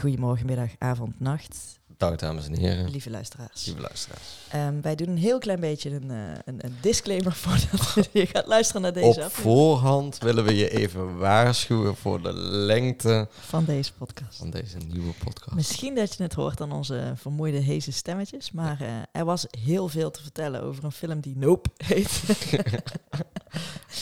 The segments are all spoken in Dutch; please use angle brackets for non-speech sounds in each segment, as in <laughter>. Goedemorgen, middag, avond, nacht, Dag dames en heren, lieve luisteraars. lieve luisteraars. Ehm, wij doen een heel klein beetje een, eh, een, een disclaimer <laughs> voordat je gaat luisteren naar deze Op aflevering voorhand willen we je even waarschuwen voor de lengte van deze podcast. van deze nieuwe podcast. Misschien dat je het hoort aan onze vermoeide heese stemmetjes, maar eh, er was heel veel te vertellen over een film die Nope <laughs> heet.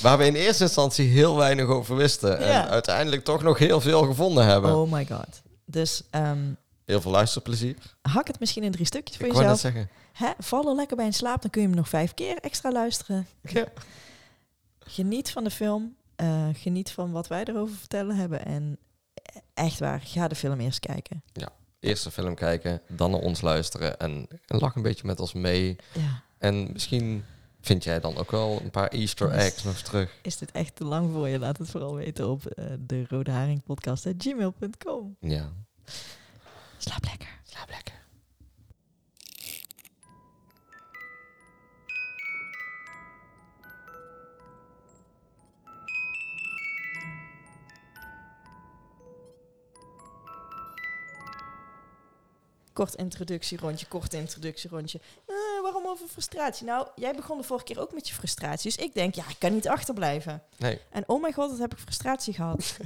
Waar we in eerste instantie heel weinig over wisten Ja. en uiteindelijk toch nog heel veel gevonden hebben. oh my god. Dus ehm, Heel veel luisterplezier. hak het misschien in drie stukjes voor Ik wou net jezelf. zeggen. Hè? Val er lekker bij in slaap, dan kun je hem nog vijf keer extra luisteren. Ja. Geniet van de film, eh, geniet van wat wij erover vertellen hebben en e- echt waar, ga de film eerst kijken. Eerst de film kijken, dan naar ons luisteren en lach een beetje met ons mee. Ja. En misschien vind jij dan ook wel een paar easter Yes. eggs nog terug. Is dit echt te lang voor je? Laat het vooral weten op eh, de rode haring gmail.com. Ja. Slaap lekker. Slaap lekker. Kort introductierondje, kort introductierondje. Eh, waarom over frustratie? Nou, jij begon de vorige keer ook met je frustratie. Dus ik denk, ja, ik kan niet achterblijven. Nee. En oh mijn god, wat heb ik frustratie <laughs> gehad.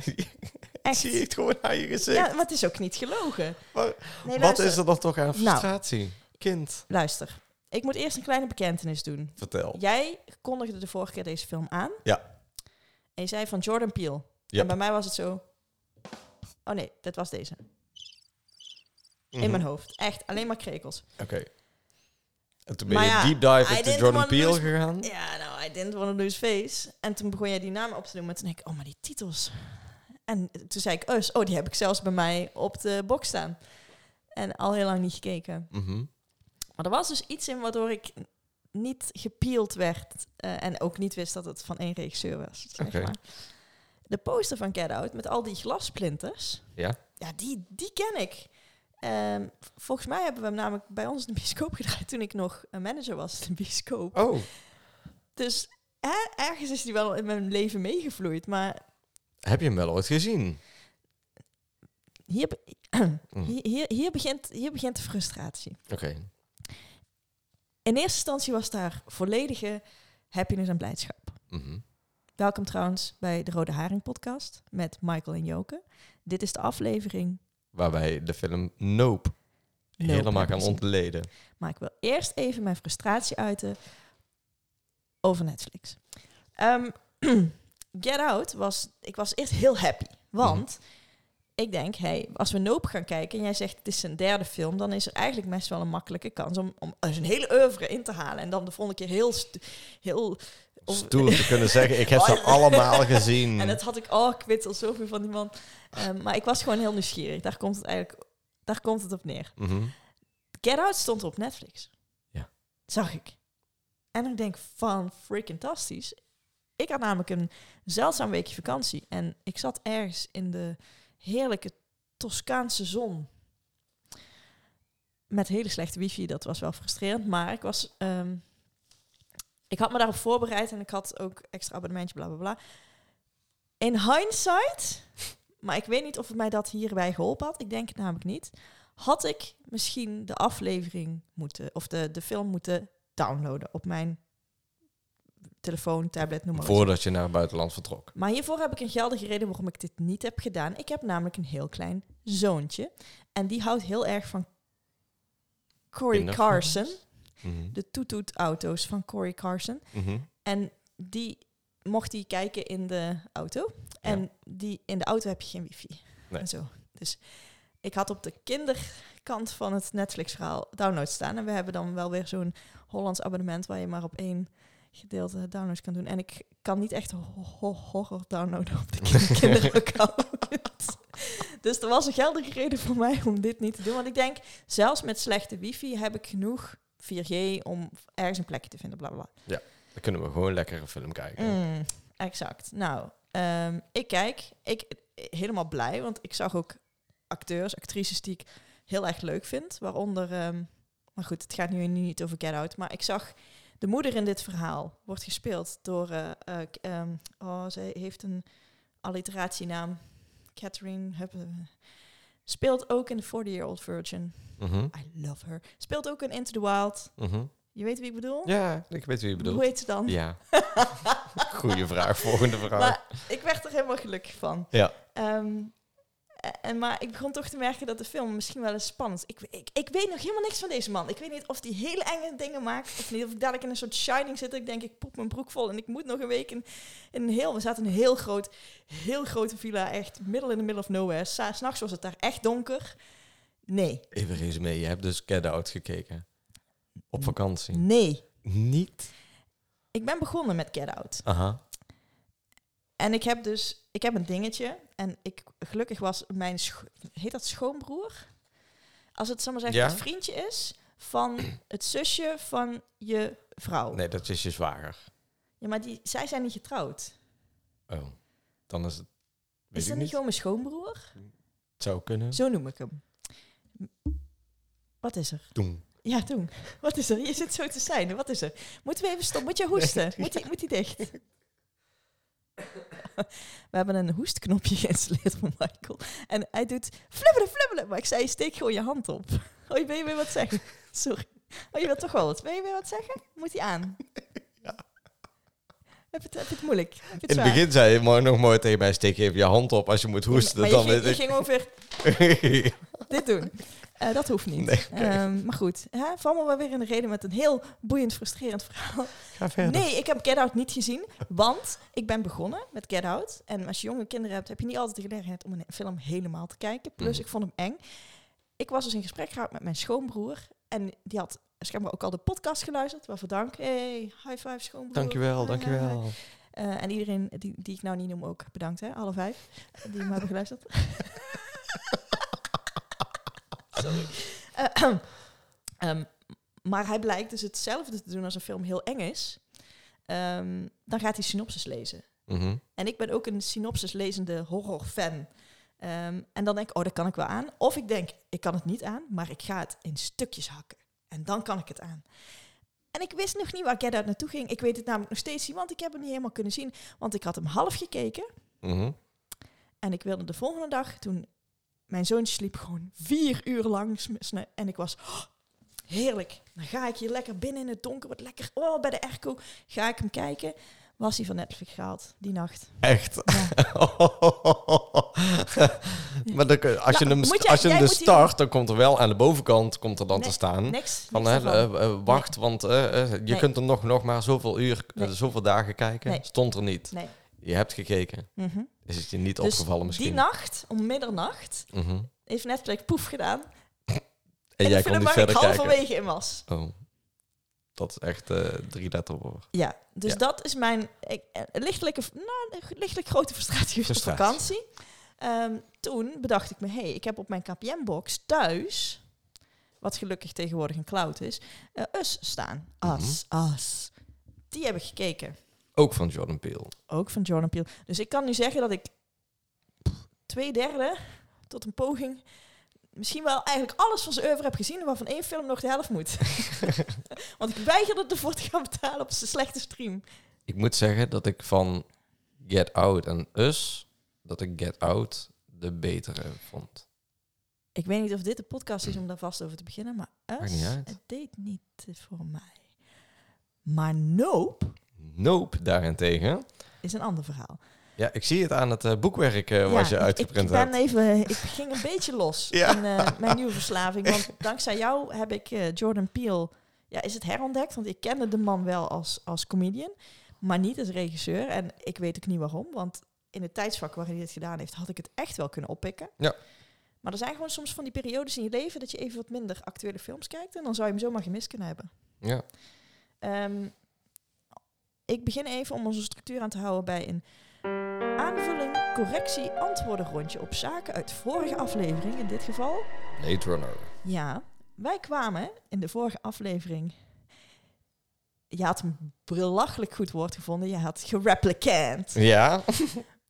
Echt. Zie je het gewoon aan je gezicht? Ja, maar het is ook niet gelogen. Maar Nee, Wat luister, Nou. is er dan toch aan frustratie? Kind, luister, ik moet eerst een kleine bekentenis doen. vertel. Jij kondigde de vorige keer deze film aan. Ja. En je zei van Jordan Peele. Ja. En bij mij was het zo... Oh nee, dat was deze. Mhm. In mijn hoofd. Echt, alleen maar krekels. Oké. En toen ben Maar je ja, deep I dive into didn't Jordan wanna Peele lose- gegaan. Ja, nou, I didn't want to lose face. En toen begon jij die namen op te noemen. En toen denk ik, oh, maar die titels. En toen zei ik, us, oh, die heb ik zelfs bij mij op de box staan. En al heel lang niet gekeken. Mhm. Maar er was dus iets in waardoor ik niet gepeeld werd. eh, en ook niet wist dat het van één regisseur was. Zeg Oké. maar. De poster van Get Out met al die glasplinters. Ja. Ja, die, die ken ik. Ehm, v- volgens mij hebben we hem namelijk bij ons in de bioscoop gedraaid toen ik nog een manager was in de bioscoop. Oh, Dus hè, ergens is die wel in mijn leven meegevloeid. Maar heb je hem wel ooit gezien? hier, be- <clears throat> Mm. hier, hier, hier begint, hier begint de frustratie. Oké. In eerste instantie was daar volledige happiness en blijdschap. Mhm. Welkom trouwens bij de Rode Haring podcast met Michael en Joke. Dit is de aflevering. Waar wij de film Nope, helemaal hebben gaan gezien. ontleden. Maar ik wil eerst even mijn frustratie uiten over Netflix. Ehm, <clears throat> Get Out was... Ik was eerst heel happy. Want ik denk, hey, als we Nope gaan kijken... en jij zegt het is zijn derde film... dan is er eigenlijk best wel een makkelijke kans... om, om zijn hele oeuvre in te halen. En dan de volgende keer heel... st- heel of- Stoer te kunnen zeggen, ik heb ze <laughs> Oh. allemaal <laughs> gezien. en dat had ik... Oh, ik weet al zoveel van die man. Ehm, maar ik was gewoon heel nieuwsgierig. Daar komt het eigenlijk... Daar komt het op neer. Mhm. Get Out stond op Netflix. Ja. Zag ik. En ik denk van freaking fantastisch. Ik had namelijk een zeldzaam weekje vakantie. En ik zat ergens in de heerlijke Toscaanse zon. Met hele slechte wifi, dat was wel frustrerend. Maar ik was... ehm, ik had me daarop voorbereid en ik had ook extra abonnementje, bla bla bla. In hindsight, maar ik weet niet of het mij dat hierbij geholpen had. Ik denk het namelijk niet had ik misschien de aflevering moeten, of de, de film moeten downloaden op mijn telefoon, tablet, noem maar op. Voordat je naar het buitenland vertrok. Maar hiervoor heb ik een geldige reden waarom ik dit niet heb gedaan. Ik heb namelijk een heel klein zoontje. En die houdt heel erg van Corey Kinderfilms. Carson. Mhm. De toetoet-auto's van Corey Carson. Mhm. En die mocht hij kijken in de auto. En die, in de auto heb je geen wifi. Nee. En zo. Dus ik had op de kinderkant van het Netflix-verhaal downloads staan. En we hebben dan wel weer zo'n Hollands abonnement waar je maar op één gedeelte downloads kan doen. En ik kan niet echt ho- ho- horror downloaden op de kin- kinderaccount. <laughs> dus er was een geldige reden voor mij om dit niet te doen. Want ik denk, zelfs met slechte wifi heb ik genoeg 4G om ergens een plekje te vinden, bla bla. bla. Dan kunnen we gewoon lekker een film kijken. Mm, exact. Nou, ehm, ik kijk, ik helemaal blij, want ik zag ook acteurs, actrices die ik heel erg leuk vind, waaronder, ehm, maar goed, het gaat nu niet over Get Out, maar ik zag de moeder in dit verhaal wordt gespeeld door, eh, eh, k- ehm, oh, zij heeft een alliteratienaam, Catherine, hup, eh, speelt ook in The 40-Year-Old Virgin. Mhm, I love her. Speelt ook in Into the Wild. mhm. Je weet wie ik bedoel? Ja, ik weet wie je bedoelt. Hoe heet ze dan? <laughs> Ja. Goeie vraag, volgende vraag. Maar ik werd er helemaal gelukkig van. Ja. Ehm, en, maar ik begon toch te merken dat de film misschien wel eens spannend is. Ik, ik, ik weet nog helemaal niks van deze man. Ik weet niet of hij hele enge dingen maakt. Of niet of ik dadelijk in een soort shining zit. dat Ik denk, ik poep mijn broek vol. En ik moet nog een week in, in een heel... We zaten in een heel groot, heel grote villa. Echt middle in the middle of nowhere. Sa- S'nachts was het daar echt donker. Nee. Even resume, je hebt dus Get Out gekeken. Op vakantie. Nee. Niet? Ik ben begonnen met Get Out. Aha. En ik heb dus, ik heb een dingetje. En ik, gelukkig was mijn, scho- heet dat schoonbroer? Als het, zal maar zeggen, Ja. het vriendje is <clears throat> van het zusje van je vrouw. Nee, dat is je zwager. Ja, maar die, zij zijn niet getrouwd. Oh, dan is het... Weet is ik Hm? dat niet gewoon mijn schoonbroer? Het zou kunnen. Zo noem ik hem. Wat is er? Doen. Ja, doen. Wat is er? Je zit zo te zijn. Wat is er? Moeten we even stoppen? Moet je hoesten? Moet die, moet die dicht? <laughs> We hebben een hoestknopje geïnstalleerd van Michael. En hij doet flubbelen, flubbelen. Maar ik zei, steek gewoon je hand op. Oh, je wil je weer wat zeggen? Sorry. Oh, je wilt toch wel wat? Wil je weer wat zeggen? Moet hij aan? Heb je het, heb je het moeilijk? Heb je het In het zwaar? begin zei je mooi- nog mooi tegen mij, steek je even je hand op als je moet hoesten. Maar je, dan ging, je weet ging over <laughs> ik... <laughs> dit doen. Eh, dat hoeft niet. Nee, oké. Ehm, maar goed, hè, vallen we wel weer in de reden met een heel boeiend, frustrerend verhaal. Ga verder. Nee, ik heb Get Out niet gezien, want ik ben begonnen met Get Out. En als je jonge kinderen hebt, heb je niet altijd de gelegenheid om een film helemaal te kijken. Plus, Mhm. ik vond hem eng. Ik was dus in gesprek geraakt met mijn schoonbroer. En die had schijnbaar ook al de podcast geluisterd. Waarvoor dank. Hey, high five schoonbroer. Dankjewel, Hi, hi, hi. dankjewel. Eh, en iedereen die, die ik nou niet noem ook bedankt, hè? Alle vijf die me hebben geluisterd. Sorry. Eh, ehm, maar hij blijkt dus hetzelfde te doen als een film heel eng is. Ehm, dan gaat hij synopsis lezen. Mhm. En ik ben ook een synopsis lezende horrorfan. Ehm, en dan denk ik, oh, dat kan ik wel aan. Of ik denk, ik kan het niet aan, maar ik ga het in stukjes hakken. En dan kan ik het aan. En ik wist nog niet waar Get Out naartoe ging. Ik weet het namelijk nog steeds niet, want ik heb hem niet helemaal kunnen zien. Want ik had hem half gekeken. Mhm. En ik wilde de volgende dag, toen mijn zoontje sliep gewoon vier uur lang. sm- sne- En ik was, "Oh, heerlijk. Dan ga ik hier lekker binnen in het donker, wat lekker, oh, bij de airco. Ga ik hem kijken. Was hij van Netflix gehaald, die nacht. Echt. Ja. <laughs> maar dan, kun- als je Ja, hem, Nou, moet jij- als je hem jij dus moet hier- start, dan komt er wel aan de bovenkant komt er dan Nee, te staan. Niks. Hm? Van, niks hè, ervan. eh, eh, wacht, want eh, eh, je Nee. kunt er nog, nog maar zoveel uur, eh, Nee. zoveel dagen kijken. Nee. Stond er niet. Nee. Je hebt gekeken. Mhm. Is het je niet Dus opgevallen misschien? Die nacht, om middernacht, Mhm. En, heeft Netflix poef gedaan. En, jij de kon film niet waar ik verder kijken. halverwege in was. Oh. Dat is echt eh, drie letterwoord. Ja, dus Ja. dat is mijn ik, eh, lichtelijke, nou, een lichtelijk grote <laughs> frustratie geweest op Frustratie. vakantie. Ehm, toen bedacht ik me, hé, hey, ik heb op mijn KPM-box thuis, wat gelukkig tegenwoordig een cloud is, eh, Us staan. Mhm. As, As. Die heb ik gekeken. Ook van Jordan Peele. Ook van Jordan Peele. Dus ik kan nu zeggen dat ik pff, twee derde tot een poging... Misschien wel eigenlijk alles van zijn oeuvre heb gezien... waarvan één film nog de helft <laughs> moet. Want ik weigerde ervoor te gaan betalen op zijn slechte stream. Ik moet zeggen dat ik van Get Out en Us, dat ik Get Out de betere vond. Ik weet niet of dit de podcast is om daar vast over te beginnen... maar Maakt Us, niet uit. het deed niet eh, voor mij. Maar Nope Nope daarentegen. is een ander verhaal. Ja, ik zie het aan het eh, boekwerk eh, wat Ja, dus je ik- uitgeprint ik, ben hebt. Even, eh, ik ging een beetje los <laughs> Ja. in eh, mijn nieuwe verslaving. <laughs> Want dankzij jou heb ik eh, Jordan Peele... Ja, is het herontdekt? Want ik kende de man wel als, als comedian, maar niet als regisseur. En ik weet ook niet waarom, want in het tijdsvak waarin hij dit gedaan heeft... had ik het echt wel kunnen oppikken. Ja. Maar er zijn gewoon soms van die periodes in je leven... dat je even wat minder actuele films kijkt... en dan zou je hem zomaar gemist kunnen hebben. Ja. Ehm, ik begin even om onze structuur aan te houden bij een aanvulling, correctie, antwoorden rondje op zaken uit vorige aflevering. In dit geval, Blade Runner. ja, Wij kwamen in de vorige aflevering. Je had een belachelijk goed woord gevonden. Je had gereplicant. Ja.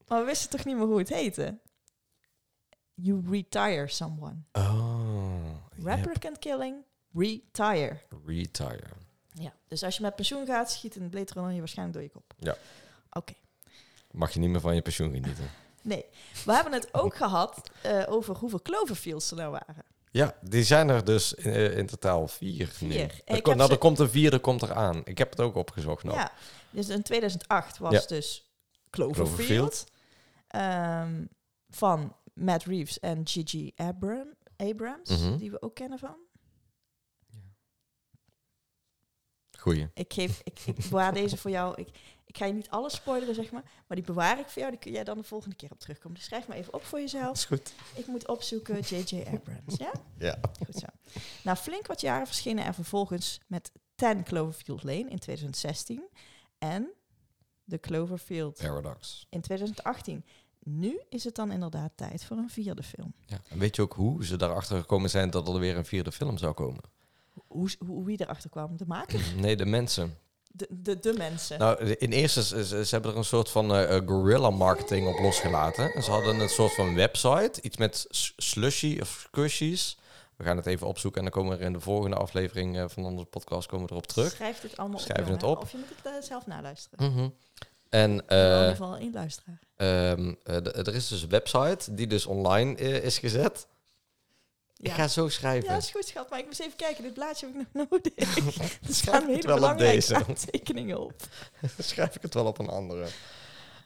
Maar we wisten toch niet meer hoe het heette? You retire someone. Oh. yep. Replicant killing, retire. Retire. Ja. Dus als je met pensioen gaat, schiet een Blade Runner je waarschijnlijk door je kop. Ja. Oké. Mag je niet meer van je pensioen genieten. Nee. We hebben het ook gehad eh, over hoeveel Cloverfields er nou waren. Ja, die zijn er dus in, eh, in totaal vier. nu. Vier. En Er ik komt- heb nou, ze- er komt een vierde komt eraan. Ik heb het ook opgezocht. Nou. Ja, dus in 2008 was Ja. dus Cloverfield. Cloverfield. ehm, van Matt Reeves en Gigi Abram, Abrams, Mhm. die we ook kennen van. Goeie. Ik, geef, ik, ik bewaar deze voor jou. Ik, ik ga je niet alles spoileren, zeg maar. Maar die bewaar ik voor jou. Die kun jij dan de volgende keer op terugkomen. Dus schrijf maar even op voor jezelf. is goed. Ik moet opzoeken <laughs> J.J. Abrams. Ja? Ja. Goed zo. Na flink wat jaren verschenen er vervolgens met 10 Cloverfield Lane in 2016. En de Cloverfield Paradox. in 2018. Nu is het dan inderdaad tijd voor een vierde film. Ja. En weet je ook hoe ze daarachter gekomen zijn dat er weer een vierde film zou komen? Hoe, hoe, wie erachter kwam? De maker? Nee, de mensen. De, de, de mensen. Nou, de- in eerste ze, ze ze hebben er een soort van eh, eh, guerrilla marketing op losgelaten. En ze hadden een soort van website, iets met s- slushy of squishies. We gaan het even opzoeken en dan komen we er in de volgende aflevering eh, van onze podcast komen we erop terug. Schrijf dit allemaal Schrijf op. het jongen. op. Of je moet het eh, zelf naluisteren. Mhm. En In ieder eh, geval één luisteraar. ehm, eh, d- er is dus een website die dus online eh, is gezet. Ja. Ik ga zo <laughs> schrijven. Ja, is goed, schat. Maar ik moest even kijken. Dit blaadje heb ik nog <laughs> nodig. Er Schrijf staan het hele wel op belangrijke deze. aantekeningen op. <laughs> schrijf ik het wel op een andere.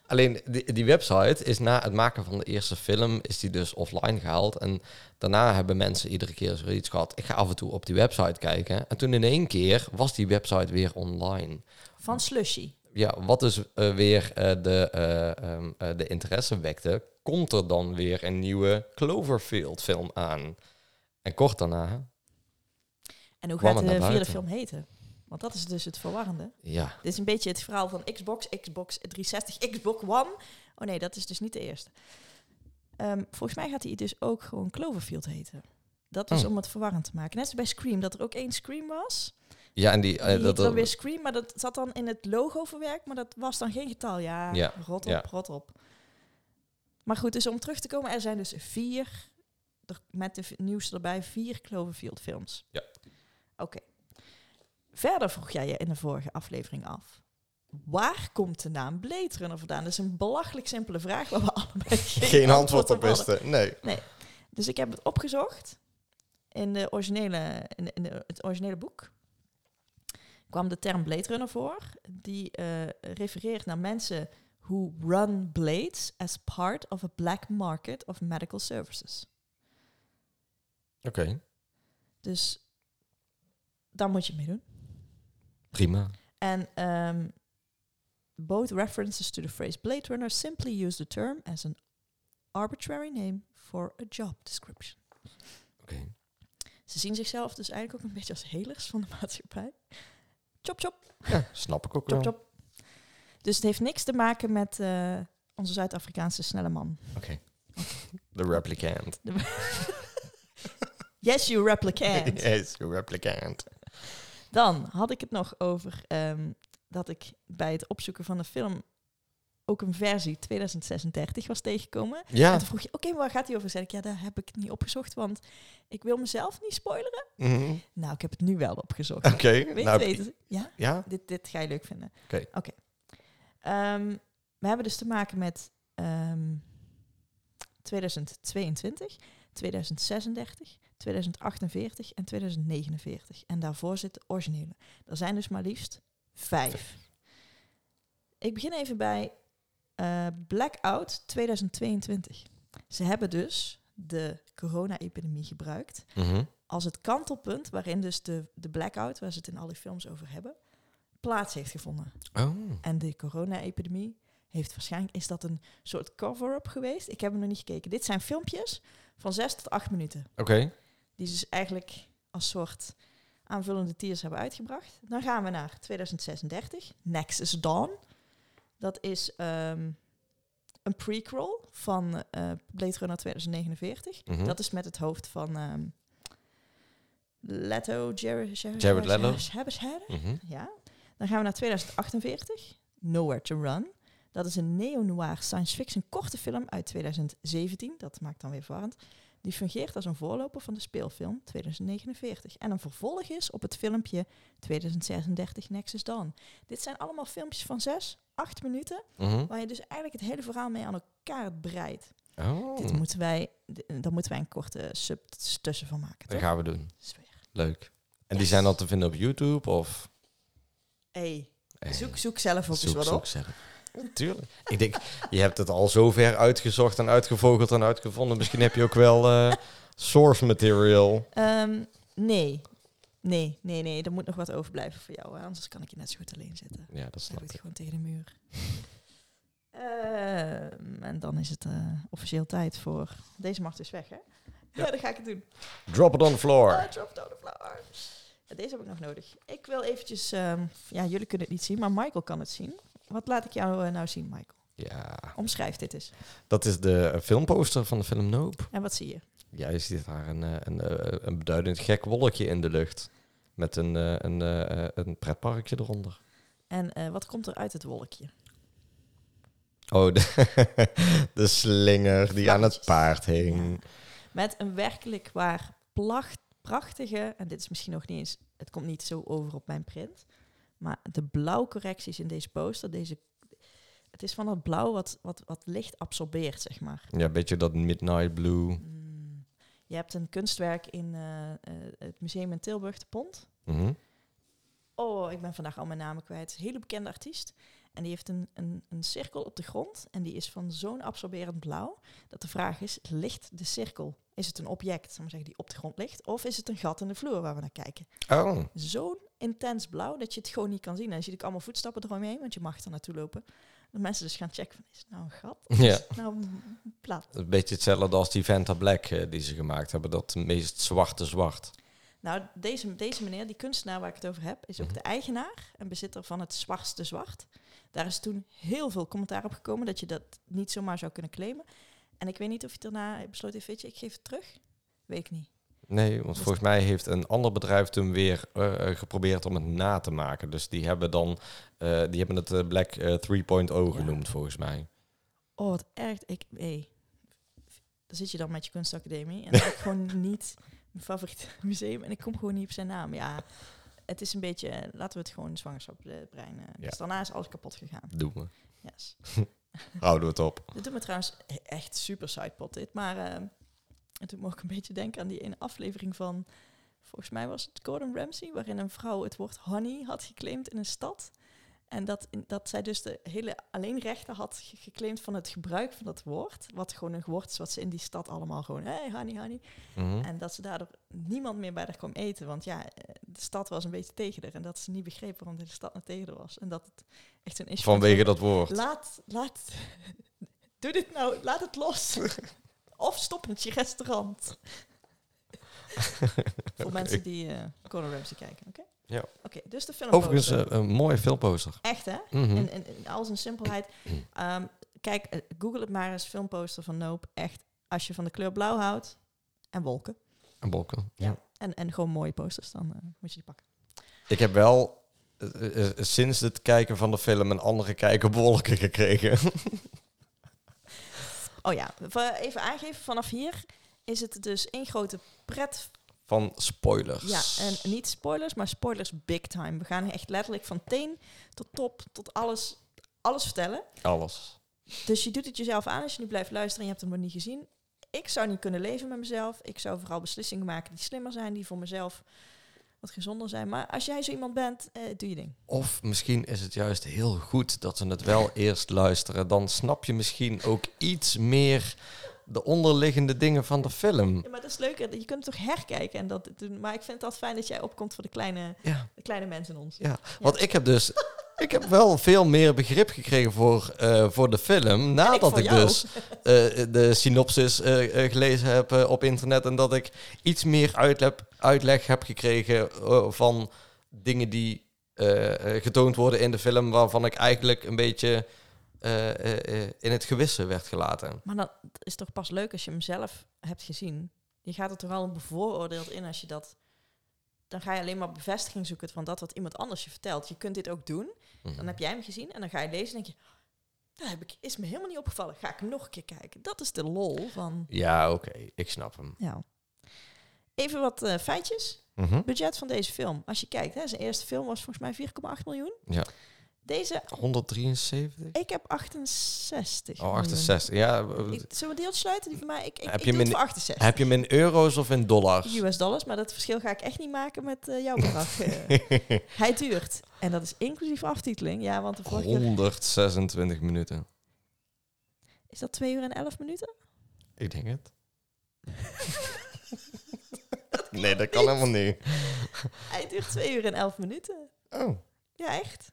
Alleen die, die website is na het maken van de eerste film is die dus offline gehaald. En daarna hebben mensen iedere keer zoiets gehad. Ik ga af en toe op die website kijken. En toen in één keer was die website weer online. Van Slushy. Ja, wat dus eh, weer eh, de, eh, ehm, eh, de interesse wekte, komt er dan weer een nieuwe Cloverfield film aan. En kort daarna, En hoe Kwam gaat het de naar vierde buiten? film heten? Want dat is dus het verwarrende. ja, Dit is een beetje het verhaal van Xbox, Xbox 360, Xbox One. Oh nee, dat is dus niet de eerste. Ehm, volgens mij gaat hij dus ook gewoon Cloverfield heten. Dat is Oh. om het verwarrend te maken. Net als bij Scream, dat er ook één Scream was. ja en die... Die eh, heette dat, dan <laughs> weer Scream, maar dat zat dan in het logo verwerkt. Maar dat was dan geen getal. Ja, Ja, rot op, ja. rot op. Maar goed, dus om terug te komen, er zijn dus vier, er- met de v- nieuwste erbij, vier Cloverfield films. Ja. Oké. Verder vroeg jij je in de vorige aflevering af. Waar komt de naam Blade Runner vandaan? Dat is een belachelijk simpele vraag waar we <laughs> allebei geen, hadden. nee. Dus ik heb het opgezocht in, de originele, in, de- in de- het originele boek. kwam de term Blade Runner voor. Die eh, refereert naar mensen who run blades as part of a black market of medical services. Oké, Dus daar moet je mee doen. prima. En ehm, both references to the phrase Blade Runner simply use the term as an arbitrary name for a job description. Oké. Ze zien zichzelf dus eigenlijk ook een beetje als helers van de <laughs> maatschappij. Chop, chop, Ja, snap ik ook wel. chop, chop. Dus het heeft niks te maken met eh, onze Zuid-Afrikaanse snelle man. <laughs> De replicant. Yes, you <laughs> replicant. Yes, de replicant. Dan had ik het nog over ehm, dat ik bij het opzoeken van de film ook een versie 2036 was tegengekomen. En Ja. toen vroeg je, oké, maar waar gaat die over? Zei ik, ja, daar heb ik het niet opgezocht, want ik wil mezelf niet spoileren. Mhm. Nou, ik heb het nu wel <laughs> opgezocht. Oké. Weet nou, weten? Ja? Ja? Dit, dit ga je leuk vinden. Oké. Ehm, we hebben dus te maken met ehm, 2022, 2036, 2048 en 2049. En daarvoor zit de originele. Er zijn dus maar liefst vijf. Ik begin even bij eh, Blackout 2022. Ze hebben dus de corona-epidemie gebruikt Mhm. als het kantelpunt waarin dus de, de blackout, waar ze het in al die films over hebben, plaats heeft gevonden. Oh. En de corona-epidemie heeft waarschijnlijk, is dat een soort cover-up geweest? Ik heb hem nog niet gekeken. Dit zijn filmpjes van zes tot acht minuten, Oké. die ze dus eigenlijk als soort aanvullende tiers hebben uitgebracht. Dan gaan we naar 2036, Nexus Dawn. Dat is ehm, een prequel van eh Blade Runner 2049. Mhm. Dat is met het hoofd van ehm, Leto, Jared, Jared, Jared Leto. Hebben ze hebben- Mhm. Ja. Dan gaan we naar 2048. Nowhere to Run. Dat is een neo-noir science fiction korte film uit 2017. Dat maakt dan weer verwarrend. Die fungeert als een voorloper van de speelfilm 2049. En een vervolg is op het filmpje 2036 Nexus Dawn. Dit zijn allemaal filmpjes van 6, 8 minuten. Mhm. Waar je dus eigenlijk het hele verhaal mee aan elkaar breidt. Oh, Dit moeten wij, d- daar moeten wij een korte sub tussen van maken. dat Toch? gaan we doen. Sfeer. Leuk. En die Yes. zijn dan te vinden op YouTube of... Hey, Eh, zoek, zoek zelf ook eens zoek, wat zoek op. <laughs> zelf. Natuurlijk. Ik denk, je hebt het al zo ver uitgezocht en uitgevogeld en uitgevonden. Misschien heb je ook wel eh, source material. Ehm, nee. Nee, nee, nee. Er moet nog wat overblijven voor jou. hè, Anders kan ik je net zo goed alleen zetten. Ja, dat Dan heb snap ik ik. het gewoon tegen de muur. Ehm, en dan is het eh, officieel tijd voor... Deze mag dus weg, hè? Ja. dan ga ik het doen. Drop it on the floor. Ah, drop down the flower. Ja, Deze heb ik nog nodig. Ik wil eventjes... ehm, ja, jullie kunnen het niet zien, maar Michael kan het zien. Wat laat ik jou eh, nou zien, Michael? Ja, Omschrijf dit eens. dat is de eh, filmposter van de film Nope. En wat zie je? Ja, je ziet daar een, eh, een, eh, een beduidend gek wolkje in de lucht. Met een, eh, een, eh, eh, een pretparkje eronder. En eh, wat komt er uit het wolkje? Oh, <laughs> de, de slinger die aan het Vlaggetjes. paard hing. Met een werkelijk waar placht, prachtige, en dit is misschien nog niet eens, het komt niet zo over op mijn print, maar de blauwcorrecties in deze poster, deze, het is van dat blauw wat, wat, wat licht absorbeert, zeg maar. Ja, een beetje dat midnight blue. Mm. Je hebt een kunstwerk in eh, eh, het museum in Tilburg, de Pont. Mhm. Oh, ik ben vandaag al mijn namen kwijt. Hele bekende artiest. En die heeft een, een, een cirkel op de grond. En die is van zo'n absorberend blauw. Dat de vraag is, ligt de cirkel? Is het een object, zal ik maar zeggen, die op de grond ligt? Of is het een gat in de vloer waar we naar kijken? Oh, Zo'n intens blauw dat je het gewoon niet kan zien. En dan zie ik allemaal voetstappen eromheen, want je mag er naartoe lopen. Dat mensen dus gaan checken, van, is het nou een gat? Of Ja. Is het nou een plaat? een beetje hetzelfde als die Vanta Black eh, die ze gemaakt hebben. Dat meest zwarte zwart. Nou, deze, deze meneer, die kunstenaar waar ik het over heb, is ook Mhm. de eigenaar en bezitter van het Zwartste Zwart. Daar is toen heel veel commentaar op gekomen dat je dat niet zomaar zou kunnen claimen. En ik weet niet of je daarna besloot heeft, weet je, ik geef het terug. Weet ik niet. Nee, want Dus- volgens mij heeft een ander bedrijf toen weer eh, eh, geprobeerd om het na te maken. Dus die hebben dan eh, die hebben het eh, Black eh, 3.0 genoemd volgens mij. Oh, wat erg. Ik, hey. Dan zit je dan met je kunstacademie en dan heb ik <laughs> gewoon niet mijn favoriete museum en ik kom gewoon niet op zijn naam. Ja, het is een beetje, eh, laten we het gewoon zwangerschap eh, brein. eh. Ja. Dus daarna is alles kapot gegaan. Doen we. Yes. Houden we het op. Dit doet me trouwens e- echt super sidepot dit. Maar eh, en toen mocht ik een beetje denken aan die ene aflevering van... Volgens mij was het Gordon Ramsay, waarin een vrouw het woord honey had geclaimd in een stad. En dat, in- dat zij dus de hele alleenrechten had ge- geclaimd van het gebruik van dat woord. Wat gewoon een woord is wat ze in die stad allemaal gewoon... Hey, honey, honey. Mhm. En dat ze daardoor niemand meer bij haar kwam eten. Want ja, eh, de stad was een beetje tegen haar. En dat ze niet begreep waarom de hele stad naar tegen haar was. En dat het echt een issue was. Vanwege dat woord. Laat, laat, <laughs> doe dit nou, laat het <laughs> los. of stop met je restaurant. Voor Oké. mensen die eh Gordon Ramsay kijken, oké? Ja. Oké, dus de film. Overigens, eh, een mooie filmposter. Echt, hè? Mhm. In, in, in al zijn <clears throat> simpelheid. Ehm, kijk, eh, google het maar eens, filmposter van Nope. Echt, als je van de kleur blauw houdt en wolken. En bolken. Ja. En, en gewoon mooie posters, dan eh, moet je die pakken. Ik heb wel eh, eh, sinds het kijken van de film een andere kijk op wolken gekregen. <laughs> Oh ja, v- even aangeven, vanaf hier is het dus één grote pret van spoilers. Ja, en niet spoilers, maar spoilers big time. We gaan echt letterlijk van teen tot top, tot alles, alles vertellen. Alles. Dus je doet het jezelf aan als je nu blijft luisteren en je hebt hem nog niet gezien. Ik zou niet kunnen leven met mezelf. Ik zou vooral beslissingen maken die slimmer zijn, die voor mezelf wat gezonder zijn. Maar als jij zo iemand bent, eh, doe je ding. Of misschien is het juist heel goed dat ze het wel eerst luisteren. Dan snap je misschien ook iets meer de onderliggende dingen van de film. Ja, maar dat is leuk. hè, Je kunt het toch herkijken en dat doen. Maar ik vind het altijd fijn dat jij opkomt voor de kleine, Ja, de kleine mensen in ons. ja. want ik heb dus... Ik heb wel veel meer begrip gekregen voor, eh, voor de film. Nadat voor ik, jou. dus eh, de synopsis eh, eh, gelezen heb eh, op internet. En dat ik iets meer uitleg, uitleg heb gekregen eh, van dingen die eh, eh, getoond worden in de film. Waarvan ik eigenlijk een beetje eh, eh, eh, in het gewissen werd gelaten. Maar dat is toch pas leuk als je hem zelf hebt gezien. Je gaat er toch al een bevooroordeeld in als je dat dan ga je alleen maar bevestiging zoeken van dat wat iemand anders je vertelt. Je kunt dit ook doen. Mhm. Dan heb jij hem gezien en dan ga je lezen en denk je... Dat heb ik, is me helemaal niet opgevallen. Ga ik nog een keer kijken. Dat is de lol van... Ja, oké. Ik snap hem. Ja. Even wat eh, feitjes. Mhm. budget van deze film, als je kijkt, hè, zijn eerste film was volgens mij 4,8 miljoen. Ja. Deze, 173? ik heb 68. Oh, miljoen. 68. Oh, Ja. Ik, zullen we een deeltje sluiten? Die van mij, ik, ik, Heb ik doe je het min- voor 68. Heb je hem in euro's of in dollars? US dollars, maar dat verschil ga ik echt niet maken met eh, jouw bedrag. Eh, <laughs> hij duurt, en dat is inclusief aftiteling, ja, want de vorige Oh. keer- 126 minuten. is dat 2 uur en 11 minuten? Ik denk het. <laughs> nee, dat kan helemaal niet. Hij duurt 2 uur en 11 minuten. Oh, Ja, echt.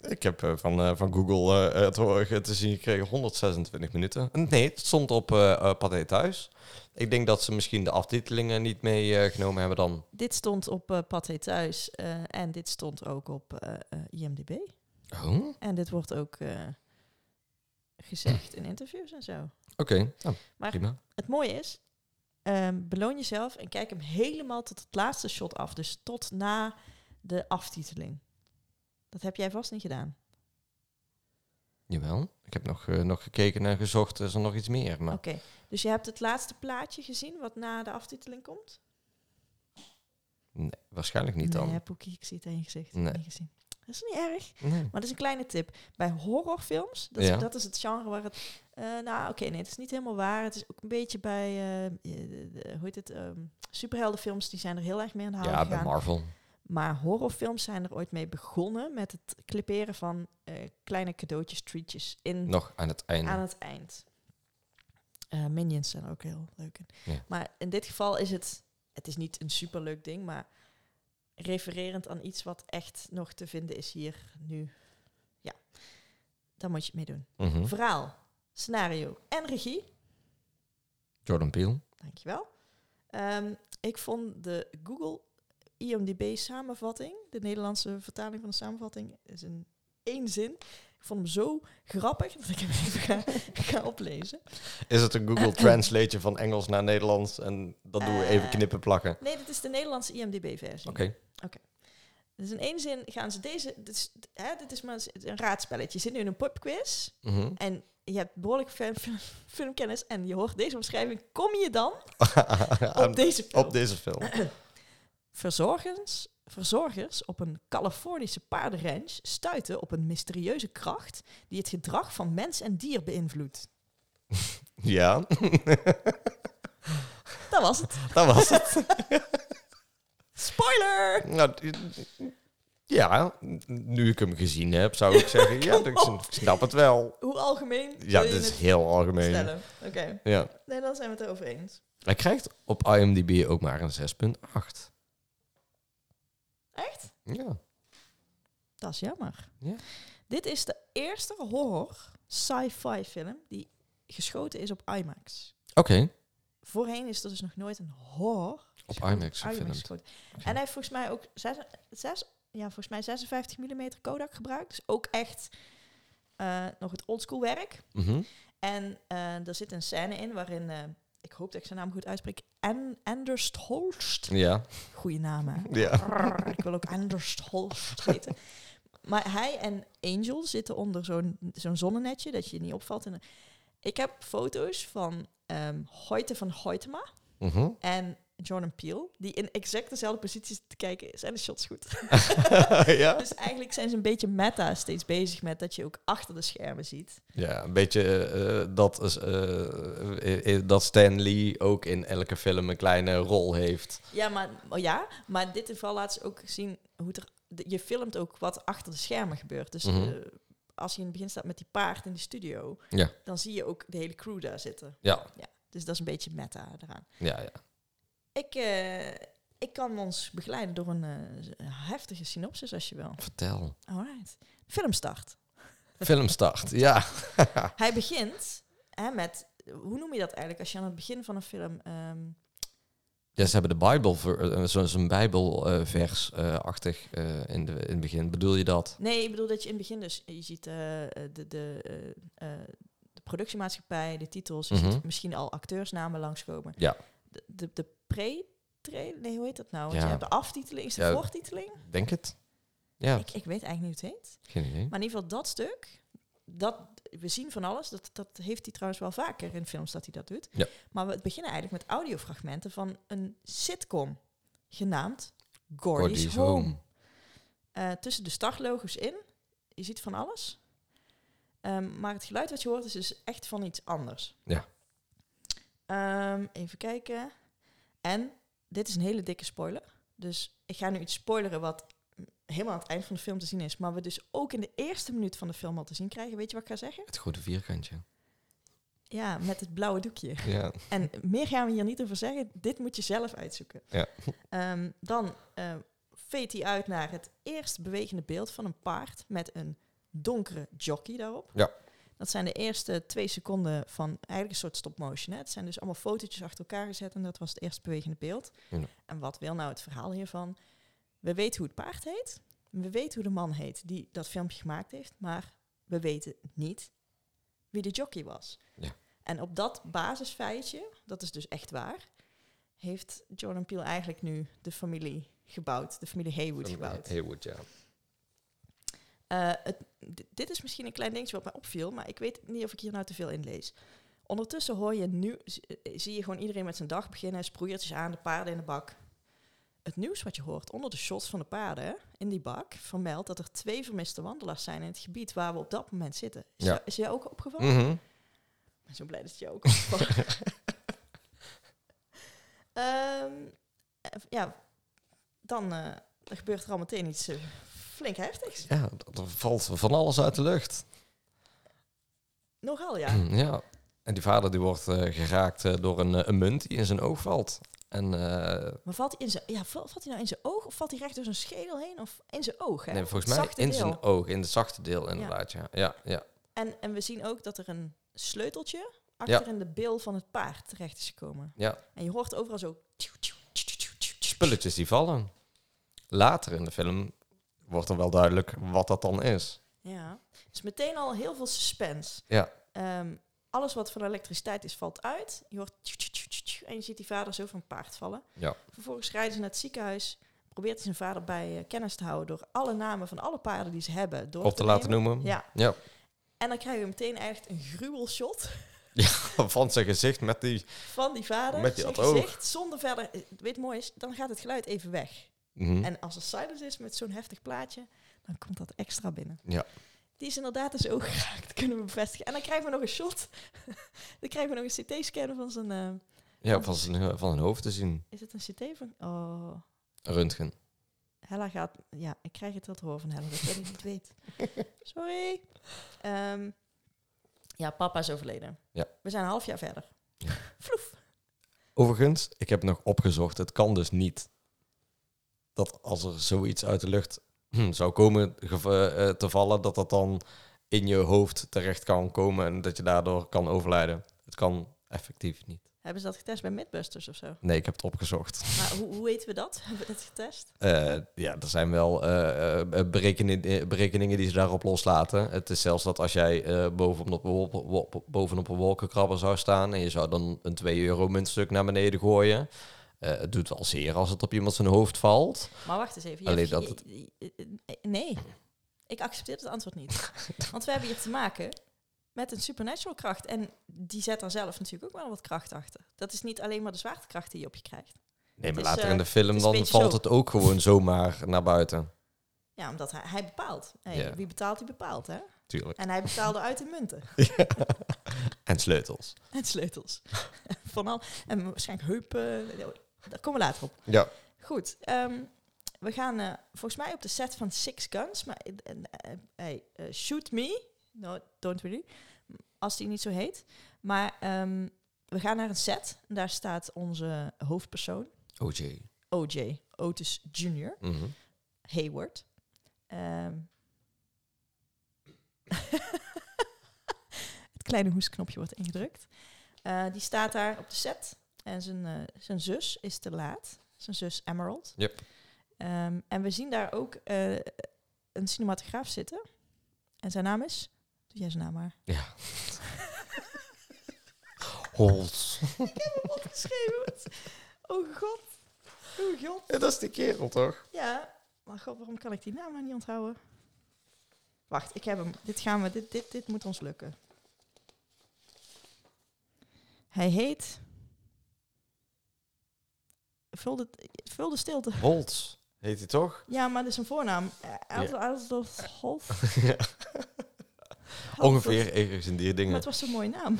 ik heb eh, van, eh, van Google eh, het horen te zien gekregen 126 minuten. Nee, het stond op eh eh, Pathé Thuis. Ik denk dat ze misschien de aftitelingen niet meegenomen hebben dan. Dit stond op eh Pathé Thuis eh, en dit stond ook op eh, eh, IMDb. Oh, oké. En dit wordt ook eh, gezegd in interviews en zo. Nou, Maar- prima. Het mooie is, ehm, beloon jezelf en kijk hem helemaal tot het laatste shot af. Dus tot na de aftiteling. Dat heb jij vast niet gedaan. Jawel. Ik heb nog, eh, nog gekeken en gezocht. Is er nog iets meer? Maar... Oké, dus je hebt het laatste plaatje gezien wat na de aftiteling komt? Nee, waarschijnlijk niet nee, dan. hè, Poekie, ik zie het aan je gezicht. Nee. Niet gezien. Dat is niet erg. Nee. Maar dat is een kleine tip. Bij horrorfilms, dat, is- Ja. dat is het genre waar het... eh, nou, oké, nee, het is niet helemaal waar. Het is ook een beetje bij... eh, eh, de- de- hoe heet het? ehm, superheldenfilms, die zijn er heel erg mee aan de haal Ja, bij gegaan. Marvel. Maar horrorfilms zijn er ooit mee begonnen met het clipperen van eh, kleine cadeautjes, treatjes in, Nog aan het einde. aan het eind. Eh, Minions zijn er ook heel leuk in. Ja. Maar in dit geval is het, het is niet een superleuk ding, maar refererend aan iets wat echt nog te vinden is hier nu. Ja, daar moet je het mee doen. Mhm. Verhaal, scenario en regie Jordan Peele. Dankjewel. Ehm ik vond de Google IMDB samenvatting, de Nederlandse vertaling van de samenvatting, is in één zin. Ik vond hem zo grappig dat ik hem <laughs> even ga, ga oplezen. Is het <clears throat> een Google Translate van Engels naar Nederlands? En dat doen we even Eh, knippen plakken. Oké. Nee, dit is de Nederlandse IMDB-versie. Dus in één zin gaan ze deze... Dit is, hè, dit is maar eens een raadspelletje. Je zit nu in een popquiz Mhm. en je hebt behoorlijk film, film- <laughs> filmkennis en je hoort deze omschrijving. Kom je dan <laughs> op Aan- deze film? op deze film. Verzorgers, verzorgers op een Californische paardenranch stuiten op een mysterieuze kracht die het gedrag van mens en dier beïnvloedt. ja, Dat was het. dat was <laughs> het. Spoiler! Nou, d- ja, nu ik hem gezien heb, zou ik <laughs> zeggen, ja, ik op. s- snap het wel. Hoe algemeen Ja, wil dit je is het heel algemeen. stellen? Oké, Ja. nee, dan zijn we het erover eens. Hij krijgt op IMDb ook maar een 6.8. Echt? Ja. Dat is jammer. Ja. Dit is de eerste horror sci-fi film die geschoten is op IMAX. Oké, Voorheen is er dus nog nooit een horror op geschoten- IMAX gefilmd. gefilmd. En hij heeft volgens mij ook zes, zes, ja, volgens mij 56 mm Kodak gebruikt. Dus ook echt eh, nog het oldschool werk. Mhm. En eh er zit een scène in waarin, eh, ik hoop dat ik zijn naam goed uitspreek, An Anders Holst. Ja, Goeie naam, hè? <laughs> ja. Brrr, ik wil ook Anders Holst heten. Maar hij en Angel zitten onder zo'n zo'n zonnenetje, dat je niet opvalt. En, eh, ik heb foto's van ehm Hoyte van Hoytema <laughs> Mhm. en Jordan Peele, die in exact dezelfde posities te kijken is. En de shots goed. ja. dus eigenlijk zijn ze een beetje meta steeds bezig met dat je ook achter de schermen ziet. Ja, een beetje eh, dat, is, eh, eh, dat Stan Lee ook in elke film een kleine rol heeft. Ja, maar, oh ja, maar in dit geval laat ze ook zien hoe het er, de- je filmt ook wat achter de schermen gebeurt. Dus Mhm. eh, als je in het begin staat met die paard in de studio, Ja. dan zie je ook de hele crew daar zitten. Ja, Dus dat is een beetje meta eraan. ja, ja. Ik, eh, ik kan ons begeleiden door een eh, heftige synopsis als je wil. Vertel. Alright. Film start. Filmstart, ja. Hij begint hè, met, hoe noem je dat eigenlijk als je aan het begin van een film. ehm, Ja, ze hebben de Bijbel, ver- eh, zo- zo'n Bijbelvers-achtig eh, in, de, in het begin. Bedoel je dat? nee, ik bedoel dat je in het begin dus, je ziet eh, de, de, eh, eh, de productiemaatschappij, de titels, je Mhm. ziet misschien al acteursnamen langskomen. Ja. De, de, de pre, trailer? Nee, hoe heet dat nou? Want Ja. je hebt de aftiteling, is de Ja. voortiteling? Denk het. Ja, Ik, ik weet eigenlijk niet hoe het heet. geen idee. Maar in ieder geval dat stuk, dat, we zien van alles. Dat, dat heeft hij trouwens wel vaker in films dat hij dat doet. Ja. Maar we beginnen eigenlijk met audiofragmenten van een sitcom genaamd Gordy's, Gordy's Home. Home. Eh, tussen de startlogo's in, je ziet van alles. Ehm, maar het geluid wat je hoort is dus echt van iets anders. Ja. Ehm, even kijken. En dit is een hele dikke spoiler. Dus ik ga nu iets spoileren wat helemaal aan het eind van de film te zien is. Maar we dus ook in de eerste minuut van de film al te zien krijgen. Weet je wat ik ga zeggen? Het grote vierkantje. Ja, met het blauwe doekje. Ja. En meer gaan we hier niet over zeggen. Dit moet je zelf uitzoeken. Ja. Ehm, dan eh veet hij uit naar het eerst bewegende beeld van een paard met een donkere jockey daarop. Ja. Dat zijn de eerste twee seconden van eigenlijk een soort stop-motion. hè. Het zijn dus allemaal fotootjes achter elkaar gezet en dat was het eerst bewegende beeld. Ja. En wat wil nou het verhaal hiervan? We weten hoe het paard heet. We weten hoe de man heet die dat filmpje gemaakt heeft. Maar we weten niet wie de jockey was. Ja. En op dat basisfeitje, dat is dus echt waar, heeft Jordan Peele eigenlijk nu de familie gebouwd, de familie Haywood gebouwd. Haywood, ja. Eh, het, d- dit is misschien een klein dingetje wat mij opviel, maar ik weet niet of ik hier nou te veel in lees. Ondertussen hoor je nu, z- eh, zie je gewoon iedereen met zijn dag beginnen, sproeiertjes aan, de paarden in de bak. Het nieuws wat je hoort onder de shots van de paarden in die bak vermeldt dat er twee vermiste wandelaars zijn in het gebied waar we op dat moment zitten. Is, Ja. jou- is jou ook opgevallen? Mhm. Ik ben zo blij dat het je ook opvalt. <laughs> Ehm, eh, ja, dan eh, er gebeurt er al meteen iets eh, flink heftigs. Ja, dat- er valt van alles uit de lucht. Nogal, ja. Mm, Ja. En die vader die wordt eh, geraakt eh, door een, eh, een munt die in zijn oog valt. En eh, Maar valt hij, in zijn, ja, val- valt hij nou in zijn oog of valt hij recht door zijn schedel heen? Of in zijn oog, hè? nee, volgens Het mij zachte in deel. zijn oog, in het zachte deel inderdaad. Ja, ja, ja. En, en we zien ook dat er een sleuteltje achter in de bil van het paard terecht is gekomen. Ja. En je hoort overal zo... spulletjes die vallen. Later in de film wordt dan wel duidelijk wat dat dan is. Ja, dus meteen al heel veel suspense. Ja. Ehm, alles wat van elektriciteit is, valt uit. Je hoort tju, tju, tju, tju, tju, en je ziet die vader zo van een paard vallen. Ja. Vervolgens rijden ze naar het ziekenhuis. Probeert hij zijn vader bij eh, kennis te houden door alle namen van alle paarden die ze hebben door Op te laten nemen. noemen. Ja. Ja. <laughs> En dan krijgen we meteen echt een gruwelshot Van zijn gezicht met die... van die vader. Met die zijn dat oog. gezicht, zonder verder... eh, Weet je mooi is, dan gaat het geluid even weg. Mhm. En als er silence is met zo'n heftig plaatje, dan komt dat extra binnen. Ja. Die is inderdaad dus ook <laughs> geraakt, kunnen we bevestigen. En dan krijgen we nog een shot. <laughs> dan krijgen we nog een CT-scan van zijn... eh, ja, van zijn, van zijn hoofd te zien. is het een CT van... Oh, Een Röntgen. Hella gaat... Ja, ik krijg het wel te horen van Hella, dat jij het niet <laughs> weet. Sorry. Ehm, ja, papa is overleden. Ja. We zijn een half jaar verder. Ja. Vloef. Overigens, ik heb nog opgezocht, het kan dus niet dat als er zoiets uit de lucht hm, zou komen gev- eh, te vallen, dat dat dan in je hoofd terecht kan komen en dat je daardoor kan overlijden. Het kan effectief niet. Hebben ze dat getest bij Midbusters of zo? Nee, ik heb het opgezocht. Maar hoe, hoe weten we dat? Hebben we dat getest? Eh, ja, er zijn wel eh, eh, berekening- eh, berekeningen die ze daarop loslaten. Het is zelfs dat als jij eh, bovenop, een wol- wol- bovenop een wolkenkrabber zou staan en je zou dan een 2 euro muntstuk naar beneden gooien. eh, het doet wel zeer als het op iemand zijn hoofd valt. Maar wacht eens even. je Alleen hebt- dat je- je- je- Nee, ik accepteer het antwoord <laughs> niet. Want we hebben hier te maken met een supernatural kracht. En die zet daar zelf natuurlijk ook wel wat kracht achter. Dat is niet alleen maar de zwaartekracht die je op je krijgt. Nee, maar is, later eh, in de film is een dan beetje valt zo. het ook gewoon zomaar naar buiten. Ja, omdat hij, hij bepaalt. Hey, Ja. Wie betaalt, die bepaalt. Hè? Tuurlijk. En hij betaalde uit in munten <laughs> En sleutels. en sleutels. <laughs> Van al, en waarschijnlijk heupen. Daar komen we later op. Ja. Goed, ehm, we gaan eh, volgens mij op de set van Six Guns. Maar eh, eh, eh, hey, eh, shoot me. No, don't really. Als die niet zo heet. Maar ehm, we gaan naar een set. En daar staat onze hoofdpersoon, OJ. OJ, Otis Jr., Oh, Mhm. Hayward. Ehm. <laughs> het kleine hoesknopje wordt ingedrukt. Eh, die staat daar op de set. En zijn, eh, zijn zus is te laat. Zijn zus Emerald. Yep. Ehm, en we zien daar ook eh, een cinematograaf zitten. En zijn naam is? Doe jij zijn naam maar. <laughs> <laughs> Ja. Hols. <laughs> Ik heb hem opgeschreven. want- Oh god. Oeh, god. Ja, dat is die kerel toch? Ja. Maar god, waarom kan ik die naam nou niet onthouden? Wacht, ik heb hem. Dit gaan we. Dit, dit, dit moet ons lukken. Hij heet. Vul de, vul de stilte. Holtz heet hij toch? Ja, maar dat is een voornaam. Eh, Adolf Hof. <laughs> Ja. Ongeveer ergens in die Maar dingen. het was zo'n mooie naam.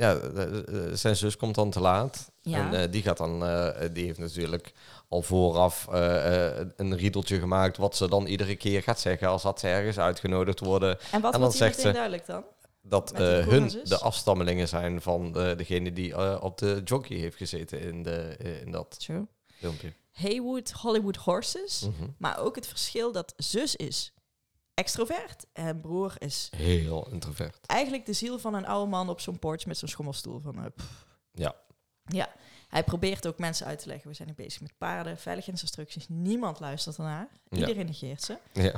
Ja, de- de- zijn zus komt dan te laat. En eh, die gaat dan, eh, die heeft natuurlijk al vooraf eh, eh, een riedeltje gemaakt wat ze dan iedere keer gaat zeggen als dat ze ergens uitgenodigd worden. en wat en dan wordt hier zegt meteen ze- duidelijk dan? Dat Met die eh, hun koerasus? de afstammelingen zijn van eh, degene die eh, op de jockey heeft gezeten in, de, eh, in dat True. filmpje. Haywood Hollywood Horses. Mhm. Maar ook het verschil dat zus is extrovert en broer is Heel introvert. eigenlijk de ziel van een oude man op zo'n porch met zo'n schommelstoel. Van, eh, pff. Ja. ja. Hij probeert ook mensen uit te leggen. We zijn hier bezig met paarden, veiligheidsinstructies. Niemand luistert ernaar. Ja. Iedereen negeert ze. Ja.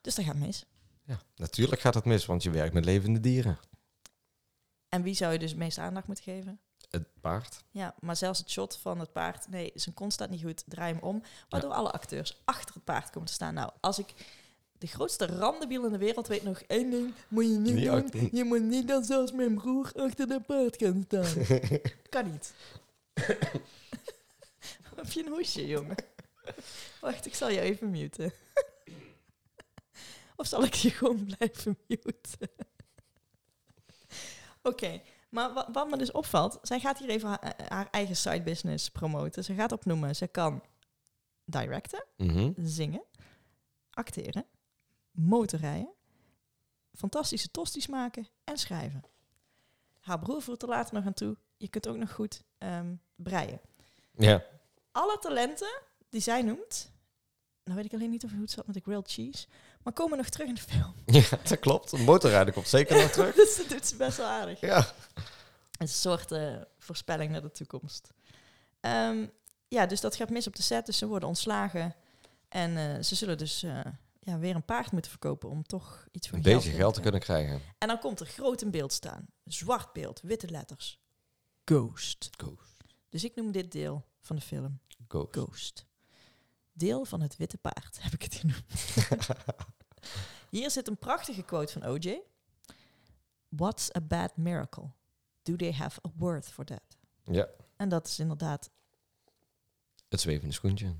Dus dat gaat mis. ja, natuurlijk gaat het mis, want je werkt met levende dieren. En wie zou je dus het meeste aandacht moeten geven? Het paard. Ja, maar zelfs het shot van het paard. Nee, zijn kont staat niet goed, draai hem om. Waardoor alle acteurs achter het paard komen te staan. Nou, als ik de grootste randebiel in de wereld weet nog één ding: moet je niet Niet doen. achter- Je moet niet dan zelfs mijn broer achter dat paard gaan staan. kan niet. Heb je een hoesje, jongen? Wacht, ik zal je even muten. of zal ik je gewoon blijven muten? Oké, maar wa- wat me dus opvalt, zij gaat hier even ha- eh, haar eigen side business promoten. Ze gaat opnoemen, ze kan directen, Mhm. zingen, acteren, motorrijden, fantastische tosties maken en schrijven. Haar broer voert er later nog aan toe, je kunt ook nog goed ehm, breien. Ja. <laughs> Alle talenten die zij noemt, nou weet ik alleen niet of hoe het zat met de grilled cheese, maar komen nog terug in de film. ja, dat klopt. Een motorrijder komt zeker nog <laughs> terug. dus dat doet ze best wel aardig. Ja. Een soort eh, voorspelling naar de toekomst. Ehm, ja, dus dat gaat mis op de set. Dus ze worden ontslagen. En eh, ze zullen dus eh, ja, weer een paard moeten verkopen om toch iets van Een beetje in geld te kunnen krijgen. En dan komt er groot in beeld staan. Zwart beeld, witte letters. Ghost. Ghost. Dus ik noem dit deel van de film Ghost. Ghost. Deel van het witte paard, <laughs> heb ik het genoemd. Hier zit een prachtige quote van OJ. What's a bad miracle? Do they have a word for that? Ja. En dat is inderdaad, Het zwevende schoentje.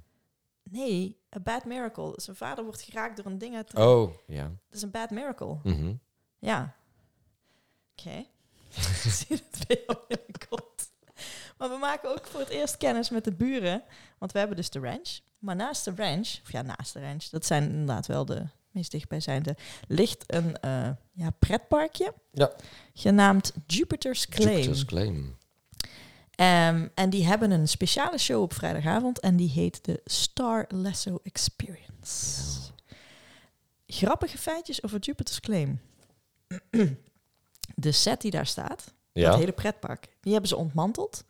nee, a bad miracle. Zijn vader wordt geraakt door een ding uit. Dat Oh, ja. is een bad miracle. Mhm. Ja. Oké. <laughs> Ik zie het beeld in de kont. Maar we maken ook voor het eerst kennis met de buren. Want we hebben dus de ranch. Maar naast de ranch, of ja, naast de ranch, dat zijn inderdaad wel de meest dichtbijzijnde, ligt een eh, ja, pretparkje. Ja. Genaamd Jupiter's Claim. Jupiter's claim. Ehm, en die hebben een speciale show op vrijdagavond en die heet de Star Lasso Experience. Grappige feitjes over Jupiter's Claim. De set die daar staat, het Ja. hele pretpark, die hebben ze ontmanteld,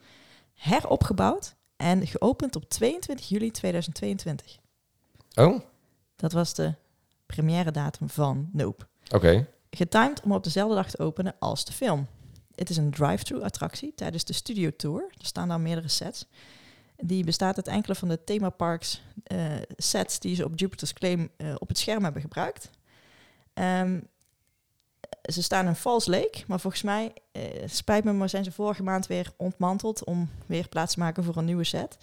heropgebouwd en geopend op 22 juli 2022. Oh, oké. Dat was de première datum van Nope. Getimed om op dezelfde dag te openen als de film. Het is een drive-thru attractie tijdens de studio tour. Er staan daar meerdere sets. Die bestaat uit enkele van de themaparks eh, sets die ze op Jupiter's Claim eh, op het scherm hebben gebruikt. Ehm, ze staan in Falls Lake, maar volgens mij, eh, spijt me, maar zijn ze vorige maand weer ontmanteld om weer plaats te maken voor een nieuwe set.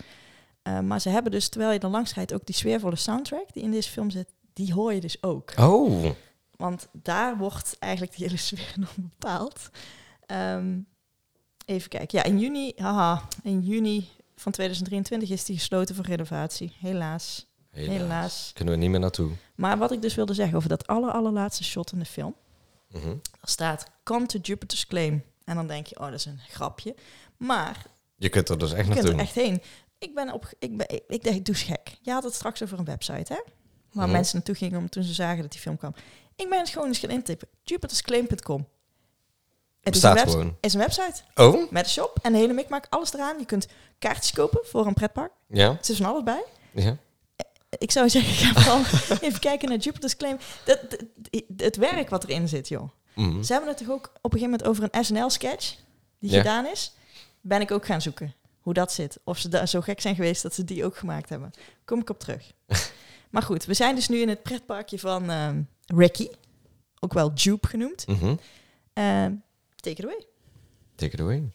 Eh, maar ze hebben dus, terwijl je er langs rijdt, ook die sfeervolle soundtrack die in deze film zit, die hoor je dus ook. Oh, Want daar wordt eigenlijk de hele <laughs> sfeer nog bepaald. Ehm, even kijken. Ja, in juni, haha, in juni van 2023 is die gesloten voor renovatie. Helaas. helaas. Helaas. Kunnen we niet meer naartoe. Maar wat ik dus wilde zeggen over dat aller, allerlaatste shot in de film. Mhm. Er staat Come to Jupiter's Claim. En dan denk je, oh, dat is een grapje. Maar Je kunt er dus echt je kunt naartoe. er echt heen. Ik ben op, ik ben, ik, ik dacht, doe eens gek. Je had het straks over een website, hè? Waar Mhm. mensen naartoe gingen om toen ze zagen dat die film kwam. Ik ben het gewoon eens gaan intippen. Jupitersclaim.com. Het is een, Bestaat webs- gewoon. is een website Oh, met een shop en de hele mikmak, alles eraan. Je kunt kaartjes kopen voor een pretpark. ja. Er zit van alles bij. ja. Ik zou zeggen, <laughs> ga <laughs> vooral even kijken naar Jupiter's Claim. Dat, dat- het werk wat erin zit, joh. Mhm. Ze hebben het toch ook op een gegeven moment over een SNL-sketch die Ja. gedaan is. Ben ik ook gaan zoeken. hoe dat zit. Of ze daar zo gek zijn geweest dat ze die ook gemaakt hebben. Kom ik op <laughs> terug. maar goed, we zijn dus nu in het pretparkje van ehm, Ricky. Ook wel Jupe genoemd. Mhm. Ehm take it away. Take it <laughs> away.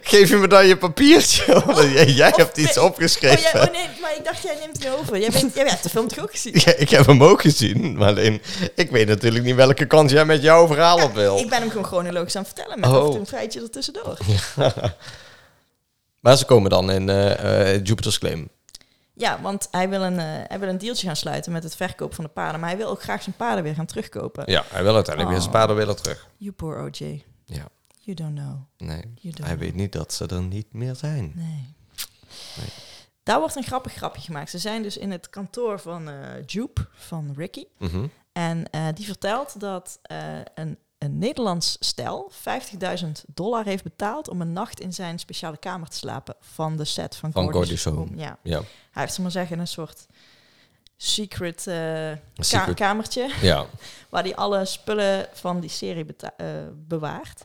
Geef je me dan je papiertje? <laughs> want jij jij Of hebt iets pe- opgeschreven. Oh, jij, oh nee, maar ik dacht, jij neemt het nu over. Jij, bent, jij hebt de film toch ook <laughs> gezien? Oh Ja, ik heb hem ook gezien, maar alleen ik weet natuurlijk niet welke kant jij met jouw verhaal op wil. Ik ben hem gewoon chronologisch aan het vertellen met Oh. af en toe een feitje ertussendoor. Maar ze komen dan in eh, eh, Jupiter's Claim. Ja, want hij wil, een, eh, hij wil een dealtje gaan sluiten met het verkoop van de paarden. Maar hij wil ook graag zijn paarden weer gaan terugkopen. Ja, hij wil uiteindelijk weer zijn Oh. paarden willen terug. You poor OJ. Ja, You don't know. nee. You don't Hij know. weet niet dat ze er niet meer zijn. Nee. Nee. Daar wordt een grappig grapje gemaakt. Ze zijn dus in het kantoor van eh Jupe, van Ricky. Mhm. En eh, die vertelt dat eh, een, een Nederlands stel 50.000 dollar heeft betaald om een nacht in zijn speciale kamer te slapen van de set van, Van Gordy's Gordy's Home. Ja. Ja. Hij heeft, ze maar zeggen, een soort secret, eh, ka- secret- kamertje <laughs> Ja, waar hij alle spullen van die serie beta- eh, bewaart.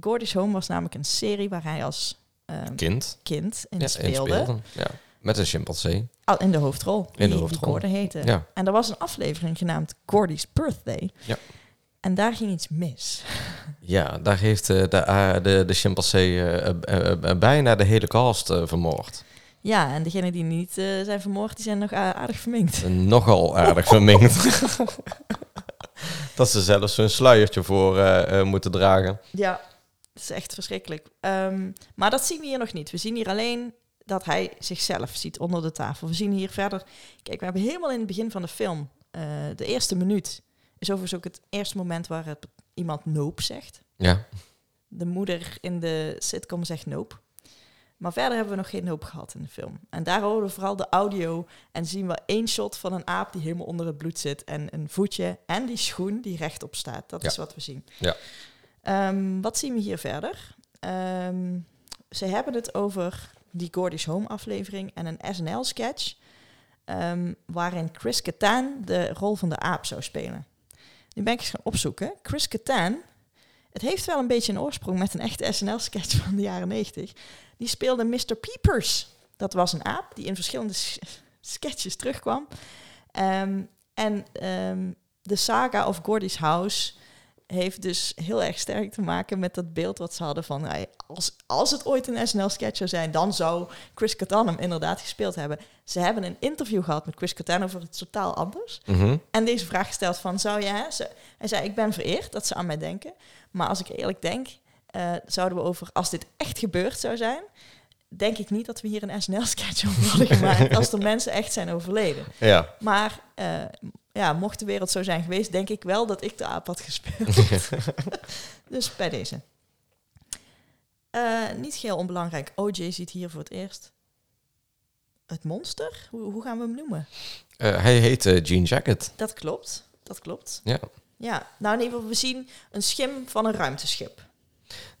Gordy's Home was namelijk een serie waar hij als ehm, kind. kind in Ja, in speelde. speelde. Ja. Met een chimpansee. Al in de hoofdrol. die- die hoofdrol. Gordon heette. Ja. En er was een aflevering genaamd Gordy's Birthday. Ja. En daar ging iets mis. Ja, daar heeft eh, de, ah, de, de chimpansee eh, eh, eh, eh, bijna de hele cast eh, vermoord. Ja, en degenen die niet eh, zijn vermoord, die zijn nog a- aardig verminkt. Nogal aardig <laughs> verminkt. dat ze zelfs hun sluiertje voor eh, eh, moeten dragen. Ja. Dat is echt verschrikkelijk. Ehm, maar dat zien we hier nog niet. We zien hier alleen dat hij zichzelf ziet onder de tafel. We zien hier verder... Kijk, we hebben helemaal in het begin van de film... eh, de eerste minuut is overigens ook het eerste moment waar het, iemand nope zegt. Ja, de moeder in de sitcom zegt nope. Maar verder hebben we nog geen hoop gehad in de film. En daar horen we vooral de audio en zien we één shot van een aap die helemaal onder het bloed zit. En een voetje en die schoen die rechtop staat. Dat Ja. is wat we zien. Ja. Ehm, wat zien we hier verder? Ehm, ze hebben het over die Gordy's Home aflevering en een SNL sketch. ehm, waarin Chris Kattan de rol van de aap zou spelen. Nu ben ik eens gaan opzoeken. Chris Kattan het heeft wel een beetje een oorsprong met een echte SNL-sketch van de jaren 90. Die speelde Mr. Peepers. Dat was een aap die in verschillende s- sketches terugkwam. Ehm, en ehm, de saga of Gordy's House heeft dus heel erg sterk te maken met dat beeld wat ze hadden van... hey, als, als het ooit een SNL-sketch zou zijn, dan zou Chris Kattan hem inderdaad gespeeld hebben. Ze hebben een interview gehad met Chris Kattan over iets totaal anders. Mhm. En deze vraag gesteld van, zou je... hè, ze- Hij zei, ik ben vereerd dat ze aan mij denken. Maar als ik eerlijk denk, eh, zouden we over... Als dit echt gebeurd zou zijn, denk ik niet dat we hier een SNL-sketch over hadden gemaakt. als er mensen echt zijn overleden. ja. Maar eh, m- ja, mocht de wereld zo zijn geweest, denk ik wel dat ik de aap had gespeeld. dus bij deze. Eh, niet heel onbelangrijk. OJ ziet hier voor het eerst het monster. Hoe, hoe gaan we hem noemen? Eh, hij heet eh, Jean Jacket. Dat klopt. Dat klopt. Ja. Ja, nou in ieder geval, we zien een schim van een ruimteschip.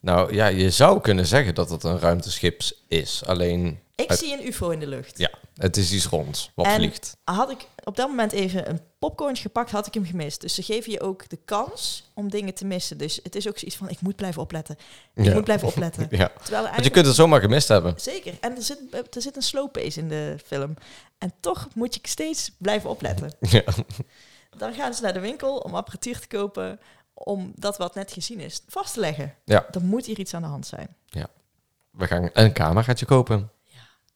Nou ja, je zou kunnen zeggen dat het een ruimteschip is. Alleen, Ik Het- zie een ufo in de lucht. ja, het is iets ronds wat En- vliegt. <laughs> Had ik op dat moment even een popcorn gepakt, had ik hem gemist. Dus ze geven je ook de kans om dingen te missen. Dus het is ook zoiets van, ik moet blijven opletten. Ik Ja. moet blijven opletten. <laughs> Ja. Terwijl er Want je eigenlijk... kunt het zomaar gemist hebben. Zeker. En er zit, er zit een slow pace in de film. En toch moet je steeds blijven opletten. <laughs> Ja. Dan gaan ze naar de winkel om apparatuur te kopen... om dat wat net gezien is vast te leggen. Ja. Er moet hier iets aan de hand zijn. We gaan een cameraatje kopen.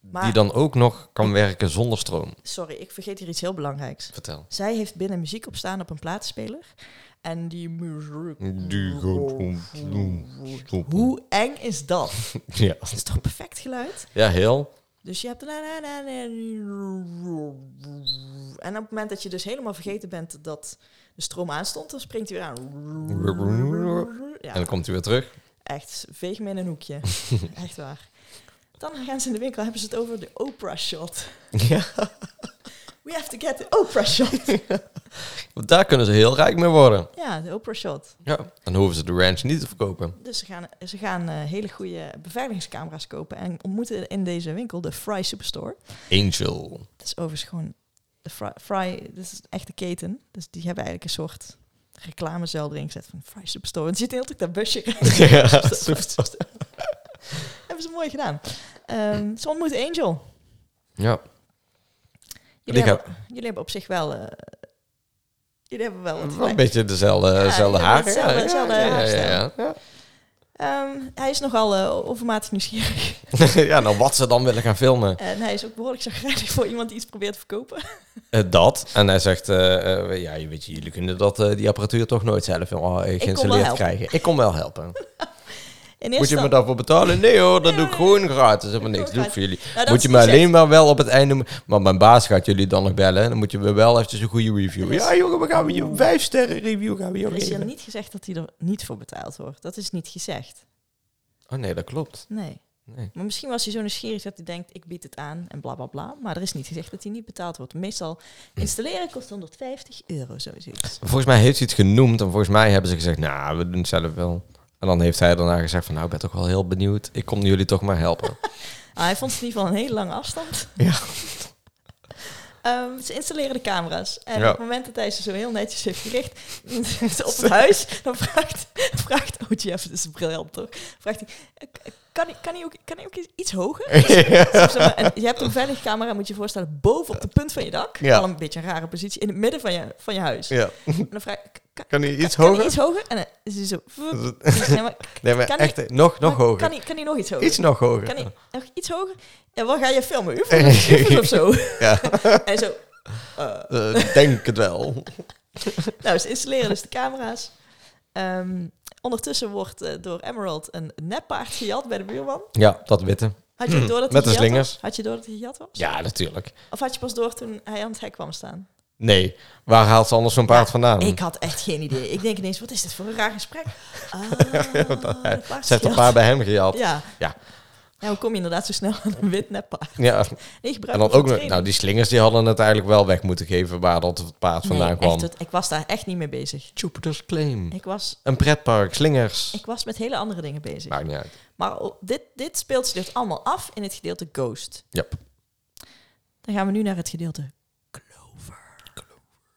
Maar, Die dan ook nog kan werken zonder stroom. sorry, ik vergeet hier iets heel belangrijks. Vertel. Zij heeft binnen muziek op staan op een plaatspeler. En die muziek... Die Hoe eng is <laughs> dat? Ja. Dat is toch perfect geluid? ja, heel. Dus je hebt... la, la, la, la, En op het moment dat je dus helemaal vergeten bent dat de stroom aanstond, dan springt hij weer aan. En dan Ja, komt hij weer terug. echt, veeg me in een hoekje. Echt waar. Dan gaan ze in de winkel, hebben ze het over de Oprah shot. <laughs> Ja. We have to get the Oprah shot. <laughs> Want daar kunnen ze heel rijk mee worden. Ja, de Oprah shot. Ja. Dan hoeven ze de ranch niet te verkopen. Dus ze gaan, ze gaan eh, hele goede beveiligingscamera's kopen en ontmoeten in deze winkel de Fry Superstore. Angel. Het is overigens gewoon de Fry, Fry dit is echt de keten. Dus die hebben eigenlijk een soort reclamezuil erin gezet van Fry Superstore. En het zit heel druk dat <laughs> busje. <laughs> Ja, Hebben ze mooi gedaan. Ehm ze ontmoet Angel. ja. Jullie, Ik hebben, jullie hebben op zich wel... eh, jullie hebben wel wat Wel een gelijk. beetje dezelfde, Ja, dezelfde ja, haar. hetzelfde- ja, hetzelfde ja, ja, haarstijl. ja, ja. Ehm, hij is nogal eh, overmatig nieuwsgierig. <laughs> ja, nou wat ze dan willen gaan filmen. En hij is ook behoorlijk <laughs> chagrijnig voor iemand die iets probeert te verkopen. Eh, dat. En hij zegt, eh, eh, ja, je weet je, jullie kunnen dat, eh, die apparatuur toch nooit zelf eh, geïnstalleerd helpen. krijgen. Ik kom wel <laughs> helpen. In Moet eerste je me instantie- daarvoor betalen? Nee hoor, dat doe ik Nee. gewoon gratis. Ik heb gewoon niks doe ik gratis. voor jullie. Nou, dat moet je is me gezegd. alleen maar wel op het einde... Maar mijn baas gaat jullie dan nog bellen. Dan moet je me wel eventjes een goede review. Er is- Ja jongen, we gaan je een vijf sterren review gaan we je ook Er is hier geven. niet gezegd dat hij er niet voor betaald wordt. Dat is niet gezegd. Oh nee, dat klopt. Nee. Nee. Maar misschien was hij zo nieuwsgierig dat hij denkt, ik bied het aan en bla bla bla. Maar er is niet gezegd dat hij niet betaald wordt. Meestal installeren kost 150 euro, zoiets. Volgens mij heeft hij het genoemd. En volgens mij hebben ze gezegd, nou, we doen het zelf wel. En dan heeft hij daarna gezegd van, nou, ik ben toch wel heel benieuwd. Ik kom jullie toch maar <laughs> helpen. <laughs> Ah, hij vond het in ieder geval een hele lange afstand. Ja. <laughs> Ehm, ze installeren de camera's. En Ja. op het moment dat hij ze zo heel netjes heeft gericht <laughs> op het huis, dan vraagt, vraagt oh Jeff, dat is briljant toch? Vraagt hij, eh, k- kan, hij- kan, hij ook, kan hij ook iets hoger? Zeg maar, en je hebt een veiligcamera, moet je je voorstellen, boven op de punt van je dak. Ja. Al een beetje een rare positie, in het midden van je, van je huis. ja. En dan vraag ik, kan, Kan hij iets kan hij hoger? iets hoger? En dan is hij zo... Nee, maar, Nee, maar Kan echt, eh, nog, nog maar hoger. Kan hij, kan hij nog iets hoger? Iets nog hoger. Kan ik nog iets hoger? En wat ga je <laughs> filmen? Ufos, ufos of zo? <laughs> Ja, En zo. eh, eh, denk het wel. nou, ze installeren dus de camera's. Ehm, ondertussen wordt eh, door Emerald een neppaard gejat bij de buurman. Ja, dat witte. Had je door dat hij Met de gejat slingers. was? Had je door dat hij gejat was? Hmm. Ja, natuurlijk. Of had je pas door toen hij aan het hek kwam staan? Nee, waar haalt ze anders zo'n paard Ja, vandaan? Ik had echt geen idee. Ik denk ineens, wat is dit voor een raar <laughs> gesprek? Ah, de paard Ze heeft een gejat. paar bij hem gehaald. Ja. Ja. Ja. Ja, hoe kom je inderdaad zo snel aan een wit neppaard? Nee, gebruik En dan hem ook, voor nog- nou, die slingers die hadden het eigenlijk wel weg moeten geven waar dat het paard training. vandaan Nee, kwam. echt, het- ik was daar echt niet mee bezig. Jupiter's Claim. Ik was Een pretpark, slingers. Ik was met hele andere dingen bezig. Maakt niet uit. Maar o- dit, dit speelt zich dus allemaal af in het gedeelte Ghost. Yep. Dan gaan we nu naar het gedeelte Clover.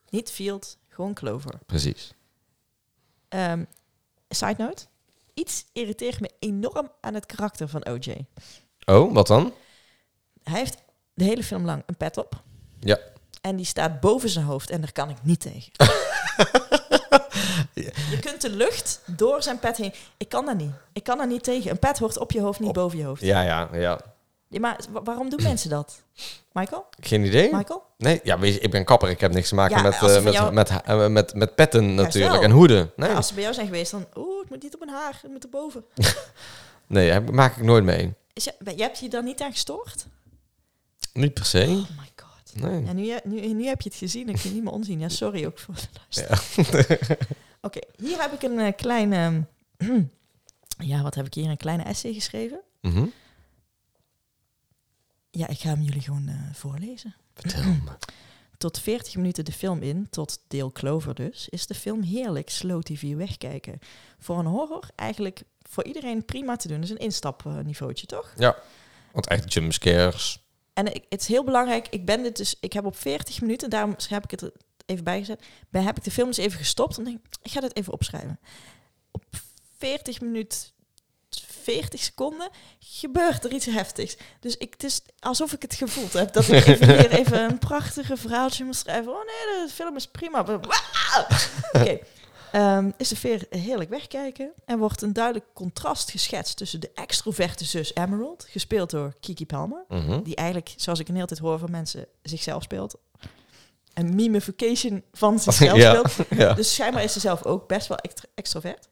Niet Field, gewoon Clover. Precies. Ehm, side note. Iets irriteert me enorm aan het karakter van OJ. Oh, wat dan? Hij heeft de hele film lang een pet op. Ja. En die staat boven zijn hoofd en daar kan ik niet <laughs> tegen. Je kunt de lucht door zijn pet heen. Ik kan daar niet. Ik kan daar niet tegen. Een pet hoort op je hoofd, niet Op- boven je hoofd. Ja, ja, ja. Ja, maar wa- waarom doen mensen dat? Michael? Geen idee? Michael? Nee, ja, weet je, ik ben kapper. Ik heb niks te maken Ja, met, als eh, ze van met, jou- met, ha- eh, met, met petten natuurlijk. wel. En hoeden. Nee, Als ze bij jou zijn geweest, dan... Oeh, het moet niet op mijn haar. Het moet erboven. nee daar maak ik nooit mee. Is je, je hebt je daar niet aan gestoord? Niet per se. Oh my god. Nee. Ja, nu, nu, nu heb je het gezien. Ik kan het niet meer onzien. Ja, sorry ook voor de luisteraar. <laughs> Oké, hier heb ik een eh, kleine... <clears throat> ja, wat heb ik hier? Een kleine essay geschreven. Mhm. Ja, ik ga hem jullie gewoon eh, voorlezen. Vertel me. Tot 40 minuten de film in, tot deel Clover dus, is de film heerlijk slow TV wegkijken. Voor een horror eigenlijk voor iedereen prima te doen. Dat is een instapniveautje, toch? Want echt jumpscares. En ik- het is heel belangrijk, ik ben dit dus, ik heb op 40 minuten, daarom heb ik het er even bijgezet, ben, heb ik de film dus even gestopt. En denk, ik, ik ga dit even opschrijven. Op 40 minuten, 40 seconden, gebeurt er iets heftigs. Dus ik, het is alsof ik het gevoeld heb dat ik even hier even een prachtige verhaaltje moet schrijven. Oh nee, de film is prima. Wauw! Oké. Ehm, is de veer heerlijk wegkijken. Er wordt een duidelijk contrast geschetst tussen de extroverte zus Emerald, gespeeld door Kiki Palmer Mhm. die eigenlijk, zoals ik een hele tijd hoor van mensen, zichzelf speelt. Een mimification <laughs> van zichzelf Ja, speelt. ja. Oké. Dus schijnbaar is ze zelf ook best wel extra- extrovert.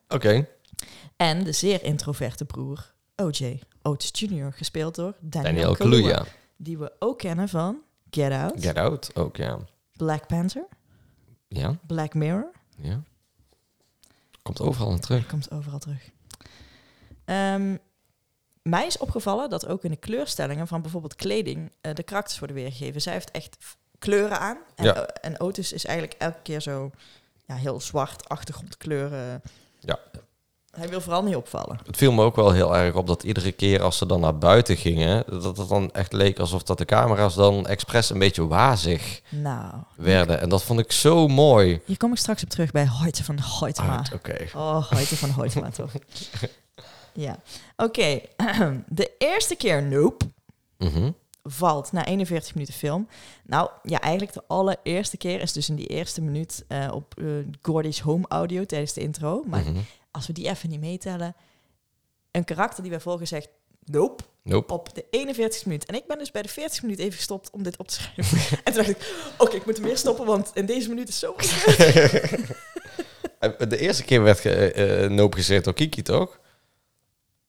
En de zeer introverte broer O.J. Otis Jr., gespeeld door Daniel, Daniel Kaluuya. Kaluuya. Die we ook kennen van Get Out, Get Out ook, ja. Black Panther, Ja, Black Mirror. ja. Komt overal aan terug. Komt overal terug. Ehm, mij is opgevallen dat ook in de kleurstellingen van bijvoorbeeld kleding eh, de karakters worden weergegeven. Zij heeft echt f- kleuren aan. En, Ja. eh, en Otis is eigenlijk elke keer zo ja, heel zwart, achtergrondkleuren. Ja. Hij wil vooral niet opvallen. Het viel me ook wel heel erg op dat iedere keer als ze dan naar buiten gingen, dat het dan echt leek alsof dat de camera's dan expres een beetje wazig Nou, werden. En dat vond ik zo mooi. hier kom ik straks op terug bij Hoyte van Hoytema. Uit, Oké. Oh, Hoyte van Hoytema, <laughs> toch? Ja. Oké, <clears throat> de eerste keer Nope Mhm. valt na 41 minuten film. Nou, ja, eigenlijk de allereerste keer is dus in die eerste minuut eh, op eh, Gordy's home audio tijdens de intro. Maar Mhm. als we die even niet meetellen, een karakter die wij volgen zegt nope Nope. op de 41 minuut. En ik ben dus bij de 40 minuut even gestopt om dit op te schrijven. en toen dacht ik, oké, ik moet hem weer stoppen, want in deze minuut is zo... <laughs> De eerste keer werd ge, eh, Nope gezegd door Kiki, toch?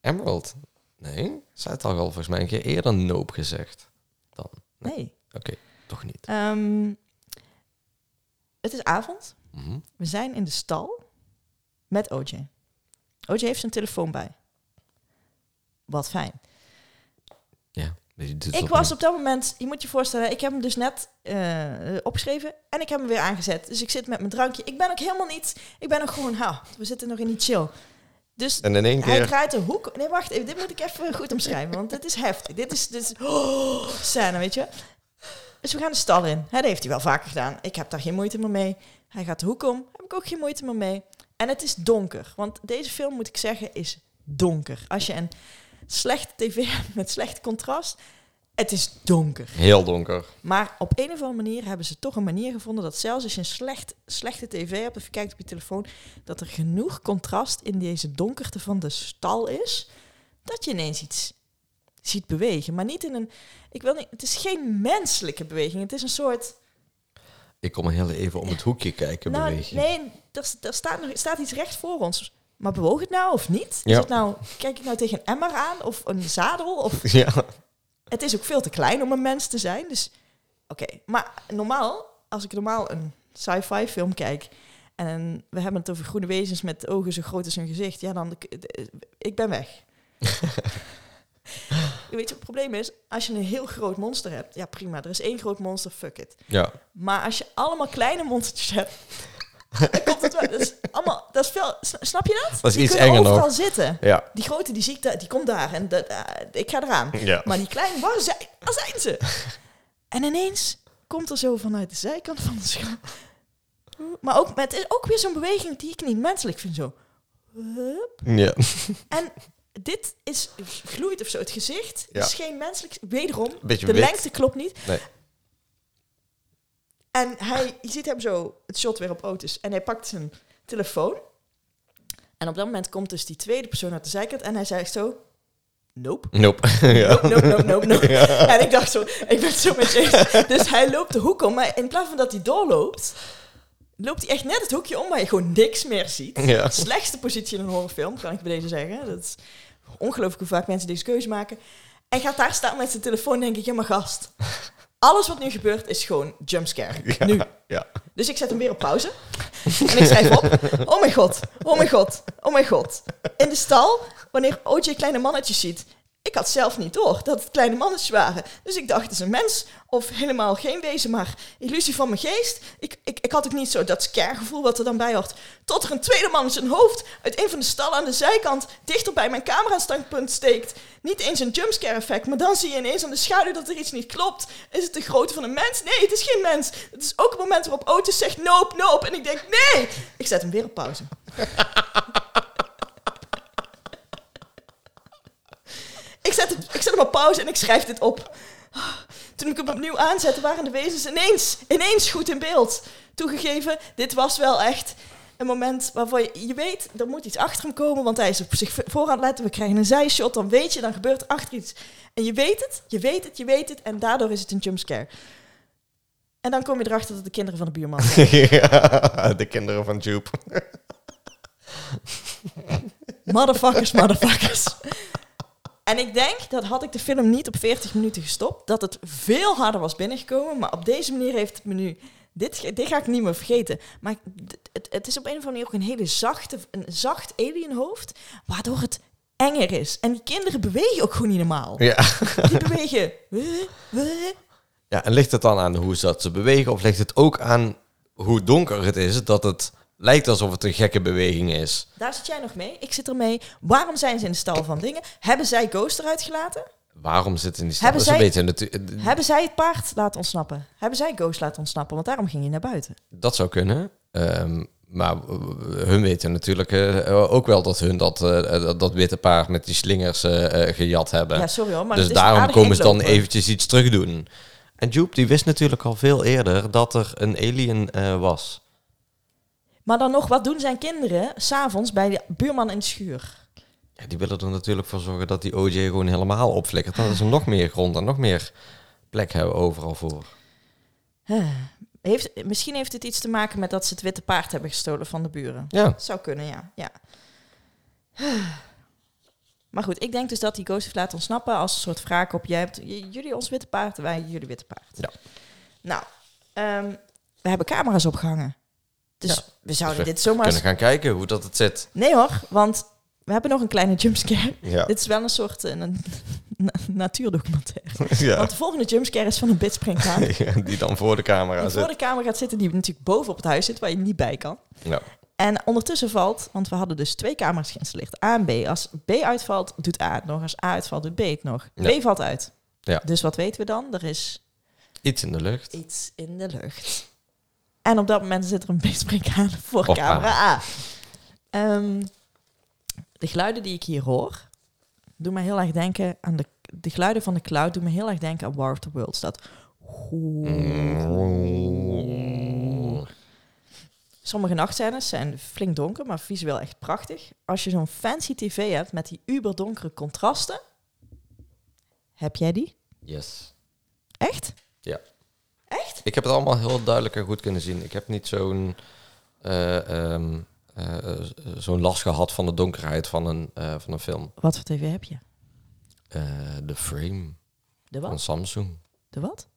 Emerald? Nee, zij had al wel volgens mij een keer eerder Nope gezegd. Nee. Toch niet? Ehm, het is avond. Mhm. We zijn in de stal met OJ. OJ heeft zijn telefoon bij. Wat fijn. Ja. die doet Ik dat was niet. op dat moment, je moet je voorstellen, ik heb hem dus net eh, opgeschreven en ik heb hem weer aangezet. Dus ik zit met mijn drankje. Ik ben ook helemaal niet, ik ben ook gewoon, ha, we zitten nog in die chill. Dus En in één hij keer... draait de hoek. Nee, wacht even, dit moet ik even goed omschrijven, want dit is heftig. Dit is, dit is oh, scène, weet je. Dus we gaan de stal in. Hè, dat heeft hij wel vaker gedaan. Ik heb daar geen moeite meer mee. Hij gaat de hoek om, heb ik ook geen moeite meer mee. En het is donker, want deze film, moet ik zeggen, is donker. Als je een slechte tv <laughs> hebt met slecht contrast, het is donker. Heel donker. Maar op een of andere manier hebben ze toch een manier gevonden dat zelfs als je een slecht, slechte tv hebt of je kijkt op je telefoon, dat er genoeg contrast in deze donkerte van de stal is, dat je ineens iets ziet bewegen. Maar niet in een, ik wil niet, het is geen menselijke beweging. Het is een soort, Ik kom heel even om het hoekje kijken, nou beweging. nee, er, er staat, nog, er staat iets recht voor ons. Maar bewoog het nou of niet? Ja. Is het nou, kijk ik nou tegen een emmer aan of een zadel? Of Ja. het is ook veel te klein om een mens te zijn. Dus oké. Maar normaal, als ik normaal een sci-fi film kijk. En we hebben het over groene wezens met ogen zo groot als hun gezicht. Ja, dan. eh, Ik ben <laughs> weg. Weet je wat het probleem is? Als je een heel groot monster hebt, ja prima, er is één groot monster, fuck it. Ja. Maar als je allemaal kleine monstertjes <laughs> hebt, dan komt het wel. Dat is allemaal, dat is veel, sna- snap je dat? Dat is Die iets kunnen enger overal nog. zitten. Ja. Die grote, die zie ik, daar- die komt daar en dat, eh, ik ga <laughs> eraan. Ja. Maar die kleine, waar zijn, waar zijn ze? En ineens komt er zo vanuit de zijkant van de schaal. Maar ook, maar het is ook weer zo'n beweging die ik niet menselijk vind. Zo. Hup. Ja. Dit is gloeit of zo. Het gezicht Ja. is geen menselijk. Wederom, Beetje de wit. lengte klopt niet. Nee. En hij, je ziet hem zo het shot weer op Otis. En hij pakt zijn telefoon. En op dat moment komt dus die tweede persoon uit de zijkant. En hij zegt zo... Nope. Nope. <laughs> ja. Nope, nope, nope, nope, nope. En ik dacht zo, ik ben het zo met je eens. Dus hij loopt de hoek om, maar in plaats van dat hij doorloopt, loopt hij echt net het hoekje om, waar je gewoon niks meer ziet. Ja. Slechtste positie in een horrorfilm, kan ik bij deze zeggen. Dat is ongelooflijk hoe vaak mensen deze keuze maken. En gaat daar staan met zijn telefoon, denk ik, ja maar gast. Alles wat nu gebeurt is gewoon jumpscare. Ja. Nu. Ja. Dus ik zet hem weer op pauze. En ik schrijf op. Oh mijn god, oh mijn god, oh mijn god. In de stal, wanneer OJ kleine mannetjes ziet. Ik had zelf niet door dat het kleine mannetjes waren. Dus ik dacht, het is een mens of helemaal geen wezen, maar illusie van mijn geest. Ik, ik, ik had ook niet zo dat scare-gevoel wat er dan bij hoort. Tot er een tweede man zijn hoofd uit een van de stallen aan de zijkant dichter bij mijn camerastandpunt steekt. Niet eens een jumpscare effect, maar dan zie je ineens aan de schaduw dat er iets niet klopt. Is het de grootte van een mens? Nee, het is geen mens. Het is ook het moment waarop Otis zegt nope, nope. En ik denk nee. Ik zet hem weer op pauze. ik, zet het- ik zet hem op pauze en ik schrijf dit op. Toen ik hem opnieuw aanzette, waren de wezens ineens, ineens goed in beeld. Toegegeven, dit was wel echt een moment waarvan je, je weet, er moet iets achter hem komen, want hij is op zich voor aan het letten. We krijgen een zijshot, dan weet je, dan gebeurt er achter iets. En je weet het, je weet het, je weet het, en daardoor is het een jumpscare. En dan kom je erachter dat het de kinderen van de buurman zijn. ja. <laughs> De kinderen van Jupe. Motherfuckers, motherfuckers. En ik denk dat had ik de film niet op 40 minuten gestopt, dat het veel harder was binnengekomen. Maar op deze manier heeft het me nu. Dit, ge- dit ga ik niet meer vergeten. Maar d- het, het is op een of andere manier ook een hele zachte, een zacht alienhoofd, waardoor het enger is. En die kinderen bewegen ook gewoon niet normaal. Ja. Die bewegen. "Huh? Huh?" Ja, en ligt het dan aan hoe ze dat ze bewegen? Of ligt het ook aan hoe donker het is dat het lijkt alsof het een gekke beweging is. Daar zit jij nog mee. Ik zit er mee. Waarom zijn ze in de stal van dingen? Hebben zij Ghost eruit gelaten? Waarom zit in die stad? Hebben Dat is een zij- beetje natu- Hebben zij het paard laten ontsnappen? Hebben zij Ghost laten ontsnappen? Want daarom ging hij naar buiten. Dat zou kunnen. Ehm, maar eh, hun weten natuurlijk eh, ook wel dat hun dat, eh, dat, dat witte paard met die slingers eh, eh, gejat hebben. Ja, sorry hoor. Maar dus het is een daarom aardige komen ze dan inloper. eventjes iets terug doen. En Joep die wist natuurlijk al veel eerder dat er een alien eh, was. Maar dan nog, wat doen zijn kinderen s'avonds bij de buurman in de schuur? Ja, die willen er natuurlijk voor zorgen dat die OJ gewoon helemaal opflikkert. Dan is er nog meer grond en nog meer plek hebben overal voor. Huh. Heeft, misschien heeft het iets te maken met dat ze het witte paard hebben gestolen van de buren. Ja, Zou kunnen, ja. ja. Maar goed, ik denk dus dat die ghost heeft laten ontsnappen als een soort wraak op... Jij hebt j- jullie ons witte paard, wij jullie witte paard. Ja. Nou, ehm, we hebben camera's opgehangen. Dus Ja. we zouden Dus we dit zomaar... kunnen gaan kijken hoe dat het zit. Nee hoor, want we hebben nog een kleine jumpscare. Ja. Dit is wel een soort eh, na- na- natuurdocumentaire. <laughs> ja. Want de volgende jumpscare is van een <laughs> bidspringkaan. Die dan voor de camera Die voor zit. de kamer gaat zitten, die natuurlijk boven op het huis zit, waar je niet bij kan. Ja. En ondertussen valt, want we hadden dus twee kamers geïnstalleerd, A en B. Als B uitvalt, doet A het nog. Als A uitvalt, doet B het nog. Ja. B valt uit. Ja. Dus wat weten we dan? Er is Iets in de lucht. iets in de lucht. En op dat moment zit er een bespringkaan voor Op camera A. Ehm, de geluiden die ik hier hoor, doen me heel erg denken aan de, de geluiden van de cloud, doen me heel erg denken aan War of the Worlds. Dat Sommige nachtscènes zijn flink donker, maar visueel echt prachtig. Als je zo'n fancy tv hebt met die uberdonkere contrasten... Heb jij die? Yes. Echt? Ja. Echt? Ik heb het allemaal heel duidelijk en goed kunnen zien. Ik heb niet zo'n eh, ehm, eh, eh, zo'n last gehad van de donkerheid van een, eh, van een film. Wat voor tv heb je? Eh, de frame De van wat? Samsung. De wat?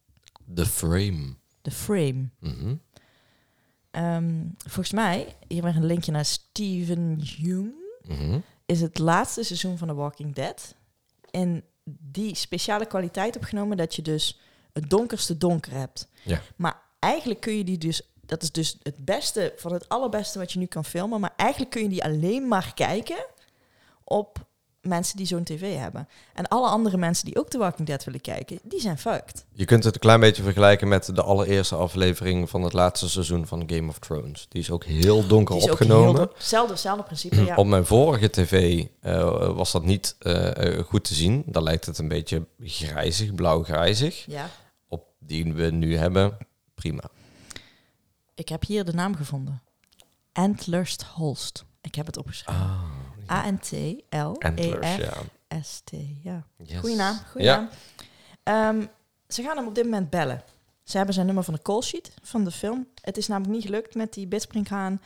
De frame. De frame. Mhm. Ehm, volgens mij, hier weer een linkje naar Steven Yeun... Mhm. is het laatste seizoen van The Walking Dead. En die speciale kwaliteit opgenomen dat je dus het donkerste donker hebt. Ja. Maar eigenlijk kun je die dus... Dat is dus het beste van het allerbeste wat je nu kan filmen. Maar eigenlijk kun je die alleen maar kijken op mensen die zo'n tv hebben. En alle andere mensen die ook The Walking Dead willen kijken, die zijn fucked. Je kunt het een klein beetje vergelijken met de allereerste aflevering van het laatste seizoen van Game of Thrones. Die is ook heel donker Die is ook opgenomen. Mm. heel do- Hetzelfde, hetzelfde principe, ja. <clears throat> Op mijn vorige tv eh, was dat niet eh, eh, goed te zien. Dan lijkt het een beetje grijzig, blauw-grijzig. ja. Op die we nu hebben, prima. Ik heb hier de naam gevonden. Antlers Holst. Ik heb het opgeschreven. Ah, E Antlers, ja. A-N-T-L-E-R-S-T. Ja. Yes. Goeie naam. Goeie Ja. naam. Ehm, ze gaan hem op dit moment bellen. Ze hebben zijn nummer van de callsheet van de film. Het is namelijk niet gelukt met die bidspringhaan.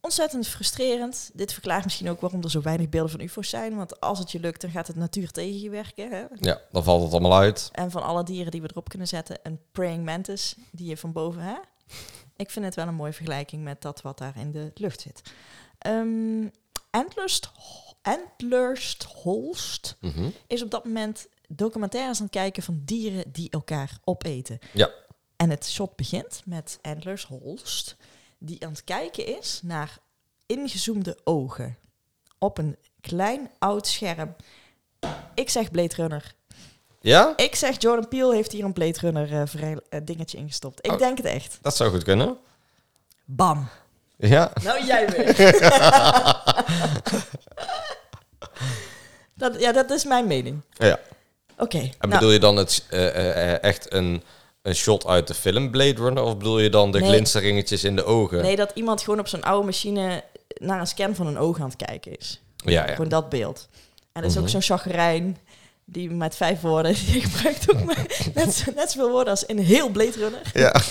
Ontzettend frustrerend. Dit verklaart misschien ook waarom er zo weinig beelden van UFO's zijn. Want als het je lukt, dan gaat het natuur tegen je werken. Hè? Ja, dan valt het allemaal uit. En van alle dieren die we erop kunnen zetten, een praying mantis die je van boven. Hè? Ik vind het wel een mooie vergelijking met dat wat daar in de lucht zit. Ehm Antlerst, Antlerst Holst Mhm. is op dat moment documentaires aan het kijken van dieren die elkaar opeten. Ja. En het shot begint met Antlers Holst, die aan het kijken is naar ingezoomde ogen op een klein oud scherm. Ik zeg Blade Runner. Ja, Ik zeg, Jordan Peele heeft hier een Blade Runner eh, vrij- eh, dingetje ingestopt. Ik Oh. denk het echt. dat zou goed kunnen. Bam. Ja. Nou, <laughs> jij weer. dat, ja, dat is mijn mening. ja. Oké. En nou, bedoel je dan het, eh, eh, eh, echt een, een shot uit de film Blade Runner? Of bedoel je dan de Nee. glinsteringetjes in de ogen? nee, dat iemand gewoon op zijn oude machine naar een scan van een oog aan het kijken is. Ja, ja. Gewoon dat beeld. En er is ook Mhm. zo'n chagrijn die met vijf woorden... <laughs> Die gebruikt ook maar net, zo- net zoveel woorden als in heel Blade Runner. ja. <laughs>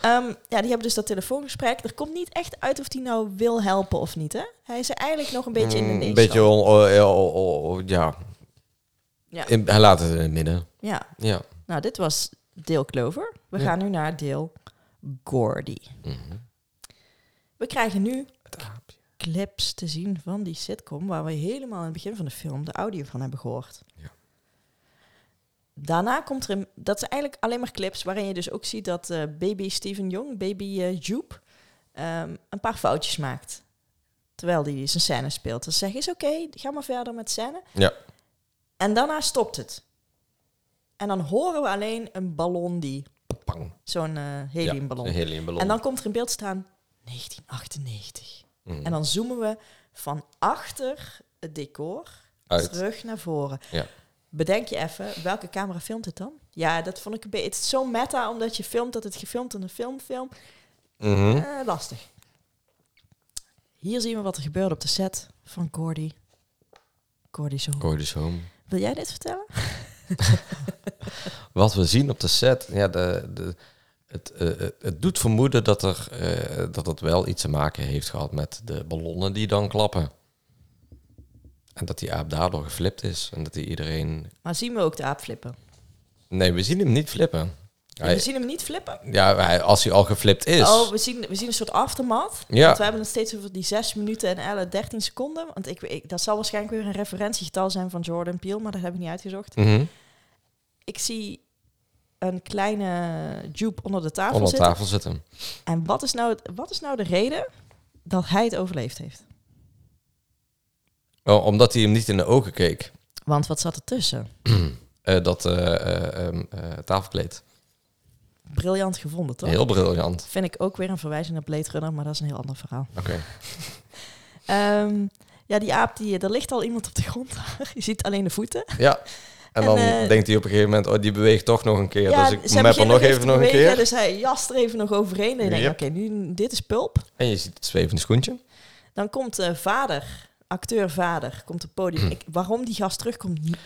Ehm, ja, die hebben dus dat telefoongesprek. Er komt niet echt uit of die nou wil helpen of niet, hè? Hij is eigenlijk nog een beetje in de Mm, neus. Een beetje, on, oh, eh, oh, oh, oh, ja. Ja. In- hij laat het in het midden. Ja, Ja. nou, dit was deel Clover. We Ja. gaan nu naar deel Gordy. Mhm. We krijgen nu Het aapje. clips te zien van die sitcom... waar we helemaal in het begin van de film de audio van hebben gehoord. Ja. Daarna komt er... Een, dat zijn eigenlijk alleen maar clips waarin je dus ook ziet dat eh, baby Steven Jong, baby eh Joep... ehm, een paar foutjes maakt. Terwijl hij zijn scène speelt. Dan zeg je, is oké, ga maar verder met scène. Ja. En daarna stopt het. En dan horen we alleen een ballon die, Pang. zo'n eh heliumballon. Ja, een heliumballon. en dan komt er in beeld staan 1998. Mhm. En dan zoomen we van achter het decor Uit. terug naar voren. Ja. Bedenk je even, welke camera filmt het dan? Ja, dat vond ik een beetje... Het is zo meta, omdat je filmt dat het gefilmd in een filmfilm. Mhm. Eh, lastig. Hier zien we wat er gebeurde op de set van Gordy. Gordy Zo. Gooi dus home. Wil jij dit vertellen? Wat we zien op de set, ja, de, de, het, eh, eh, het doet vermoeden dat, er, eh, dat het wel iets te maken heeft gehad met de ballonnen die dan klappen. En dat die aap daardoor geflipt is. En dat die iedereen... Maar zien we ook de aap flippen? Nee, we zien hem niet flippen. We Hij, zien hem niet flippen. ja, hij- als hij al geflipt is. Oh, we zien, we zien een soort aftermath. Ja. Want we hebben het steeds over die 6 minuten en elle 13 seconden. Want ik, ik, dat zal waarschijnlijk weer een referentiegetal zijn van Jordan Peele, maar dat heb ik niet uitgezocht. Mhm. Ik zie een kleine jupe onder de tafel Onder de zitten. tafel zitten. En wat is, nou, het- wat is nou de reden dat hij het overleefd heeft? Oh, omdat hij hem niet in de ogen keek. Want wat zat ertussen? Eh, dat eh, eh, ehm, eh, tafelkleed. Briljant gevonden, toch? Heel briljant. Vind ik ook weer een verwijzing naar Blade Runner, maar dat is een heel ander verhaal. Oké. Ehm, ja, die aap, die, er ligt al iemand op de grond. <laughs> je ziet alleen de voeten. Ja. En, En, dan eh, denkt hij op een gegeven moment, oh, die beweegt toch nog een keer. dus ik ze map er beginnen nog te even nog een bewegen, keer. Dus hij jast er even nog overheen. En je denkt, Yep. oké, nu dit is pulp. En je ziet het zwevende schoentje. Dan komt eh, vader, acteur vader, komt op het Hm. podium. Ik, waarom die gast terugkomt, niet.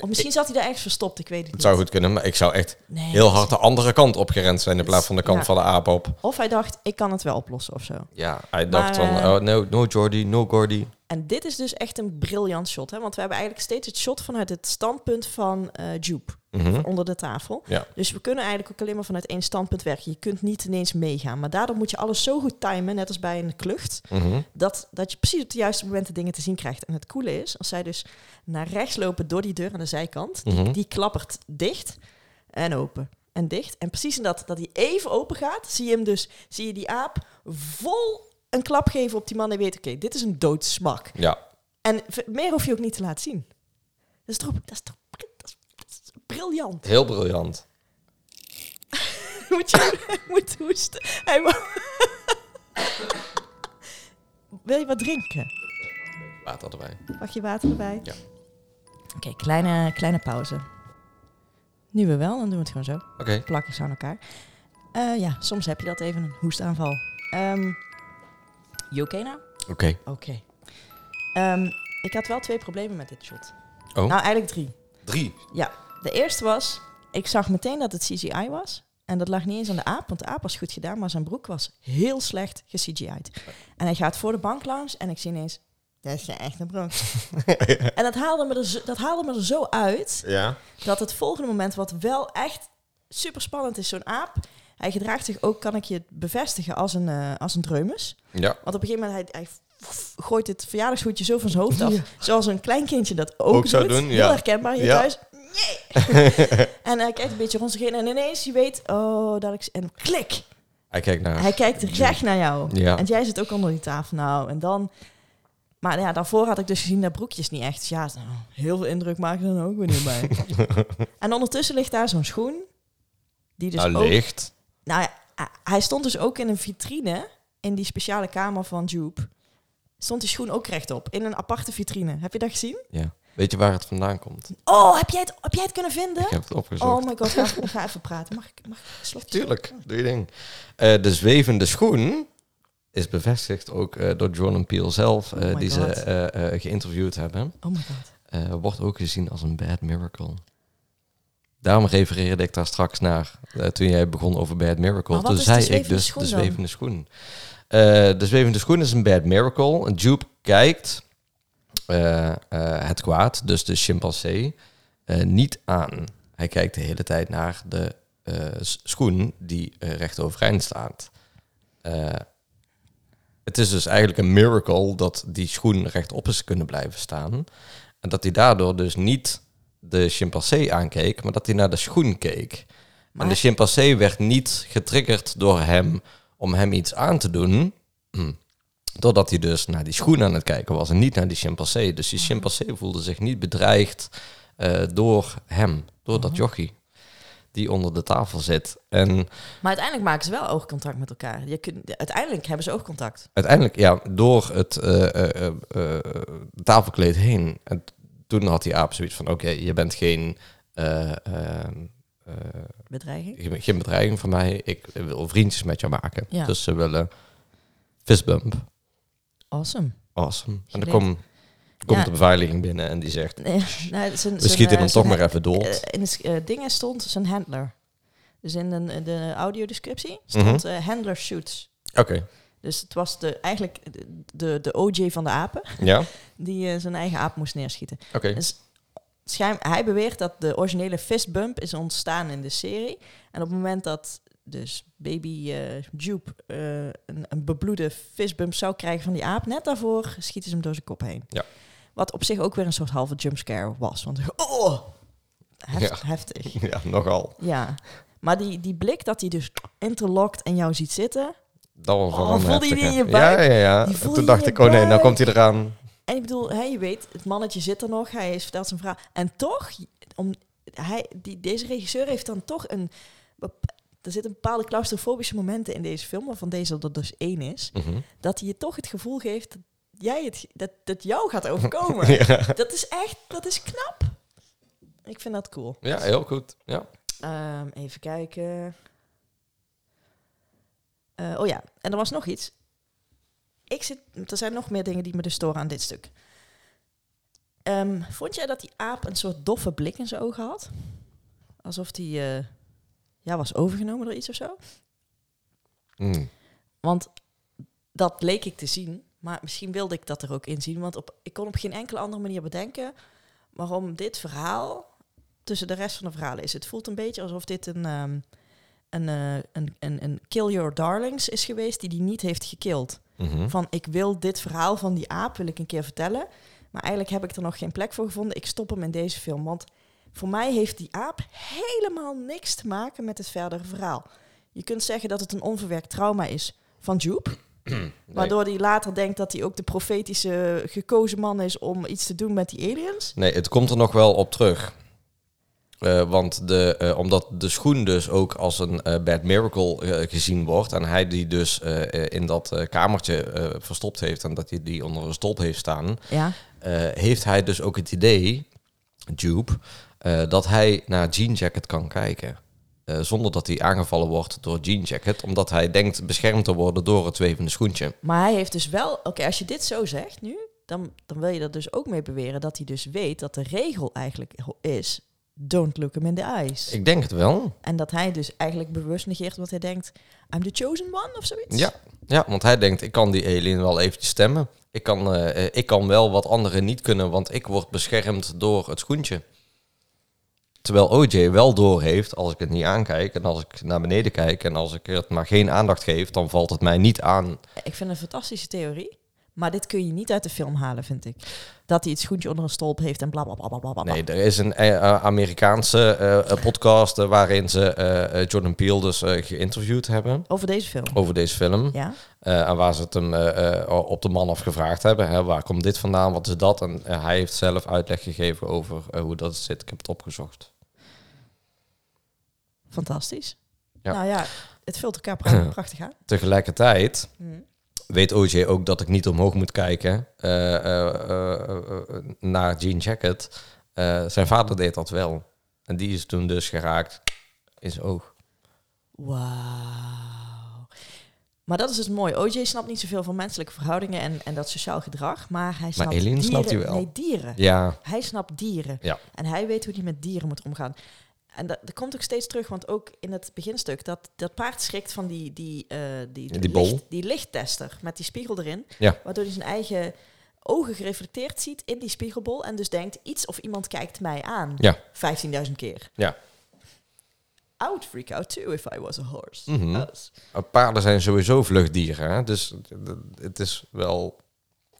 Of misschien zat hij daar ergens verstopt, ik weet het Het niet. zou goed kunnen, maar ik zou echt Nee, heel hard de andere kant opgerend zijn in Dus, plaats van de kant ja. van de aap op. Of hij dacht, ik kan het wel oplossen of zo. Ja, hij dacht Maar, van, eh, oh, no, no Jordi, no Gordy. En dit is dus echt een briljant shot. Hè? Want we hebben eigenlijk steeds het shot vanuit het standpunt van eh Jupe. Mhm. Onder de tafel. Ja. Dus we kunnen eigenlijk ook alleen maar vanuit één standpunt werken. Je kunt niet ineens meegaan. Maar daardoor moet je alles zo goed timen, net als bij een klucht. Mhm. dat, dat je precies op de juiste momenten dingen te zien krijgt. En het coole is, als zij dus naar rechts lopen door die deur aan de zijkant, Mhm. die, die klappert dicht en open en dicht. En precies in dat, dat die even open gaat, zie je hem dus, zie je die aap vol een klap geven op die man en weet, oké, dit is een doodsmak. Ja, En v- meer hoef je ook niet te laten zien. Dat is toch, dat is toch dat is, dat is briljant. <laughs> heel briljant. moet je <laughs> hij moet hoesten. Hij moet- <laughs> Wil je wat drinken? Water erbij. Pak je water erbij. Ja. Oké, kleine, kleine pauze. Nu we wel, dan doen we het gewoon zo. Oké. Plakjes aan elkaar. Eh, ja, soms heb je dat even, een hoestaanval. Ehm you okay nou? Oké. Oké. Ehm, ik had wel twee problemen met dit shot. Oh. Nou, eigenlijk drie. Drie. Ja, de eerste was, ik zag meteen dat het CGI was. En dat lag niet eens aan de aap, want de aap was goed gedaan, maar zijn broek was heel slecht ge-CGI'd. En hij gaat voor de bank langs en ik zie ineens, dat is je echte broek. en dat haalde, me er zo, dat haalde me er zo uit, Ja. dat het volgende moment, wat wel echt super spannend is, zo'n aap, hij gedraagt zich ook, kan ik je bevestigen, als een, eh, als een dreumes. Ja. Want op een gegeven moment, hij, hij f- gooit het verjaardagshoedje zo van zijn hoofd af. Zoals een kleinkindje dat ook, Ook zou doet. doen, ja. Heel herkenbaar hier Ja. thuis. Nee. <laughs> en hij kijkt een beetje rond zich heen en ineens je weet, oh, dat ik... En klik, Hij kijkt naar... hij kijkt recht naar jou. Ja. En jij zit ook onder die tafel nou. En dan... Maar ja, daarvoor had ik dus gezien dat broekjes niet echt. Dus ja, nou, heel veel indruk maken dan ook weer niet <laughs> bij. en ondertussen ligt daar zo'n schoen. Die dus nou, ook licht. nou ja, hij- hij stond dus ook in een vitrine in die speciale kamer van Jupe. Stond die schoen ook rechtop in een aparte vitrine. Heb je dat gezien? Ja. Weet je waar het vandaan komt? Oh, heb jij het, heb jij het kunnen vinden? Ik heb het opgezocht. Oh my god, ga, <laughs> even- ga even praten. Mag ik, mag ik een slokje? Tuurlijk, doe je ding. Eh, de zwevende schoen is bevestigd ook eh, door Jordan Peele zelf, eh, Oh my die ze God. eh, eh, geïnterviewd hebben. Oh my god. Eh, wordt ook gezien als een bad miracle. Daarom refereerde ik daar straks naar eh, toen jij begon over Bad Miracle. Maar wat Toen is de zei ik zwevende dus schoen de dan? zwevende schoen. Eh, de zwevende schoen is een Bad Miracle. Een Jupe kijkt eh, eh, het kwaad, dus de chimpansee, eh, niet aan. Hij kijkt de hele tijd naar de eh, s- schoen die eh, recht overeind staat. Eh, het is dus eigenlijk een miracle dat die schoen rechtop is kunnen blijven staan. En dat hij daardoor dus niet de chimpansee aankeek, maar dat hij naar de schoen keek. Maar- En de chimpansee werd niet getriggerd door hem om hem iets aan te doen, Hm. Totdat hij dus naar die schoen aan het kijken was en niet naar die chimpansee. Dus Mhm. die chimpansee voelde zich niet bedreigd eh, door hem, door dat Mhm. jochie die onder de tafel zit. En Maar uiteindelijk maken ze wel oogcontact met elkaar. Je kunt, uiteindelijk hebben ze oogcontact. uiteindelijk, ja, door het eh, eh, eh, eh, tafelkleed heen. En toen had die aap zoiets van, oké, je bent geen... eh, eh, eh, Bedreiging. geen geen bedreiging voor mij. Ik wil vriendjes met jou maken. Ja. Dus ze willen fistbump. Awesome. Awesome. En dan Geleerd. kom, komt Ja. de beveiliging binnen en die zegt... Nee, <laughs> nou, zijn, We schieten hem toch maar even Eh, dood. in de eh, dingen stond zijn handler. Dus in de, de audiodescriptie Mhm. stond eh, handler shoots. Oké, Dus het was de, eigenlijk de, de, de OJ van de apen ja. die eh, zijn eigen aap moest neerschieten. Oké. Schijn, hij beweert dat de originele fistbump is ontstaan in de serie. En op het moment dat dus baby eh Jupe eh, een, een bebloede fistbump zou krijgen van die aap, net daarvoor schieten ze hem door zijn kop heen. Ja. Wat op zich ook weer een soort halve jumpscare was. Want oh, heft- heftig. <laughs> Ja, nogal. Ja. Maar die, die blik dat hij dus interlokt en jou ziet zitten. Dat was wel Oh, een voelde je heftige. die in je Ja, buik? ja, ja. Die voelde Toen je in dacht je ik, oh nee, nou buik? komt hij eraan. En ik bedoel, hè, je weet, het mannetje zit er nog. Hij is, vertelt zijn verhaal. En toch, om, hij, die, deze regisseur heeft dan toch een... bep- Er zitten bepaalde claustrofobische momenten in deze film, waarvan deze er dus één is. <laughs> Mhm. Dat hij je toch het gevoel geeft dat, jij het, dat, dat jou gaat overkomen. Ja. Dat is echt, dat is knap. Ik vind dat cool. ja, heel goed. Ja. Ehm, even kijken. Eh, oh ja, en er was nog iets. Ik zit, er zijn nog meer dingen die me dus storen aan dit stuk. Ehm, vond jij dat die aap een soort doffe blik in zijn ogen had? Alsof die eh, ja, was overgenomen door iets of zo? Hm. Want dat leek ik te zien. Maar misschien wilde ik dat er ook in zien. Want op, ik kon op geen enkele andere manier bedenken waarom dit verhaal tussen de rest van de verhalen is. Het voelt een beetje alsof dit een, ehm, een, eh, een, een, een kill your darlings is geweest die die niet heeft gekild. Mhm. Van ik wil dit verhaal van die aap wil ik een keer vertellen. Maar eigenlijk heb ik er nog geen plek voor gevonden. Ik stop hem in deze film. Want voor mij heeft die aap helemaal niks te maken met het verdere verhaal. Je kunt zeggen dat het een onverwerkt trauma is van Joep. Nee. Waardoor hij later denkt dat hij ook de profetische gekozen man is om iets te doen met die aliens. Nee, het komt er nog wel op terug. Eh, want de, eh, omdat de schoen dus ook als een eh, bad miracle eh, gezien wordt. En hij die dus eh, eh, in dat eh, kamertje eh, verstopt heeft en dat hij die onder een stolp heeft staan. Ja. eh, heeft hij dus ook het idee, Jupe, eh, dat hij naar Jean Jacket kan kijken. Eh, zonder dat hij aangevallen wordt door Jean Jacket. Omdat hij denkt beschermd te worden door het wevende schoentje. Maar hij heeft dus wel... Oké, als je dit zo zegt nu, dan, dan wil je er dus ook mee beweren dat hij dus weet dat de regel eigenlijk ho- is... Don't look him in the eyes. Ik denk het wel. En dat hij dus eigenlijk bewust negeert, want hij denkt... I'm the chosen one of zoiets. Ja, ja, want hij denkt, ik kan die alien wel eventjes stemmen. Ik kan, eh, eh, ik kan wel wat anderen niet kunnen, want ik word beschermd door het schoentje. Terwijl OJ wel doorheeft, als ik het niet aankijk en als ik naar beneden kijk en als ik het maar geen aandacht geef, dan valt het mij niet aan. Ik vind het een fantastische theorie. Maar dit kun je niet uit de film halen, vind ik. Dat hij het schoentje onder een stolp heeft en bla bla bla bla bla. bla. Nee, er is een eh, eh, Amerikaanse eh, eh, podcast eh, waarin ze eh, eh, Jordan Peele dus eh, geïnterviewd hebben Over deze film. over deze film. Ja? Eh, en waar ze het hem eh, eh, op de man afgevraagd hebben. Hè, waar komt dit vandaan? Wat is dat? En eh, hij heeft zelf uitleg gegeven over eh, hoe dat zit. Ik heb het opgezocht. Fantastisch. Ja. Nou ja, het vult elkaar <clears throat> pra- prachtig aan. Tegelijkertijd Mhm. weet OJ ook dat ik niet omhoog moet kijken eh, eh, eh, eh, eh, naar Jean Jacket. Eh, zijn vader deed dat wel. En die is toen dus geraakt in zijn oog. Wauw. Maar dat is dus mooi. OJ snapt niet zoveel van menselijke verhoudingen en, en dat sociaal gedrag. Maar hij snapt aliens dieren. snapt hij wel. Nee, dieren. Ja, Hij snapt dieren. Ja. En hij weet hoe hij met dieren moet omgaan. En dat, dat komt ook steeds terug, want ook in het beginstuk... dat, dat paard schrikt van die, die, eh, die, Ja, die bol. licht- die lichttester met die spiegel erin. Ja. Waardoor hij zijn eigen ogen gereflecteerd ziet in die spiegelbol... en dus denkt, iets of iemand kijkt mij aan. Ja. 15.000 keer. Ja. I would freak out too if I was a horse. Mhm. Us. Uh, Paarden zijn sowieso vluchtdieren. Hè? Dus d- d- het is wel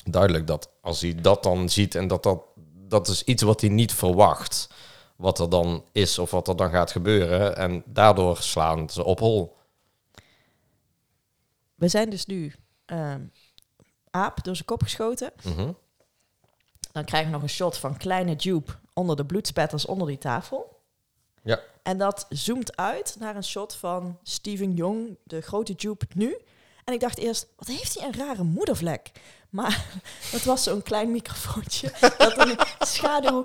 duidelijk dat als hij dat dan ziet en dat dat, dat is iets wat hij niet verwacht, wat er dan is of wat er dan gaat gebeuren. En daardoor slaan ze op hol. We zijn dus nu ehm, aap door zijn kop geschoten. Mhm. Dan krijgen we nog een shot van kleine Dupe onder de bloedspetters onder die tafel. Ja. En dat zoomt uit naar een shot van Steven Jong, de grote Dupe nu. En ik dacht eerst, wat heeft hij een rare moedervlek? Maar <laughs> dat was zo'n klein microfoontje <laughs> dat een schaduw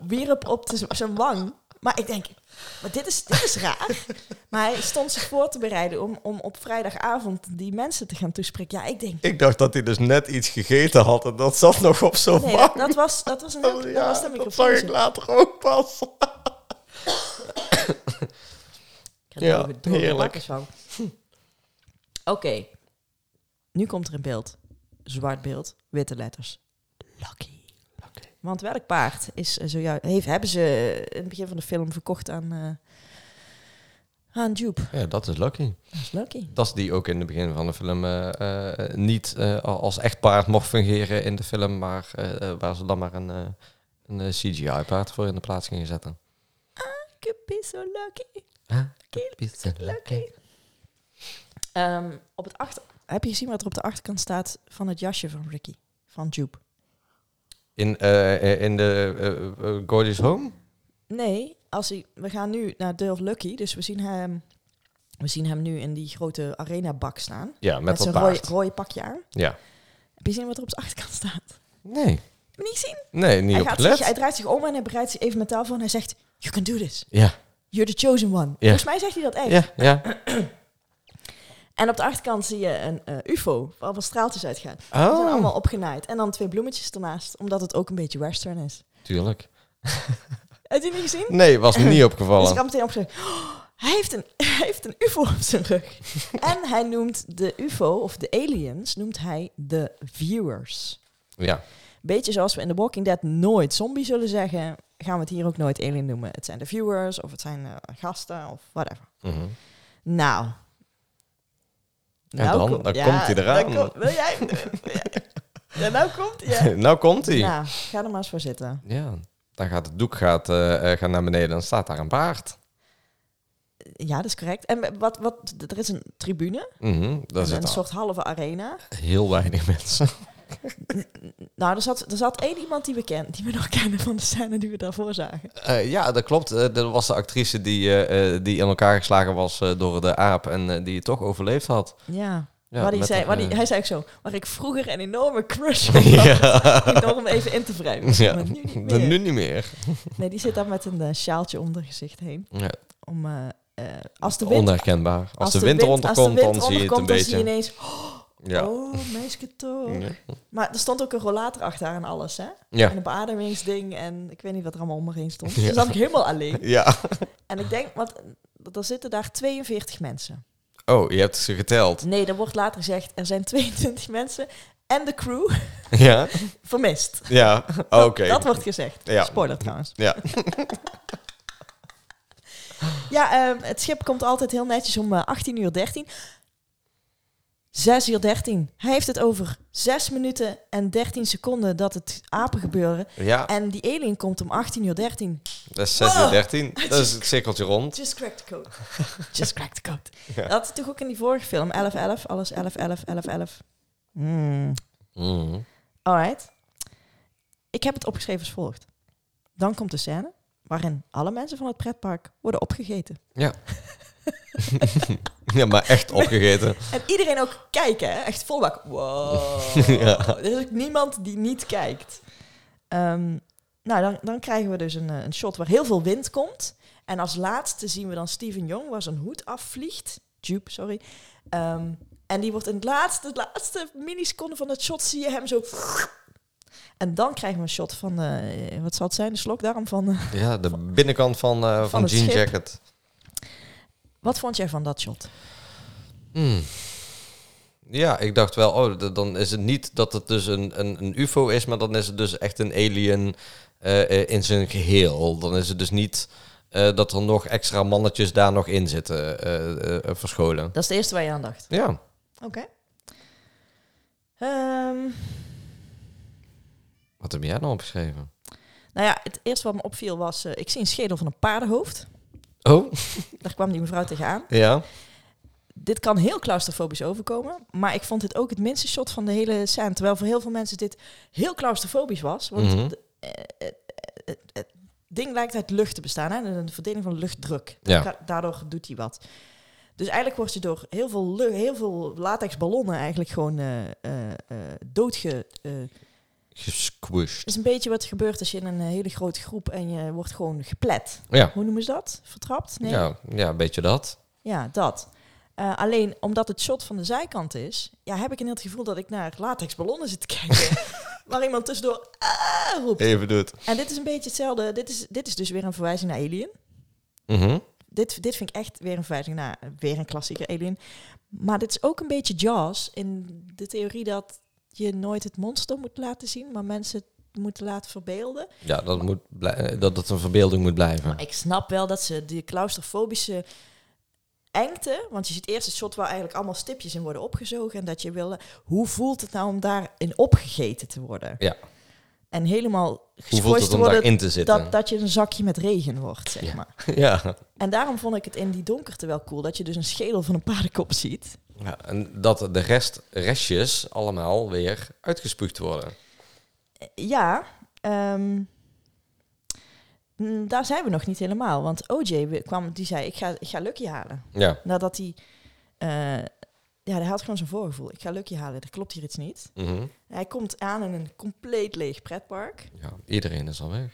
wierp op de- zijn wang. Maar ik denk, maar dit, is, dit is raar. Maar hij stond zich voor te bereiden om, om op vrijdagavond die mensen te gaan toespreken. Ja, ik denk, Ik dacht dat hij dus net iets gegeten had en dat zat nog op zo'n nee, wang. Oh dat, dat was, dat was een heel, dat Ja, was een dat zag ik microfoontje. later ook pas. Ik heb er Ja, ook droge heerlijk. bakkers van. <laughs> Oké. Nu komt er een beeld. Zwart beeld, witte letters. Lucky. Want welk paard is eh, zojuist... Heeft, hebben ze eh, in het begin van de film verkocht aan... eh, aan Jupe. Ja, dat is lucky. Dat is Lucky. Dat is die ook in het begin van de film eh, eh, niet eh, als echt paard mocht fungeren in de film, maar eh, eh, waar ze dan maar een, eh, een CGI-paard voor in de plaats gingen zetten. Kippie so lucky. Huh? Lucky, lucky. Ehm, op het achter... Heb je gezien wat er op de achterkant staat van het jasje van Ricky? Van Jupe. In, eh, in de eh, eh, Gorgeous Home? Nee, als hij, we gaan nu naar Dale Lucky, dus we zien hem, we zien hem nu in die grote arenabak staan. Met, Ja, met, dat zijn paard. rode, rode pakje aan. Ja. Heb je gezien wat er op zijn achterkant staat? Nee. Heb je niet gezien? Nee, niet Hij, op gaat gelet. zich, hij draait zich om en hij bereidt zich even mentaal voor en hij zegt... You can do this. Ja, You're the chosen one. Volgens mij zegt hij <laughs> dat echt. ja, ja. En op de achterkant zie je een eh, ufo waar wat straaltjes uitgaan. Die zijn Oh, allemaal opgenaaid. En dan twee bloemetjes ernaast, omdat het ook een beetje western is. tuurlijk. Heb je het niet gezien? Nee, was me <laughs> niet Dus ik opgevallen. had meteen opgeschreven, "Oh, hij heeft, een, <laughs> hij heeft een ufo op zijn <laughs> rug. en hij noemt de ufo, of de aliens, noemt hij de viewers. Ja, Beetje zoals we in The Walking Dead nooit zombie zullen zeggen, gaan we het hier ook nooit alien noemen. Het zijn de viewers, of het zijn eh, gasten, of whatever. Mhm. Nou. En dan? kom- Dan komt hij eraan. dan kom- wil jij? <laughs> ja, nou komt hij. <laughs> hè. nou komt hij. Nou, ga er maar eens voor zitten. Ja, dan gaat het doek gaat, eh, eh, gaat naar beneden en dan staat daar een paard. Ja, dat is correct. En wat, wat, er is een tribune, Mhm, daar en een zitten soort halve arena. heel weinig <laughs> mensen. Nou, er zat, er zat één iemand die we, ken, die we nog <laughs> kennen van de scène die we daarvoor zagen. Eh, ja, dat klopt. Eh, dat was de actrice die, eh, eh, die in elkaar geslagen was eh, door de aap en eh, die het toch overleefd had. Ja. Ja, waar die met zei, haar, waar die, eh, hij <laughs> zei ook zo, waar ik vroeger een enorme crush op had. <laughs> Ik Door hem even in te wrijven. ja, Maar nu niet dat meer. nu niet meer. Nee, die zit daar met een eh, sjaaltje om haar gezicht heen. Ja, Om, eh, eh, als de wind... onherkenbaar. Als, de, wind eronder als de komt, wind dan zie je het een onderkomt, dan beetje. zie je ineens, ja. oh, meisje toch. Ja. Maar er stond ook een rollator achter haar en alles, hè? Ja. <laughs> En een beademingsding en ik weet niet wat er allemaal om haar heen stond. Dus Ja. dan zat ik helemaal alleen. ja. En ik denk, want eh, er zitten daar 42 mensen. Oh, je hebt ze geteld. <laughs> Nee, er wordt later gezegd, er zijn 22 mensen en de crew <laughs> Ja, vermist. <laughs> ja. oké. Dat- Dat, wordt gezegd. Ja. Spoiler trouwens. Ja. Ja, ehm, het schip komt altijd heel netjes om eh, 18 uur 13. 6 uur 13. Hij heeft het over 6 minuten en 13 seconden dat het apen gebeuren. ja, En die alien komt om 18 uur 13. dat is Oh. 6 uur 13. Dat is het cirkeltje <laughs> rond. Just crack the code. Just crack the code. Ja. Dat is toch ook in die vorige film, 11-11, alles 11-11, 11-11. Hmm. Mhm. Alright. Ik heb het opgeschreven als volgt. Dan komt de scène waarin alle mensen van het pretpark worden opgegeten. Ja, maar echt opgegeten. En iedereen ook kijken, hè? echt volbak. Wow. Ja. Er is ook niemand die niet kijkt. Ehm, nou, dan, dan krijgen we dus een, eh, een shot waar heel veel wind komt. En als laatste zien we dan Steven Jong, waar zijn hoed afvliegt. Jupe, sorry. Ehm, en die wordt in het laatste, het laatste milliseconde van het shot zie je hem zo... <laughs> En dan krijgen we een shot van, eh, wat zal het zijn, de slokdarm van... eh, Ja, de binnenkant van, eh, van, het Jean schip. Jacket. wat vond jij van dat shot? Hmm. Ja, ik dacht wel, oh, d- dan is het niet dat het dus een, een, een UFO is, maar dan is het dus echt een alien eh, eh, in zijn geheel. Dan is het dus niet eh, dat er nog extra mannetjes daar nog in zitten eh, eh, eh, verscholen. Dat is het eerste waar je aan dacht. Ja, Oké. Ehm, wat heb jij nou opgeschreven? nou ja, het eerste wat me opviel was... eh, ik zie een schedel van een paardenhoofd. Oh, Daar kwam die mevrouw tegenaan. ja. dit kan heel claustrofobisch overkomen. Maar ik vond dit ook het minste shot van de hele scène. Terwijl voor heel veel mensen dit heel claustrofobisch was. Want Mhm. de- eh, eh, eh, het ding lijkt uit lucht te bestaan. Hè? Een verdeling van luchtdruk. Ja. Da- Daardoor doet hij wat. Dus eigenlijk wordt je door heel veel, lu- heel veel latexballonnen eigenlijk gewoon eh eh, eh, doodge... eh, Gesquished. is een beetje wat er gebeurt als je in een eh, hele grote groep en je wordt gewoon geplet. Ja. Hoe noemen ze dat? Vertrapt? Nee. Ja, ja, een beetje dat. Ja, dat. Eh, alleen omdat het shot van de zijkant is, ja, heb ik een heel het gevoel dat ik naar latexballonnen zit te kijken. waar iemand tussendoor "Ah!" roept. Even doet. En dit is een beetje hetzelfde. Dit is, dit is dus weer een verwijzing naar Alien. Mhm. Dit, dit vind ik echt weer een verwijzing naar weer een klassieke Alien. Maar dit is ook een beetje Jaws in de theorie dat je nooit het monster moet laten zien, maar mensen het moeten laten verbeelden. Ja, dat, moet blij- eh, dat het een verbeelding moet blijven. Maar ik snap wel dat ze die claustrofobische engte, want je ziet eerst het shot waar eigenlijk allemaal stipjes in worden opgezogen en dat je wil, hoe voelt het nou om daarin opgegeten te worden? Ja. En helemaal Hoe voelt gesquished het te om worden daarin te zitten? dat, dat je een zakje met regen wordt, zeg Ja. maar. <laughs> ja. En daarom vond ik het in die donkerte wel cool, dat je dus een schedel van een paardenkop ziet. ja. En dat de rest, restjes allemaal weer uitgespuugd worden. Eh, Ja, ehm, mm, daar zijn we nog niet helemaal, want OJ we- kwam, die zei, ik ga, ik ga Lucky halen. Ja. Nadat hij... eh, ja, hij had gewoon zijn voorgevoel. Ik ga Lucky halen, er klopt hier iets niet. Mhm. Hij komt aan in een compleet leeg pretpark. ja. Iedereen is al weg.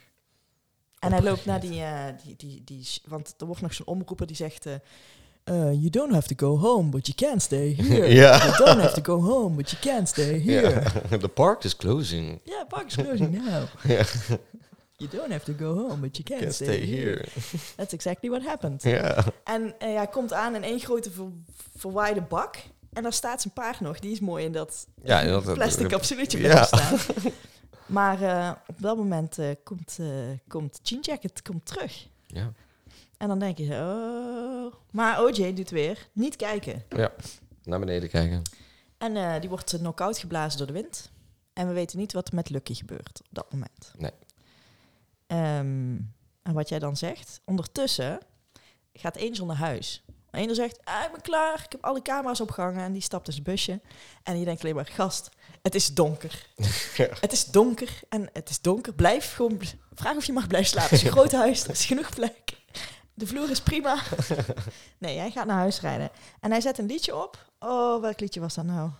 En hij loopt naar die, eh, die, die, die... s- Want er wordt nog zo'n omroeper die zegt... eh, eh, you don't have to go home, but you can stay here. Ja. You don't have to go home, but you can stay here. Ja, Ja. <laughs> The park is closing. park is closing now. Ja. You don't have to go home, but you can, Can't stay, stay here. here. That's exactly what happened. <laughs> Ja. En eh, hij komt aan in één grote ver, verwaaide bak. En daar staat zijn paard nog. Die is mooi in dat Ja, en dat- plastic capsuletje Ja. blijft staan. <laughs> Maar eh, op dat moment eh, komt, eh komt Jean Jacket komt terug. Ja. En dan denk je, oh. Maar OJ doet weer, niet kijken. Naar beneden kijken. En eh, die wordt eh, knock-out geblazen door de wind. En we weten niet wat er met Lucky gebeurt op dat moment. Nee. Ehm, en wat jij dan zegt, ondertussen gaat Angel naar huis. Angel zegt, ah, ik ben klaar, ik heb alle camera's opgehangen. En die stapt in zijn busje. En je denkt alleen maar, gast, het is donker. Het is donker en het is donker. Blijf gewoon, bl- vraag of je mag blijven slapen. Het is een groot huis, er is genoeg plek. De vloer is prima. Nee, hij gaat naar huis rijden. En hij zet een liedje op. Oh, welk liedje was dat nou?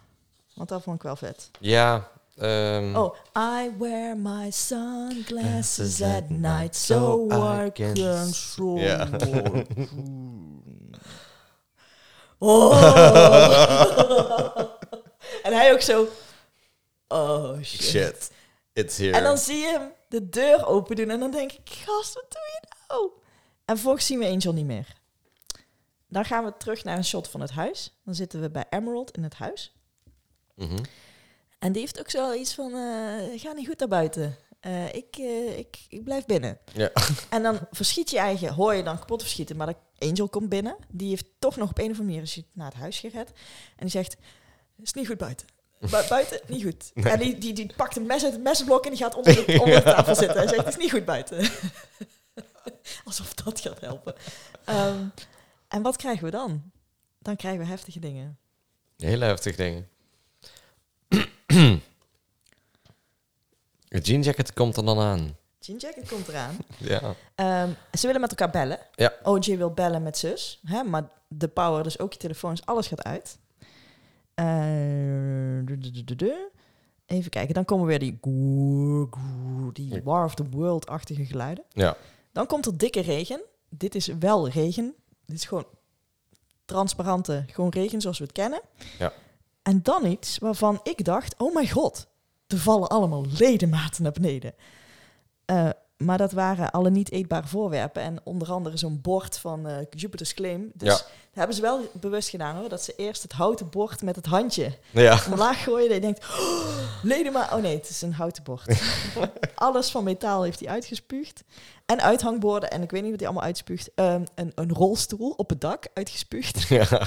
Want dat vond ik wel vet. Ja. ehm, Oh, I wear my sunglasses at night so I can show Ja. more room. <laughs> Oh. en hij ook zo. Oh shit. Shit. It's here. En dan zie je hem de deur open doen en dan denk ik, gast, wat doe je nou? En vervolgens zien we Angel niet meer. Dan gaan we terug naar een shot van het huis. Dan zitten we bij Emerald in het huis. Mhm. En die heeft ook zoiets van, eh ga niet goed naar buiten. Eh, ik, eh, ik, ik blijf binnen. Ja. En dan verschiet je eigen, hoor je dan kapot verschieten. Maar de Angel komt binnen. Die heeft toch nog op een of andere manier is hij naar het huis gered. En die zegt, het is niet goed buiten. Bu- buiten, niet goed. En die, die, die pakt een mes uit het messenblok en die gaat onder de, onder de tafel zitten. En zegt, het is niet goed buiten. <laughs> Alsof dat gaat helpen. Ehm, en wat krijgen we dan? Dan krijgen we heftige dingen. Hele heftig dingen. <clears throat> Het jeanjacket komt er dan aan. Jean Jacket komt eraan. Ja. Ehm, ze willen met elkaar bellen. Ja. OJ wil bellen met zus. Hè? Maar de power, dus ook je telefoons, alles gaat uit. Eh, du- du- du- du- du. Even kijken, dan komen weer die, goer, goer, die War of the World-achtige geluiden. Ja. Dan komt er dikke regen. Dit is wel regen. Dit is gewoon transparante, gewoon regen zoals we het kennen. Ja. En dan iets waarvan ik dacht, oh mijn god, er vallen allemaal ledematen naar beneden. Eh, maar dat waren alle niet eetbare voorwerpen. En onder andere zo'n bord van eh, Jupiter's Claim. Dus Ja. dat hebben ze wel bewust gedaan hoor. Dat ze eerst het houten bord met het handje Ja. omlaag gooien. En je denkt, oh, ledema- Oh nee, het is een houten <laughs> bord. Alles van metaal heeft hij uitgespuugd. En uithangborden. En ik weet niet wat hij allemaal uitspuugt. Ehm, een, een rolstoel op het dak uitgespuugd. ja. <laughs>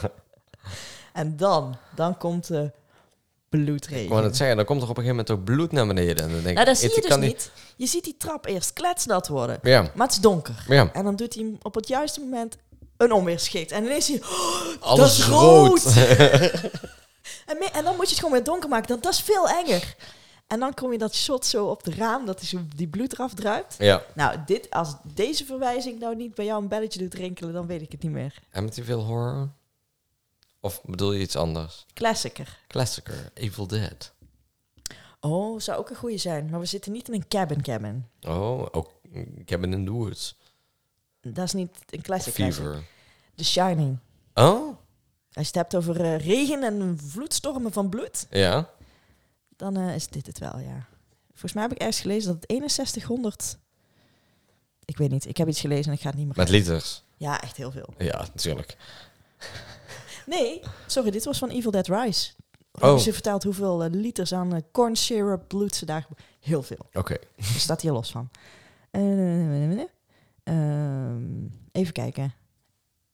En dan, dan komt de Ik bloedregen. wou het zeggen, dan komt er op een gegeven moment ook bloed naar beneden. En dan denk nou, ik, dat zie het je dus kan niet. Je ziet die trap eerst kletsnat worden. Ja. Maar het is donker. Ja. En dan doet hij hem op het juiste moment een onweer schikt. En ineens zie je, Alles Dat is rood. <laughs> en, me- en dan moet je het gewoon weer donker maken. Dat, dat is veel enger. En dan kom je dat shot zo op de raam, dat die, zo, die bloed eraf druipt. ja. Nou, dit, als deze verwijzing nou niet bij jou een belletje doet rinkelen, dan weet ik het niet meer. Amityville Horror? Of bedoel je iets anders? Classicer. Classicer, Evil Dead. Oh, zou ook een goede zijn. Maar we zitten niet in een cabin cabin. Oh, ook Cabin in the Woods. Dat is niet een classic. classic. Fever. The Shining. Oh, Als je het hebt over eh, regen en vloedstormen van bloed, ja. dan eh, is dit het wel, ja. Volgens mij heb ik ergens gelezen dat het 6100... Ik weet niet, ik heb iets gelezen en ik ga het niet meer... Met liters. Ja, echt heel veel. Ja, natuurlijk. Nee, sorry, dit was van Evil Dead Rise. Oh. Oh. Ze vertelt hoeveel eh, liters aan eh, corn syrup bloed ze daar... gebru- Heel <laughs> veel. Oké. Daar staat hier los van. Eh, ehm, even kijken.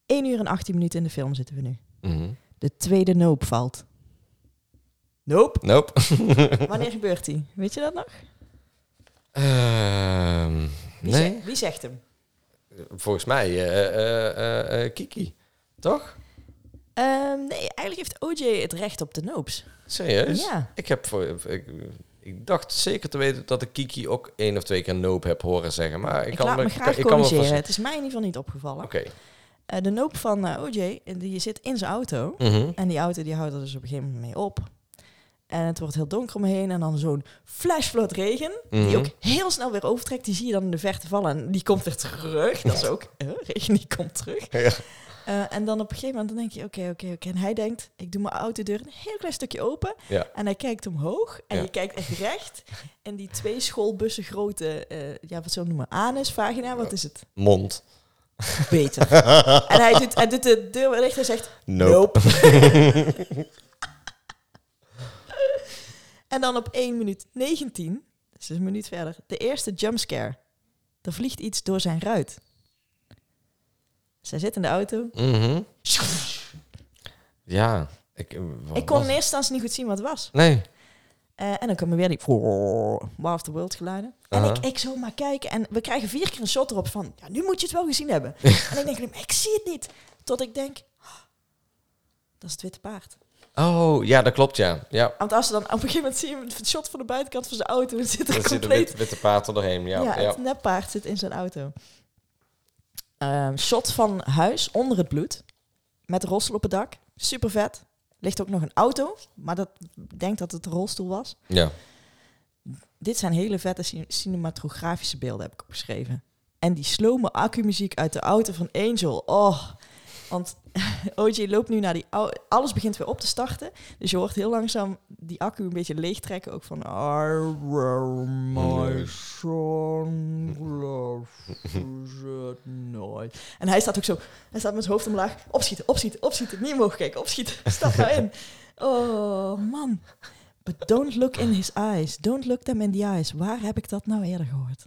1 uur en 18 minuten in de film zitten we nu. Mhm. De tweede noop valt. Noop? Nope. Wanneer gebeurt die? Weet je dat nog? <laughs> Ehm, Wie, nee. zegt, wie zegt hem? Volgens mij eh, eh, eh, eh, Kiki. Toch? Ehm, nee, eigenlijk heeft OJ het recht op de noops. Serieus? Ja. Ik heb voor... Ik, ik dacht zeker te weten dat ik Kiki ook één of twee keer nope heb horen zeggen. Maar ik, Ik, kan laat me ik graag kan- ik kan me corrigeren. vast- het is mij in ieder geval niet opgevallen. Oké. Eh, de noop van eh, OJ, eh, die zit in zijn auto. Mhm. En die auto die houdt er dus op een gegeven moment mee op. En het wordt heel donker omheen. En dan zo'n flashflood regen. Die Mhm. ook heel snel weer overtrekt. Die zie je dan in de verte vallen. En die komt weer terug. Dat is ook... eh, <laughs> regen die komt terug. Ja. Eh, en dan op een gegeven moment dan denk je... Oké, oké, oké. En hij denkt... Ik doe mijn autodeur een heel klein stukje open. Ja. En hij kijkt omhoog. En Ja. je kijkt echt recht. En die twee schoolbussen grote... eh, ja, wat zullen we noemen? Anus, vagina. Wat is het? Mond. Beter. en hij doet, hij doet de deur weer dicht en zegt... Nope. <laughs> en dan op 1 minuut 19, dus een minuut verder, de eerste jumpscare. Er vliegt iets door zijn ruit. Zij zit in de auto. Mhm. Ja. Ik, eh, wat Ik kon in eerste was- instantie niet goed zien wat het was. Nee. Eh, en dan komen weer die <laughs> War of the World geluiden. En Aha. ik, ik zo maar kijken. En we krijgen vier keer een shot erop van... Ja, nu moet je het wel gezien <laughs> hebben. en ik denk, "Nee, maar ik zie het niet. Tot ik denk... Dat is het witte paard. Oh, ja, dat klopt, ja. <laughs> ja. Want als ze dan op een gegeven moment zie je het shot van de buitenkant van zijn auto... en zit er Er zit een compleet wit, witte paard er doorheen, ja. Ja, ja, het neppaard zit in zijn auto. Ehm, shot van huis onder het bloed. Met rolstoel op het dak. Super vet. Ligt ook nog een auto, maar dat ik denk dat het een rolstoel was. Ja. Dit zijn hele vette cin- cinematografische beelden, heb ik opgeschreven. En die slome accu-muziek uit de auto van Angel. Oh, want <laughs> OJ loopt nu naar die auto. Alles begint weer op te starten. Dus je hoort heel langzaam die accu een beetje leegtrekken. Ook van... I wear my sunglasses at night. En hij staat ook zo... Hij staat met zijn hoofd omlaag. Opschieten, opschieten, opschieten. Niet omhoog kijken, opschieten. Stap nou in. Oh, man. But don't look in his eyes. Don't look them in the eyes. Waar heb ik dat nou eerder gehoord?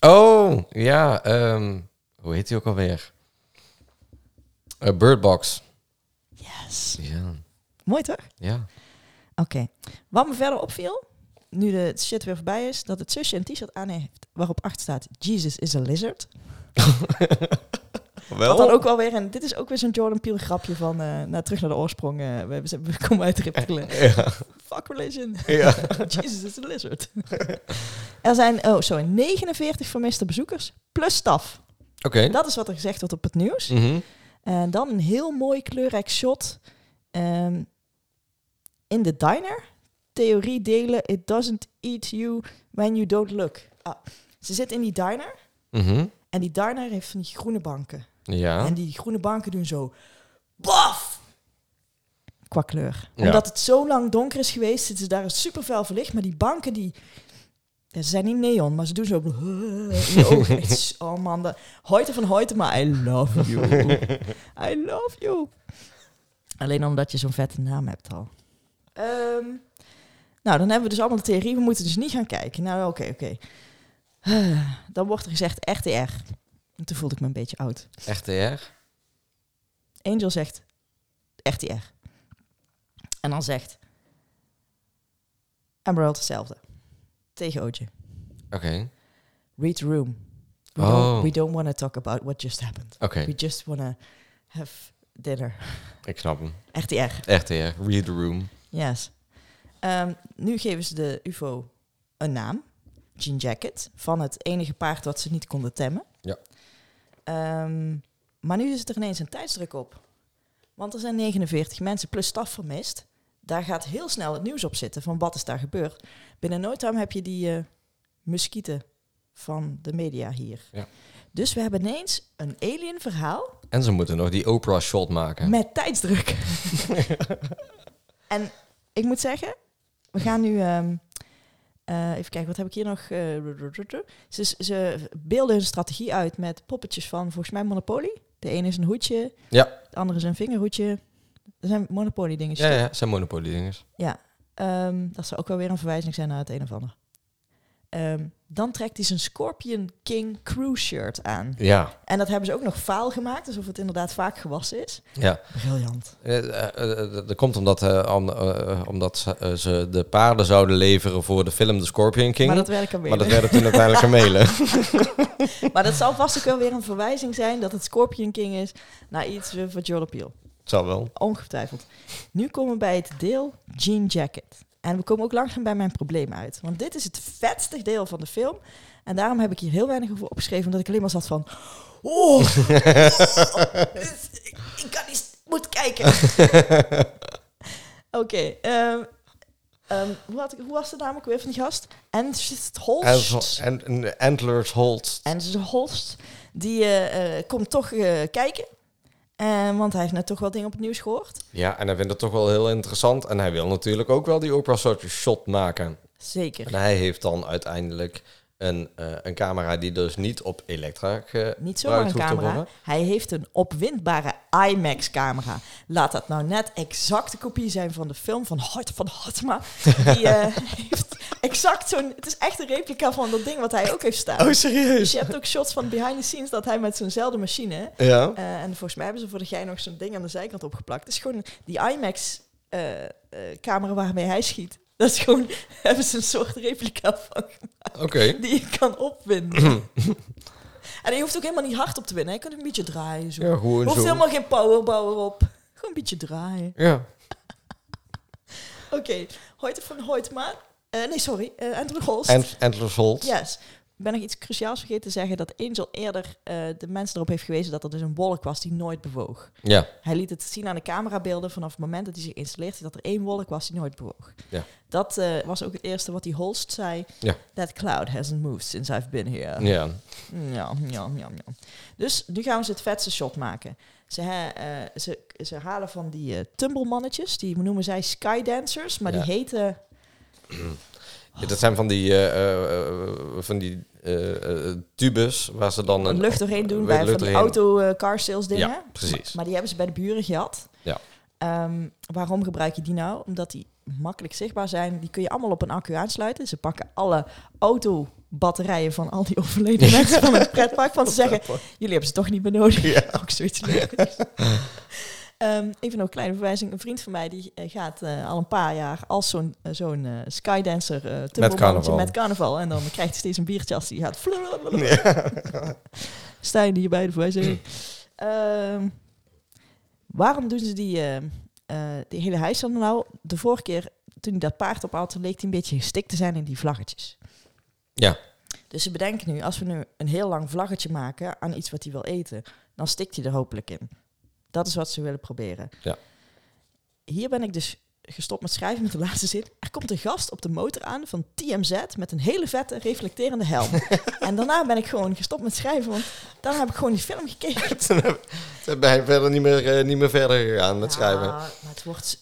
Oh, ja. ehm, hoe heet die ook alweer? Eh, Bird Box. Yes. Ja. Mooi toch? Oké. ja. Wat me verder opviel, nu de shit weer voorbij is, dat het zusje een t-shirt aan heeft waarop achter staat Jesus is a lizard. Wat dan ook wel weer, en dit is ook weer zo'n Jordan Peele grapje van eh nou, terug naar de oorsprong. eh, we, hebben- we komen uit <laughs> reptielen. Ja. Fuck religion. <laughs> ja. Jesus is a lizard. er zijn, oh sorry, 49 vermiste bezoekers plus staf. Oké. Dat is wat er gezegd wordt op het nieuws. Mhm. En dan een heel mooi kleurrijk shot ehm, in de diner. Theorie delen, it doesn't eat you when you don't look. Ah, ze zit in die diner Mhm. en die diner heeft van die groene banken. Ja. En die groene banken doen zo... Baf! Qua kleur. Ja. Omdat het zo lang donker is geweest, zitten ze daar super fel verlicht. Maar die banken die... ja, ze zijn niet neon, maar ze doen zo... <laughs> in je <laughs> ogen. Echt zo- Oh man, de, hoite van hoite, maar I love you. <laughs> I love you. Alleen omdat je zo'n vette naam hebt al. Ehm, nou, dan hebben we dus allemaal de theorie. We moeten dus niet gaan kijken. Nou, oké, oké. <sighs> Dan wordt er gezegd RTR. En toen voelde ik me een beetje oud. RTR. Angel zegt RTR. En dan zegt Emerald hetzelfde. Tegen Ootje. Oké. Read room. We Oh. don't, we don't want to talk about what just happened. Oké, We just want to have dinner. ik snap hem. RTR. Echt heer, read the room. Yes. Ehm, nu geven ze de UFO een naam, Jean Jacket, van het enige paard dat ze niet konden temmen. Ja. Ehm, maar nu is er ineens een tijdsdruk op. Want er zijn 49 mensen plus staf vermist. Daar gaat heel snel het nieuws op zitten van wat is daar gebeurd. Binnen no time heb je die eh muskieten van de media hier. Ja. Dus we hebben ineens een alien verhaal En ze moeten nog die Oprah-shot maken. met tijdsdruk. <laughs> en ik moet zeggen, we gaan nu. ehm, eh, even kijken, wat heb ik hier nog? eh, ru- ru- ru- ru. ze, ze beelden hun strategie uit met poppetjes van volgens mij Monopoly. De ene is een hoedje, Ja. de andere is een vingerhoedje. Dat zijn Monopoly dingetjes. Ja, ja, zijn dus. Monopoly-dingers. Ehm, dat zou ook wel weer een verwijzing zijn naar het een of ander. Ehm, dan trekt hij zijn Scorpion King crew shirt aan. Ja, En dat hebben ze ook nog vaal gemaakt, alsof het inderdaad vaak gewassen is. ja. Briljant. Eh, eh, eh, dat komt omdat, eh, om- eh, omdat ze, eh, ze de paarden zouden leveren voor de film The Scorpion King. Maar dat werken weer. maar dat werden toen uiteindelijk <laughs> kamelen. Maar dat zal vast ook wel weer een verwijzing zijn dat het Scorpion King is naar iets eh, van Jordan Peele. Zal wel. Ongetwijfeld. Nu komen we bij het deel Jean Jacket. En we komen ook langzaam bij mijn probleem uit. Want dit is het vetste deel van de film. En daarom heb ik hier heel weinig over opgeschreven. Omdat ik alleen maar zat van... Oh, dit- ik, ik kan niet... ik moet kijken. Oké. ehm, ehm, hoe, had ik- hoe was de naam ook weer van die gast? En En, Holst. en, en Antlers Holt. En zijn host, die eh, eh, komt toch eh, kijken. Eh, want hij heeft net toch wel dingen op het nieuws gehoord. Ja, en hij vindt het toch wel heel interessant. En hij wil natuurlijk ook wel die Oprah-shot maken. Zeker. En hij heeft dan uiteindelijk een, eh, een camera die dus niet op Elektra gebruikt Niet zomaar een hoeft te camera. worden. Hij heeft een opwindbare IMAX-camera. Laat dat nou net exact de kopie zijn van de film van Hart van Hartma. Die <laughs> eh, heeft exact zo'n... Het is echt een replica van dat ding wat hij ook heeft staan. Oh, Dus serieus? je hebt ook shots van behind the scenes dat hij met zo'nzelfde machine... Ja. Eh, en volgens mij hebben ze voor de gein nog zo'n ding aan de zijkant opgeplakt. Het is gewoon die IMAX-camera waarmee hij schiet. Dat is gewoon, <laughs> hebben ze een soort replica van Oké. die je kan opwinden. <clears throat> en je hoeft ook helemaal niet hard op te winnen. Je kunt een beetje draaien. Zo. Ja, gewoon hoeft zo. helemaal geen powerpower op. Gewoon een beetje draaien. Ja. Oké, Hoyte van Hoytma. Eh nee, sorry. eh Andrew Holst. En Antlers Holt. Yes. Ben nog iets cruciaals vergeten te zeggen? Dat Angel eerder eh, de mensen erop heeft gewezen dat er dus een wolk was die nooit bewoog. Ja. Hij liet het zien aan de camerabeelden vanaf het moment dat hij zich installeerde dat er één wolk was die nooit bewoog. Ja. Dat eh, was ook het eerste wat die Holst zei. Ja. That cloud hasn't moved since I've been here. Ja. Ja, ja, ja, ja. Dus nu gaan ze het vetste shot maken. Ze, hè, eh, ze, ze halen van die eh, tumblemannetjes, die noemen zij skydancers, maar Ja. die heten... Ja, dat zijn van die, eh, eh, eh, van die eh, eh, tubes waar ze dan Een een lucht doorheen doen eh, bij lucht van die doorheen. auto eh, car sales dingen. Ja, precies. Maar die hebben ze bij de buren gehad. Ja. Ehm, waarom gebruik je die nou? Omdat die makkelijk zichtbaar zijn. Die kun je allemaal op een accu aansluiten. Ze pakken alle autobatterijen van al die <laughs> overleden mensen van het pretpark. Want ze zeggen, jullie hebben ze toch niet meer nodig. <laughs> Ook zoiets leuks. Ehm, even nog een kleine verwijzing. Een vriend van mij die eh, gaat eh, al een paar jaar als zo'n eh, zo'n eh, skydancer eh tunnelmannetje carnaval. met carnaval. En dan krijgt hij steeds een biertje als hij gaat. <laughs> Stijn hierbij de verwijzing. Ehm, waarom doen ze die, eh, eh, die hele huis dan nou? De vorige keer toen hij dat paard op had, toen leek hij een beetje gestikt te zijn in die vlaggetjes. Ja. Dus ze bedenken nu, als we nu een heel lang vlaggetje maken aan iets wat hij wil eten, dan stikt hij er hopelijk in. Dat is wat ze willen proberen. Ja. Hier ben ik dus gestopt met schrijven met de laatste zin. Er komt een gast op de motor aan van TMZ met een hele vette reflecterende <laughs> helm. en daarna ben ik gewoon gestopt met schrijven, want dan heb ik gewoon die film gekeken. Toen heb- toen ben je verder niet meer, eh, niet meer verder gegaan met schrijven. Ja, Ah, maar het wordt...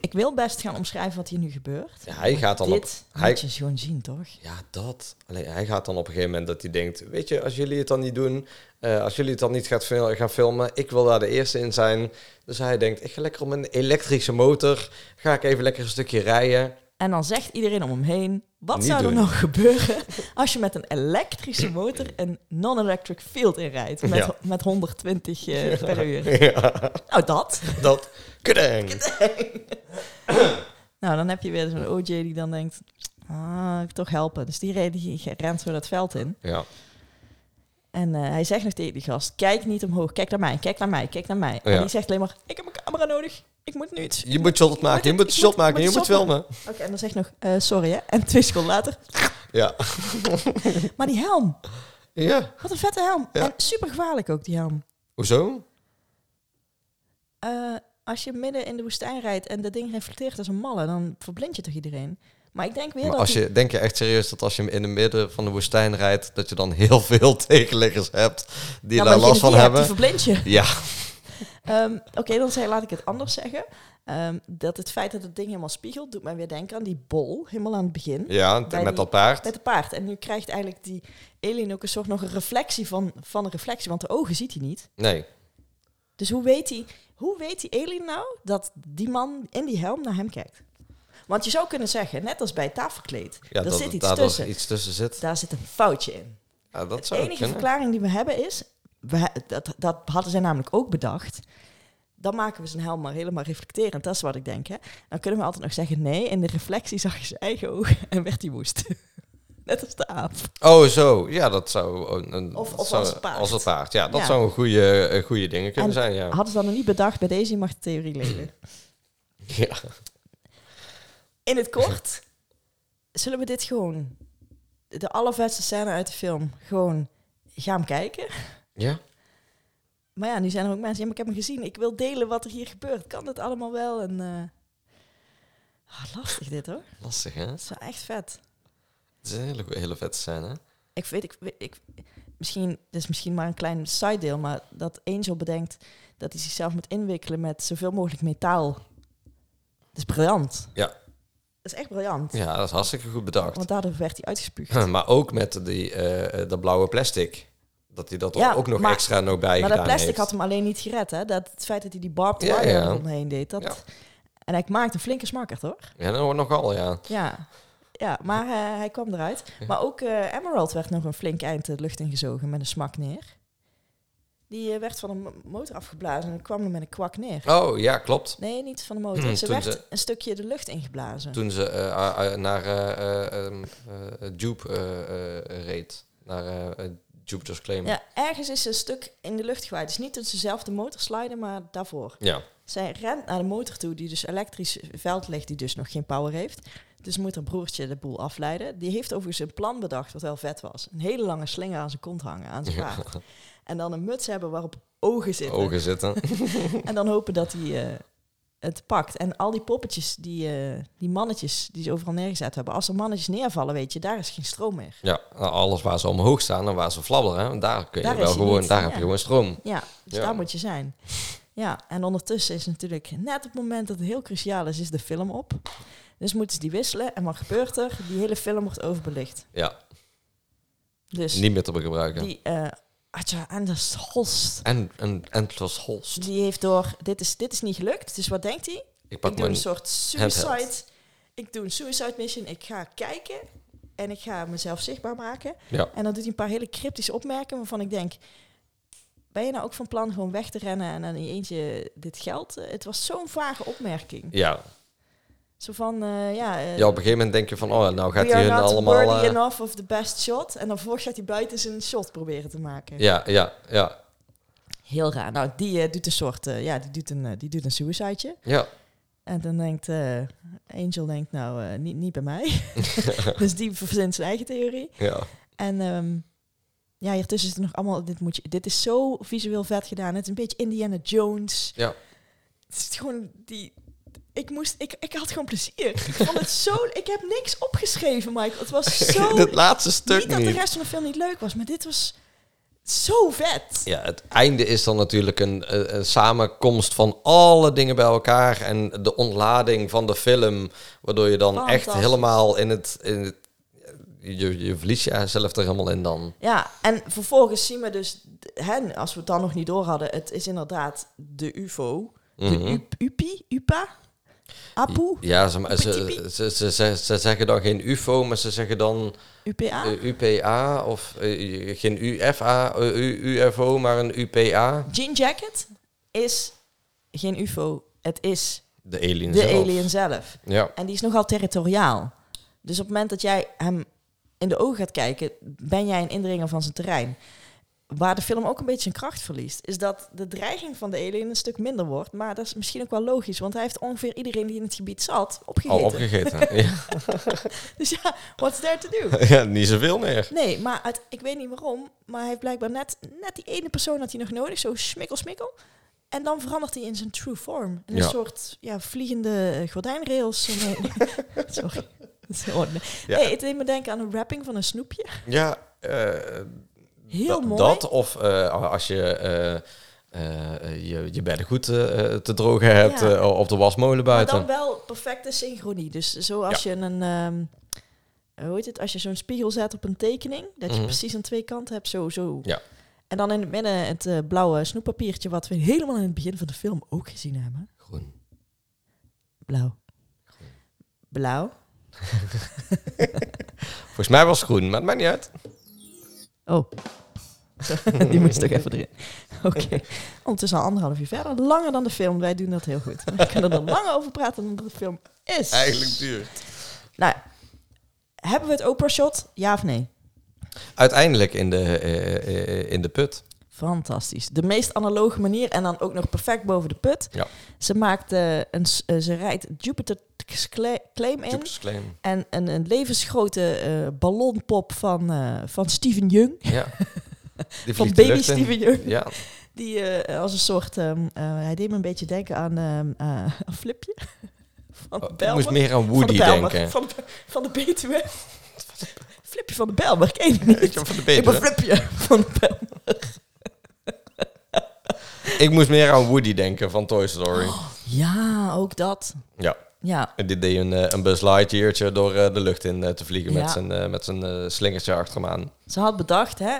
ik wil best gaan omschrijven wat hier nu gebeurt. Ja, hij gaat dan op- Dit hij- moet je gewoon zien, toch? Ja, dat. Alleen, hij gaat dan op een gegeven moment dat hij denkt... Weet je, als jullie het dan niet doen... eh, als jullie het dan niet gaat fil- gaan filmen... Ik wil daar de eerste in zijn. Dus hij denkt, ik ga lekker op mijn elektrische motor... Ga ik even lekker een stukje rijden. En dan zegt iedereen om hem heen: wat Niet zou er doen. nou gebeuren <laughs> als je met een elektrische motor een non-electric field inrijdt? Met, Ja. met 120 eh, per uur. <laughs> ja, Nou, dat. dat... Kudeng! Nou, dan heb je weer zo'n OJ die dan denkt: ah, ik toch helpen. Dus die, re- die rent zo dat veld in. Ja, En eh, hij zegt nog tegen die gast, kijk niet omhoog, kijk naar mij, kijk naar mij, kijk naar mij. En Ja. die zegt alleen maar, ik heb een camera nodig, ik moet nu iets. Je moet shot maken, je Ik moet moet- shot maken, ik je moet moet shot filmen. Oké, en dan zegt nog, eh, sorry hè. En twee seconden later, Ja. maar die helm, Ja. wat een vette helm. Ja. En super gevaarlijk ook, die helm. Hoezo? Eh, als je midden in de woestijn rijdt en dat ding reflecteert als een malle, dan verblind je toch iedereen? Maar ik denk weer Maar dat als die- je, denk je echt serieus dat als je in het midden van de woestijn rijdt, dat je dan heel veel <laughs> tegenliggers hebt die Ja, maar daar degene last van die hebt, die hebben? verblind je. Ja. Ehm, Oké, dan zeg, laat ik het anders zeggen. Ehm, dat het feit dat het ding helemaal spiegelt, doet mij weer denken aan die bol, helemaal aan het begin. Ja, Bij met die- dat paard. Met het paard. En nu krijgt eigenlijk die alien ook een soort nog een reflectie van, van een reflectie, want de ogen ziet hij niet. Nee. Dus hoe weet, hij, hoe weet die alien nou dat die man in die helm naar hem kijkt? Want je zou kunnen zeggen, net als bij het tafelkleed, Ja, daar dat zit er iets daardoor tussen. iets tussen zit. Daar zit een foutje in. Ja, dat De zou enige kunnen. verklaring die we hebben is, we, he- dat, dat hadden zij namelijk ook bedacht. Dan maken we zijn helm maar helemaal reflecterend, dat is wat ik denk. Hè. Dan kunnen we altijd nog zeggen, nee, in de reflectie zag je zijn eigen ogen <laughs> en werd hij woest. Net als de aap. Oh, zo. Ja, dat zou... Een, een- Of- dat of zou- als het paard. Als het paard, ja. Dat Ja. zou een goede, een goede dingen kunnen En zijn, ja. Hadden ze dat nog niet bedacht, bij deze je mag de theorie leren. <laughs> ja. In het kort, zullen we dit gewoon, de allerbeste scène uit de film, gewoon gaan kijken? Ja? Maar ja, nu zijn er ook mensen. Ja, maar ik heb hem gezien. Ik wil delen wat er hier gebeurt. Kan dit allemaal wel? En, eh, ah, lastig dit hoor. Lastig, hè? Dat is wel echt vet. Het is een hele, hele vette scène, hè? Ik weet, ik, weet- ik, misschien, dit is misschien maar een klein side deel, maar dat Angel bedenkt dat hij zichzelf moet inwikkelen met zoveel mogelijk metaal. Dat is briljant. Ja. Dat is echt briljant. Ja, dat is hartstikke goed bedacht. Want daardoor werd hij uitgespuugd. <laughs> Maar ook met die, eh, eh, dat blauwe plastic. Dat hij dat Ja, ook nog maar- extra nog bij Maar gedaan dat plastic heeft. had hem alleen niet gered, hè? Dat, het feit dat hij die barbed Ja, wire ja. eromheen deed. Dat, Ja. En hij maakt een flinke smakkert hoor. Ja, dat hoort nogal, ja. Ja, ja maar eh, hij kwam eruit. Ja. Maar ook eh, Emerald werd nog een flink eind de lucht ingezogen met een smak neer. Die eh, werd van een mo- motor afgeblazen en kwam er met een kwak neer. Oh, ja, klopt. Nee, niet van de motor. Ze Hmm, Toen werd ze- een stukje de lucht ingeblazen. Toen ze eh, ah, ah, naar eh, eh, ehm, eh, Jupe eh, eh, reed. Naar eh, eh, Jupiter's Claim. Ja, ergens is ze een stuk in de lucht gewaaid. Dus niet toen ze zelf de motor sliden, maar daarvoor. Ja. Zij rent naar de motor toe, die dus elektrisch veld ligt, die dus nog geen power heeft. Dus moet haar broertje de boel afleiden. Die heeft overigens een plan bedacht, wat wel vet was. Een hele lange slinger aan zijn kont hangen, aan zijn Ja. paard. En dan een muts hebben waarop ogen zitten. Ogen zitten. En dan hopen dat hij eh, het pakt. En al die poppetjes, die, eh, die mannetjes die ze overal neergezet hebben. Als er mannetjes neervallen, weet je, daar is geen stroom meer. Ja, nou, alles waar ze omhoog staan en waar ze fladderen, hè, daar kun je Daar wel is hij gewoon, niet, daar ja. heb je gewoon stroom. Ja, dus Ja. daar moet je zijn. Ja, en ondertussen is natuurlijk net op het moment dat het heel cruciaal is, is de film op. Dus moeten ze die wisselen. En wat gebeurt er? Die hele film wordt overbelicht. Ja, Dus niet meer te gebruiken. die eh Atja Anders Holst, En, en, en het was holst. die heeft door, dit is, dit is niet gelukt. Dus wat denkt hij? Ik pak Ik doe mijn... een soort suicide. handheld. Ik doe een suicide mission. Ik ga kijken en ik ga mezelf zichtbaar maken. Ja. En dan doet hij een paar hele cryptische opmerkingen waarvan ik denk: ben je nou ook van plan gewoon weg te rennen en dan in je eentje dit geld? Eh, Het was zo'n vage opmerking. Ja. Zo van eh, ja. eh, ja, op een gegeven moment denk je van, oh, nou gaat we hij hun are not allemaal... worthy eh, enough of the best shot. En dan vervolgens gaat hij buiten zijn shot proberen te maken. ja, ja, ja, Heel raar. Nou, die eh, doet een soort, eh, ja, die doet een, eh, die doet een suicideje. ja. En dan denkt eh, Angel, denkt, nou, eh, niet, niet bij <laughs> mij. <laughs> dus die verzint zijn eigen theorie. Ja, En ehm ja, hiertussen zit nog allemaal, dit, moet je, dit is zo visueel vet gedaan. Het is een beetje Indiana Jones. Ja. Het is gewoon die... Ik, moest, ik, ik had gewoon plezier. Ik vond het zo... Ik heb niks opgeschreven, Michael. Het <laughs> was zo... het laatste niet stuk dat niet. de rest van de film niet leuk was, maar dit was zo vet. Ja, het einde is dan natuurlijk een, eh, een samenkomst van alle dingen bij elkaar en de ontlading van de film, waardoor je dan echt Fantastisch. helemaal in het... In het je, je verliest jezelf er helemaal in dan. Ja, en vervolgens zien we dus, d- hè, als we het dan nog niet door hadden, het is inderdaad de UFO, Mhm. de U- UPI, UPA, APU, Ja, ze, ze, Oepetiepie. ze, ze, ze- ze zeggen dan geen UFO, maar ze zeggen dan UPA. eh, UPA of eh, geen UFA, eh, U- UFO, maar een UPA. Jean Jacket is geen UFO, het is De alien de zelf. alien zelf. Ja, En die is nogal territoriaal. Dus op het moment dat jij hem in de ogen gaat kijken, ben jij een indringer van zijn terrein. waar de film ook een beetje zijn kracht verliest, is dat de dreiging van de alien een stuk minder wordt. Maar dat is misschien ook wel logisch, want hij heeft ongeveer iedereen die in het gebied zat Al opgegeten. opgegeten. ja. <laughs> dus ja, what's there to do? ja, niet zoveel meer. Nee, maar uit, ik weet niet waarom, maar hij heeft blijkbaar net, net die ene persoon had hij nog nodig, zo smikkel, smikkel. En dan verandert hij in zijn true form. In een Ja. soort ja, vliegende eh, gordijnrails. Nee, <laughs> Sorry. Dat is in orde. Ja. Nee, het deed me denken aan een wrapping van een snoepje. Ja, eh, Heel da- mooi. Dat of eh, als je eh eh je, je beddengoed eh, eh, te drogen hebt Ja. eh, op de wasmolen Maar buiten. dan wel perfecte synchronie. Dus zoals je een... ehm, hoe heet het? Als je zo'n spiegel zet op een tekening, dat je Mhm. precies aan twee kanten hebt, zo, zo. Ja. En dan in het midden het eh, blauwe snoeppapiertje, wat we helemaal in het begin van de film ook gezien hebben. Groen. Blauw. Blauw. Volgens mij was het groen, maar het maakt niet uit. Oh. <laughs> Die moest toch even erin. <laughs> Oké. Ondertussen al anderhalf uur verder. Langer dan de film. Wij doen dat heel <laughs> goed. We kunnen er langer over praten dan dat de film is. duur. Nou, hebben we het Oprah shot? Ja of nee? Uiteindelijk in de, eh, eh, in de put. Fantastisch. De meest analoge manier en dan ook nog perfect boven de put. Ja. Ze maakt eh, een, s- eh, ze rijdt Jupiter Cla- Claim in. Jupiter's claim. En een, een levensgrote eh, ballonpop van, eh, van Steven Jung. <laughs> Ja. Die Van vliegt de baby lucht in. Steven Jung. Ja, Die eh, als een soort... ehm, eh, hij deed me een beetje denken aan ehm, eh, een flipje. <laughs> Van de Oh, ik Bijlmer. moest meer aan Van de Woody Bijlmer. denken. Van de, van de Betuwe. flipje van de Bijlmer, ken je die niet? <laughs> Ik heb van de Ik ben Betuwe. flipje van de Bijlmer. Ik moest meer aan Woody denken van Toy Story. Oh. Ja, ook dat. Ja. Ja. En dit deed een, eh, een Buzz Lightyear'tje door eh, de lucht in eh, te vliegen Ja. met zijn, eh, met zijn eh, slingertje achter hem aan. Ze had bedacht, hè,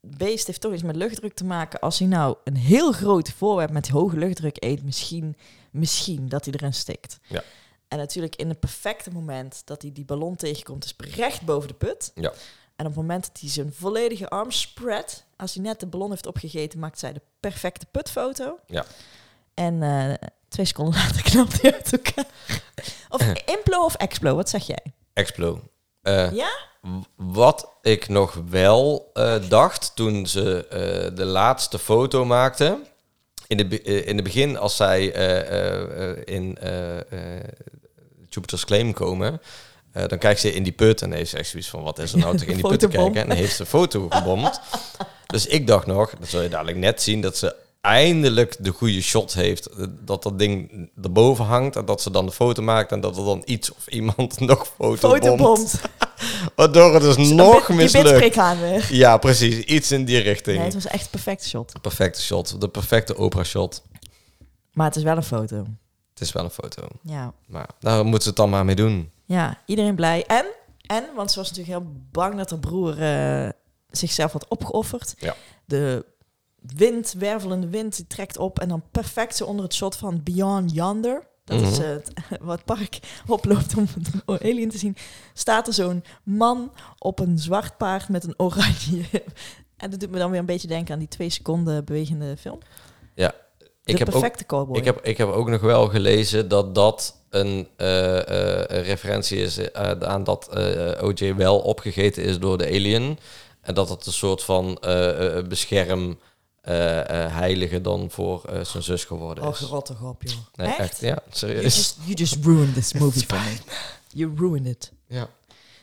beest heeft toch iets met luchtdruk te maken. Als hij nou een heel groot voorwerp met hoge luchtdruk eet, misschien, misschien dat hij erin stikt. Ja. En natuurlijk in het perfecte moment dat hij die ballon tegenkomt, is recht boven de put. Ja. En op het moment dat hij zijn volledige arm spread, als hij net de ballon heeft opgegeten, maakt zij de perfecte putfoto. Ja. En eh, twee seconden later <laughs> knapt hij uit elkaar. <laughs> Of implo of explo, wat zeg jij? Explo. Eh, Ja? w- Wat ik nog wel eh, dacht toen ze eh, de laatste foto maakte. In het be- eh, in het begin, als zij eh, eh, eh, in eh, eh, Jupiter's Claim komen, eh, dan kijkt ze in die put en heeft ze echt zoiets van: wat is er nou toch in die put te Fotobom. kijken? En dan heeft ze een foto gebomd. dus ik dacht nog, dat zul je dadelijk net zien, dat ze eindelijk de goede shot heeft. eh, Dat dat ding erboven hangt en dat ze dan de foto maakt en dat er dan iets of iemand <laughs> nog fotobomt. Fotobomt. Waardoor het dus nog Die mislukt. bitspreek aan weer. Ja, precies. Iets in die richting. Nee, het was echt een perfecte shot. Perfecte shot. De perfecte opera-shot. Maar het is wel een foto. Het is wel een foto. Ja. Maar daar moeten ze het dan maar mee doen. Ja, iedereen blij. En, en want ze was natuurlijk heel bang dat haar broer eh, zichzelf had opgeofferd. Ja. De wind, wervelende wind, die trekt op en dan perfect zo onder het shot van Beyond Yonder. Dat is Mhm. eh, het, wat park <laughs> oploopt om het <laughs> alien te zien. Staat er zo'n man op een zwart paard met een oranje. <laughs> En dat doet me dan weer een beetje denken aan die twee seconden bewegende film. De Ik heb, ook, perfecte cowboy. ik, heb, ik heb ook nog wel gelezen dat dat een eh, eh, een referentie is eh, aan dat eh, OJ wel opgegeten is door de alien. En dat het een soort van eh, eh, bescherm eh, eh, heilige dan voor eh, zijn zus geworden Oh, is. gerottig op, joh. Nee, echt? Ja, You, serieus. just, you just ruined this movie for me. You ruined it. Ja.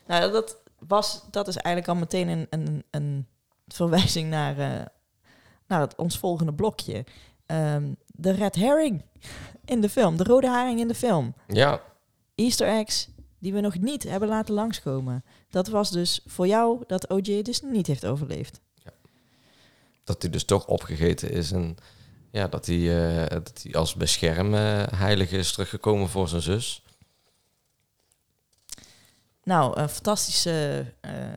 Nou, dat, was, dat is eigenlijk al meteen een, een, een verwijzing naar, eh, naar het, ons volgende blokje. Ehm, de red herring in de film. De rode haring in de film. ja. Easter eggs die we nog niet hebben laten langskomen. Dat was dus voor jou dat OJ dus niet heeft overleefd. dat hij dus toch opgegeten is. En ja, dat hij, eh, dat hij als beschermheilige heilige is teruggekomen voor zijn zus. Nou, een fantastische eh, eh,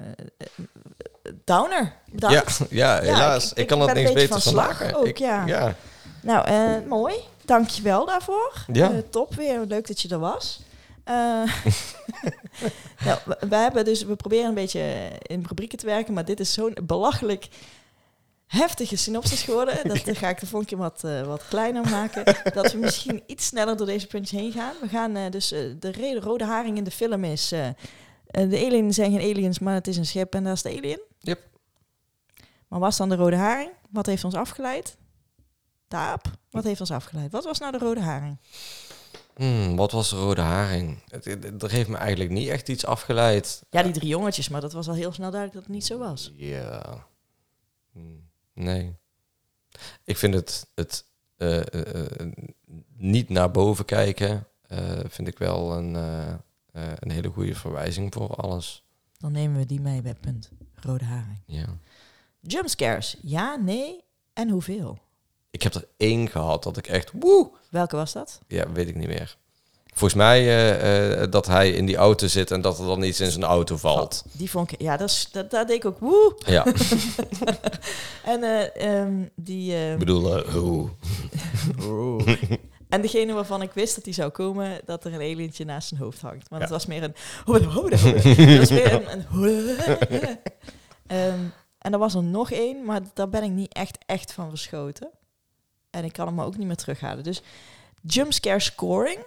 downer. <laughs> Bedankt. ja, helaas. ik- Ik kan ik er ben niks een beetje beters van van slag maken. ook, Ik- ja. ja. Nou, eh mooi. Dankjewel daarvoor. Eh, top weer, leuk dat je er was. Eh, <laughs> nou, we, we hebben dus, we proberen een beetje in rubrieken te werken, maar dit is zo'n belachelijk heftige synopsis geworden. Dat eh, ga ik de volgende keer wat, eh, wat kleiner maken. dat we misschien <laughs> iets sneller door deze punch heen gaan. We gaan eh, dus eh, de reden rode haring in de film is. eh, eh, de aliens zijn geen aliens, maar het is een schip en daar is de alien. Yep. Maar was dan de rode haring? Wat heeft ons afgeleid? De aap? Wat heeft ons afgeleid? Wat was nou de rode haring? Hmm, wat was de rode haring? Het, het- het- er heeft me eigenlijk niet echt iets afgeleid. Ja, die drie jongetjes, maar dat was al heel snel duidelijk dat het niet zo was. Ja. Hmm, Nee. Ik vind het, het eh, eh, eh, niet naar boven kijken, eh, vind ik wel een, eh, eh, een hele goede verwijzing voor alles. Dan nemen we die mee bij punt. Rode haring. Ja. Jumpscares. Ja, nee en hoeveel? Ik heb er één gehad dat ik echt, woe, Welke was dat? ja, weet ik niet meer. Volgens mij eh, eh, dat hij in die auto zit en dat er dan iets in zijn auto valt. Die vond ik... Ja, dat, is, dat, dat deed ik ook. Woe! Ja, En eh, ehm, die... ik eh, bedoel, eh, hoe? En degene waarvan ik wist dat die zou komen, dat er een alientje naast zijn hoofd hangt. Maar het was meer een... hode, hode, hode. Het was meer een... een hode. Ehm, en er was er nog één, maar daar ben ik niet echt, echt van verschoten. En ik kan hem ook niet meer terughalen. Dus jumpscare scoring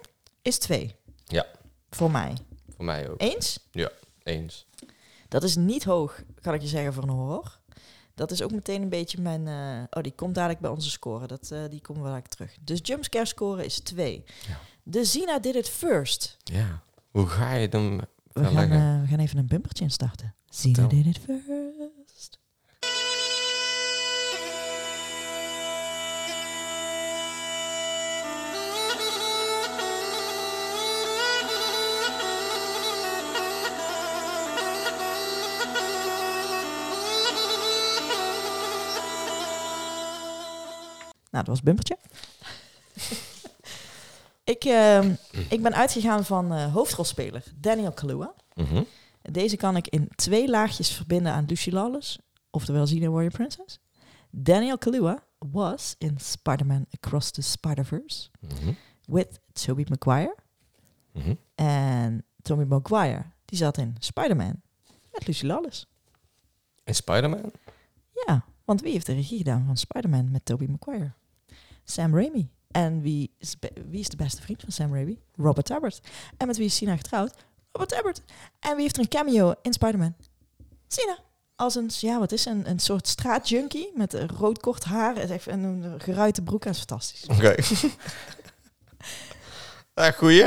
is twee. Ja. Voor mij. Voor mij ook. Eens? Eens. Dat is niet hoog, kan ik je zeggen, voor een horror. Dat is ook meteen een beetje mijn... eh, oh, die komt dadelijk bij onze score. Dat, eh, die komen we dadelijk terug. Dus jumpscare score is 2. Ja. De Zina did it first. Ja. Hoe ga je hem We Ja, gaan, lekker. eh, we gaan even een bumpertje instarten. Zina Vertel. did it first. Nou, dat was het bumpertje. <laughs> ik, ehm, ik ben uitgegaan van eh, hoofdrolspeler Daniel Kaluuya. Mhm. Deze kan ik in twee laagjes verbinden aan Lucy Lawless, oftewel Xena Warrior Princess. Daniel Kaluuya was in Spider-Man Across the Spider-Verse Mhm. with Tobey Maguire. Mhm. En Tobey Maguire, die zat in Spider-Man met Lucy Lawless. En Spider-Man? Ja, want wie heeft de regie gedaan van Spider-Man met Tobey Maguire? Sam Raimi. En wie is, be- wie is de beste vriend van Sam Raimi? Robert Tabbert. En met wie is Sina getrouwd? Robert Tabbert. En wie heeft er een cameo in Spider-Man? Sina. Als een, ja, wat is ze? een, een soort straatjunkie met eh, rood kort haar en echt een, een geruite broek. Dat is <laughs> fantastisch. Oké. ja, Ah, goeie.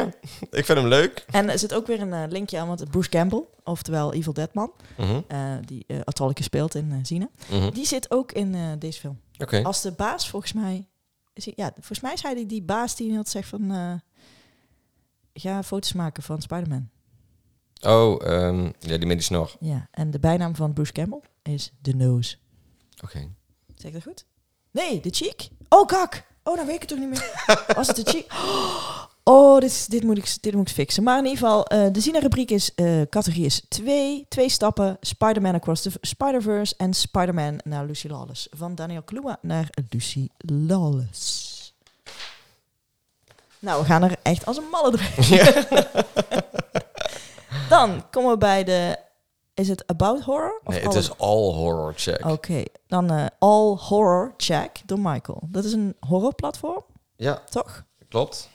Ik vind hem leuk. En er zit ook weer een eh, linkje aan, want Bruce Campbell, oftewel Evil Dead Man, Mhm. eh, die eh Autolycus speelt in eh, Sina, Mhm. die zit ook in eh, deze film. Oké. Als de baas volgens mij... Is hij- ja, volgens mij is hij die, die baas die had zegt van... eh, ga foto's maken van Spider-Man. Oh, ehm, ja, die met die snor. Ja, en de bijnaam van Bruce Campbell is The Nose. Oké. <laughs> Zeg ik dat goed? Nee, The Cheek. Oh, kak! Oh, dan weet ik het toch niet meer. <laughs> Was het The Cheek? Oh, dit, is- dit, moet ik, dit moet ik fixen. Maar in ieder geval, eh, de Zina-rubriek is... eh, categorie is twee, twee stappen. Spider-Man Across the Spider-Verse en Spider-Man naar Lucy Lawless. Van Daniel Kluwa naar Lucy Lawless. Nou, we gaan er echt als een malle doorheen. Dan komen we bij de... Is het About Horror? of Nee, het All is all horror check. Oké, dan eh, All Horror Check door Michael. Dat is een horrorplatform, Ja, toch? klopt.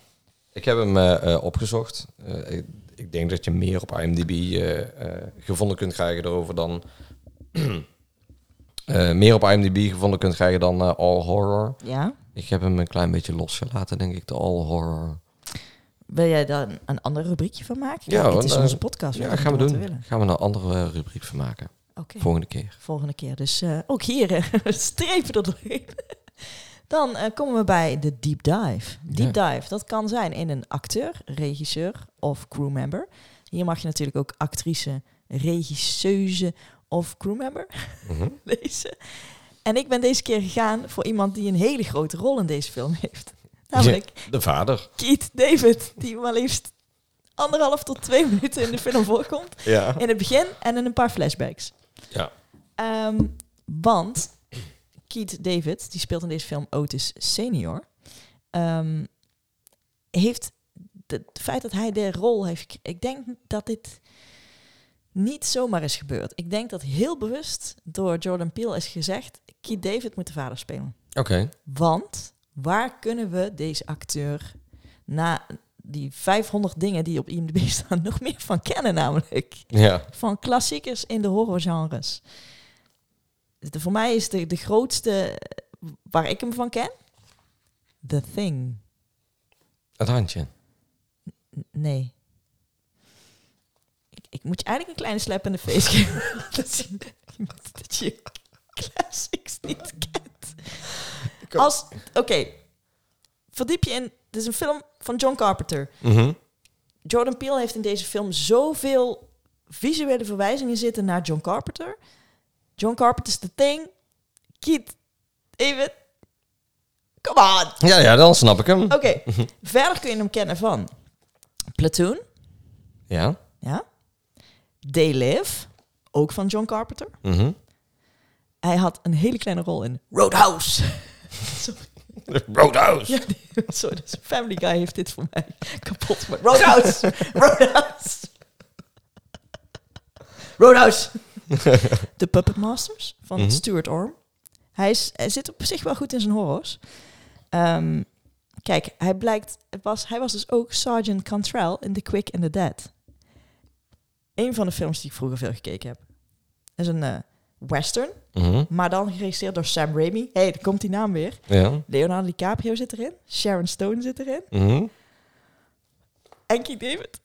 Ik heb hem eh, eh, opgezocht. Eh, ik, ik denk dat je meer op IMDb eh, eh, gevonden kunt krijgen erover dan... <clears throat> eh, meer op IMDb gevonden kunt krijgen dan eh, all horror. Ja. Ik heb hem een klein beetje losgelaten, denk ik, de all horror. Wil jij daar een ander rubriekje van maken? Ja, Kijk, het want, is eh, onze podcast. we Ja, kunnen gaan we wat doen. willen. Gaan we een andere rubriek van maken. Oké, Volgende keer. volgende keer. Dus eh, ook hier eh, <laughs> strepen er doorheen. Dan eh, komen we bij de deep dive. Deep dive, dat kan zijn in een acteur, regisseur of crewmember. Hier mag je natuurlijk ook actrice, regisseuse of crewmember. <laughs> Mhm. lezen. En ik ben deze keer gegaan voor iemand die een hele grote rol in deze film heeft. Namelijk De vader. Keith David, die maar liefst anderhalf tot twee <laughs> minuten in de film voorkomt. Ja. In het begin en in een paar flashbacks. Ja. Ehm, want Keith David, die speelt in deze film Otis Senior, ehm, heeft de- het feit dat hij de rol heeft... gek- Ik denk dat dit niet zomaar is gebeurd. Ik denk dat heel bewust door Jordan Peele is gezegd... Keith David moet de vader spelen. Oké. Want waar kunnen we deze acteur na die 500 dingen die op IMDb <laughs> staan nog meer van kennen namelijk? Ja. Van klassiekers in de horrorgenres. de- voor mij is de, de grootste eh, waar ik hem van ken. The Thing. Het handje. N- nee. Ik, ik moet je eigenlijk een kleine slap in de face geven. <laughs> dat zien dat je classics niet kent. Kom. Als, oké. Verdiep je in... Het is een film van John Carpenter. Mhm. Jordan Peele heeft in deze film zoveel visuele verwijzingen zitten naar John Carpenter. John Carpenter's The Thing. Kiet, even. Come on. Ja, ja, dan snap ik hem. Oké, verder kun je hem kennen van Platoon, Ja. ja. They Live, ook van John Carpenter. Mhm. Hij had een hele kleine rol in Roadhouse. Roadhouse. Ja, die- <laughs> sorry, dus Family Guy heeft dit voor mij kapot gemaakt. Roadhouse! Roadhouse! Roadhouse! De Puppet Masters van Mhm. Stuart Orm. Hij, is, hij zit op zich wel goed in zijn horrors. Ehm, kijk, hij blijkt... Het was, hij was dus ook Sergeant Cantrell in The Quick and the Dead. Een van de films die ik vroeger veel gekeken heb. Dat is een eh, western, Mhm. maar dan geregisseerd door Sam Raimi. Hé, hey, daar komt die naam weer. Ja. Leonardo DiCaprio zit erin. Sharon Stone zit erin. Mhm. En Keith David.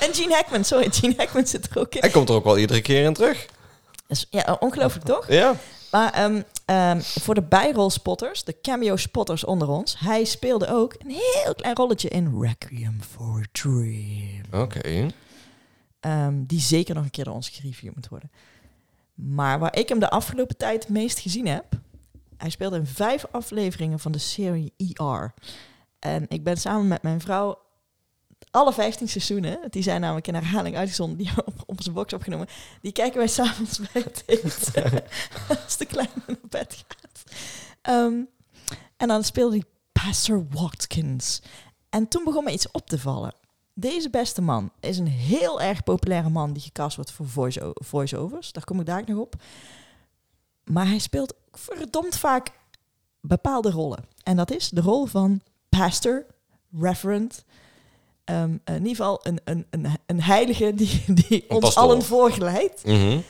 en Gene Hackman. Sorry, Gene Hackman zit er ook in. Hij komt er ook wel iedere keer in terug. Dat is- Ja, ongelooflijk toch? Ja. Maar ehm, ehm, voor de bijrolspotters, de cameo-spotters onder ons... hij speelde ook een heel klein rolletje in Requiem for a Dream. Oké. Ehm, die zeker nog een keer door ons gereviewd moet worden. Maar waar ik hem de afgelopen tijd het meest gezien heb... Hij speelde in vijf afleveringen van de serie ER. En ik ben samen met mijn vrouw alle vijftien seizoenen... die zijn namelijk in herhaling uitgezonden, die hebben we op, op onze box opgenomen... die kijken wij <laughs> s'avonds bij het eten <laughs> als de kleine naar bed gaat. Ehm, en dan speelde hij Pastor Watkins. En toen begon me iets op te vallen. Deze beste man is een heel erg populaire man die gecast wordt voor voice- voice-overs. Daar kom ik daar nog op. Maar hij speelt verdomd vaak bepaalde rollen. En dat is de rol van pastor, reverend. ehm, in ieder geval een, een, een, een heilige die, die Een ons pastoor. allen voorgeleidt. Mhm.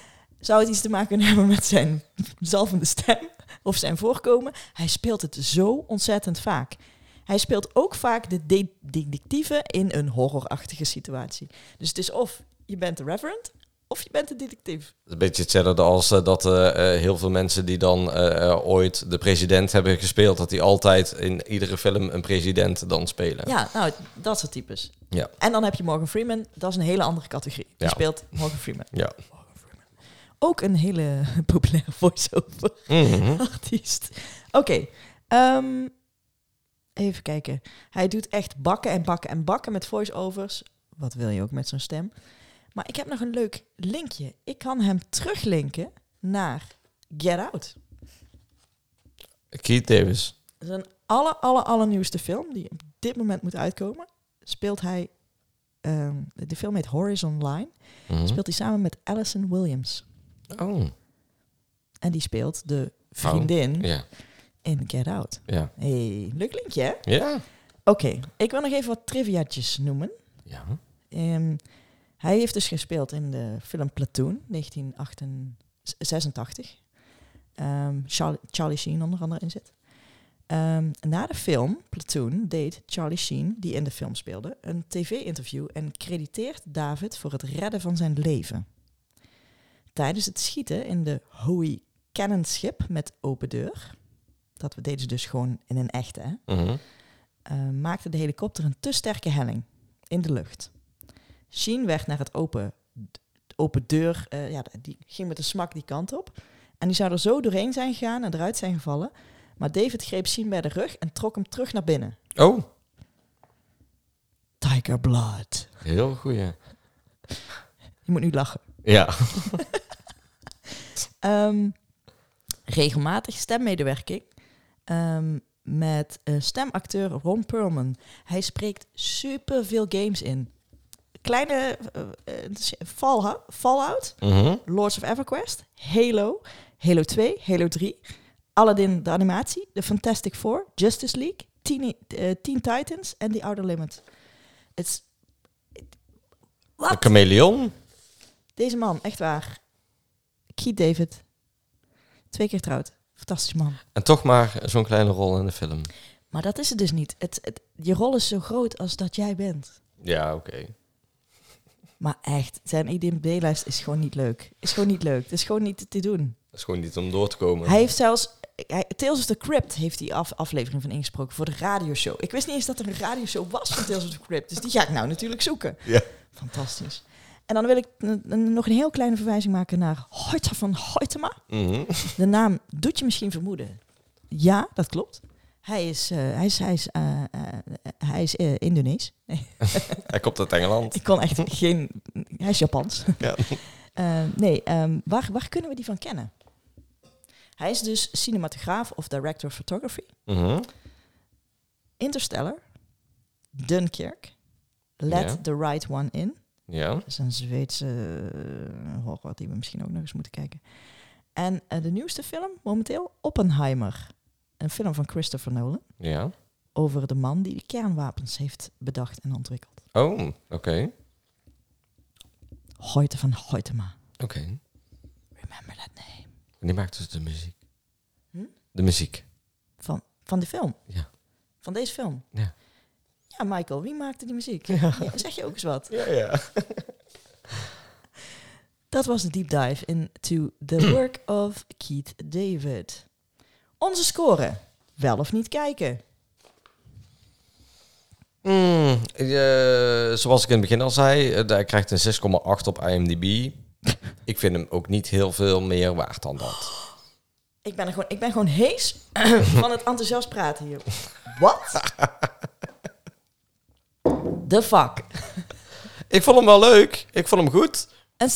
Zou het iets te maken kunnen hebben met zijn zalvende stem of zijn voorkomen? Hij speelt het zo ontzettend vaak. Hij speelt ook vaak de de- detectieve in een horrorachtige situatie. Dus het is of je bent de reverend of je bent de detectief. Een beetje hetzelfde als eh, dat eh, eh, heel veel mensen die dan eh, eh, ooit de president hebben gespeeld, dat die altijd in iedere film een president dan spelen. Ja, nou, dat soort types. Ja. En dan heb je Morgan Freeman, dat is een hele andere categorie. Die Ja. speelt Morgan Freeman. Ja. Morgan Freeman. Ook een hele <laughs> populaire voice-over. Mhm. <laughs> artiest. Oké. ehm, even kijken. Hij doet echt bakken en bakken en bakken met voiceovers. Wat wil je ook met zo'n stem? Maar ik heb nog een leuk linkje. Ik kan hem teruglinken naar Get Out. Keith Davis. Dat is een aller, aller, allernieuwste film die op dit moment moet uitkomen. Speelt hij... ehm, de film heet Horizon Line. Mhm. Speelt hij samen met Allison Williams. Oh. En die speelt de Oh, vriendin Ja. in Get Out. Ja. hey, leuk linkje hè? Ja. Oké, ik wil nog even wat triviaatjes noemen. Ja. Ehm, hij heeft dus gespeeld in de film Platoon, 1986. Ehm, Char- Charlie Sheen onder andere in zit. Ehm, na de film Platoon deed Charlie Sheen, die in de film speelde, een tv-interview en crediteert David voor het redden van zijn leven. Tijdens het schieten in de Hoey Cannonschip met open deur, dat deden ze dus gewoon in een echte, hè? Mhm. eh, maakte de helikopter een te sterke helling in de lucht. Sheen werd naar het open, de open deur, eh, ja, die ging met een smak die kant op. En die zou er zo doorheen zijn gegaan en eruit zijn gevallen. Maar David greep Sheen bij de rug en trok hem terug naar binnen. Oh. Tiger Blood. Heel goeie. Je moet nu lachen. Ja. Ehm, regelmatig stemmedewerking ehm, met eh, stemacteur Ron Perlman. Hij spreekt superveel games in. Kleine eh, eh, Fallout, Fallout, Mhm. Lords of EverQuest, Halo, Halo 2, Halo 3, Aladdin de animatie, The Fantastic Four, Justice League, Teen, eh, Teen Titans en The Outer Limit. Het is- Een chameleon. Deze man, echt waar. Keith David. Twee keer getrouwd. Fantastisch man. En toch maar zo'n kleine rol in de film. Maar dat is het dus niet. Het, het, je rol is zo groot als dat jij bent. Ja, oké. Maar echt, zijn E IDMB-lijst is gewoon niet leuk. Is gewoon niet leuk. Het is gewoon niet te doen. Dat is gewoon niet om door te komen. Hij heeft zelfs... Hij, Tales of the Crypt heeft die af, aflevering van ingesproken voor de radioshow. Ik wist niet eens dat er een radioshow was van Tales of the Crypt. Dus die ga ik nou natuurlijk zoeken. Ja. Fantastisch. En dan wil ik n- n- nog een heel kleine verwijzing maken naar Hoyta van Hoytema. Mhm. De naam doet je misschien vermoeden. Ja, dat klopt. Hij is, eh, hij is, hij is, eh, eh, hij is eh, Indonees. Nee, Hij komt uit Engeland. ik kon echt geen... Hij is Japans. Ja. Eh, nee, ehm, waar, waar kunnen we die van kennen? Hij is dus cinematograaf of director of photography. Mhm. Interstellar. Dunkirk. Let Ja. the Right One In. Ja. Dat is een Zweedse eh, horror die we misschien ook nog eens moeten kijken. En eh, de nieuwste film momenteel, Oppenheimer. Een film van Christopher Nolan. Ja. over de man die de kernwapens heeft bedacht en ontwikkeld. Oh, oké. Hoyte van Hoytema. Oké. Remember that name. En die maakt dus de muziek. Hm? De muziek. Van, van de film. Ja. Van deze film. Ja. Ja, Michael, wie maakte die muziek? Ja, zeg je ook eens wat. Ja, ja. Dat was de deep dive into the work of Keith David. Onze score. Wel of niet kijken. Mm, eh, zoals ik in het begin al zei, eh, hij krijgt een 6,8 op IMDb. ik vind hem ook niet heel veel meer waard dan dat. Ik ben, er gewoon, ik ben gewoon hees <coughs> van het enthousiast praten hier. Wat? The fuck. Ik vond hem wel leuk. Ik vond hem goed. Een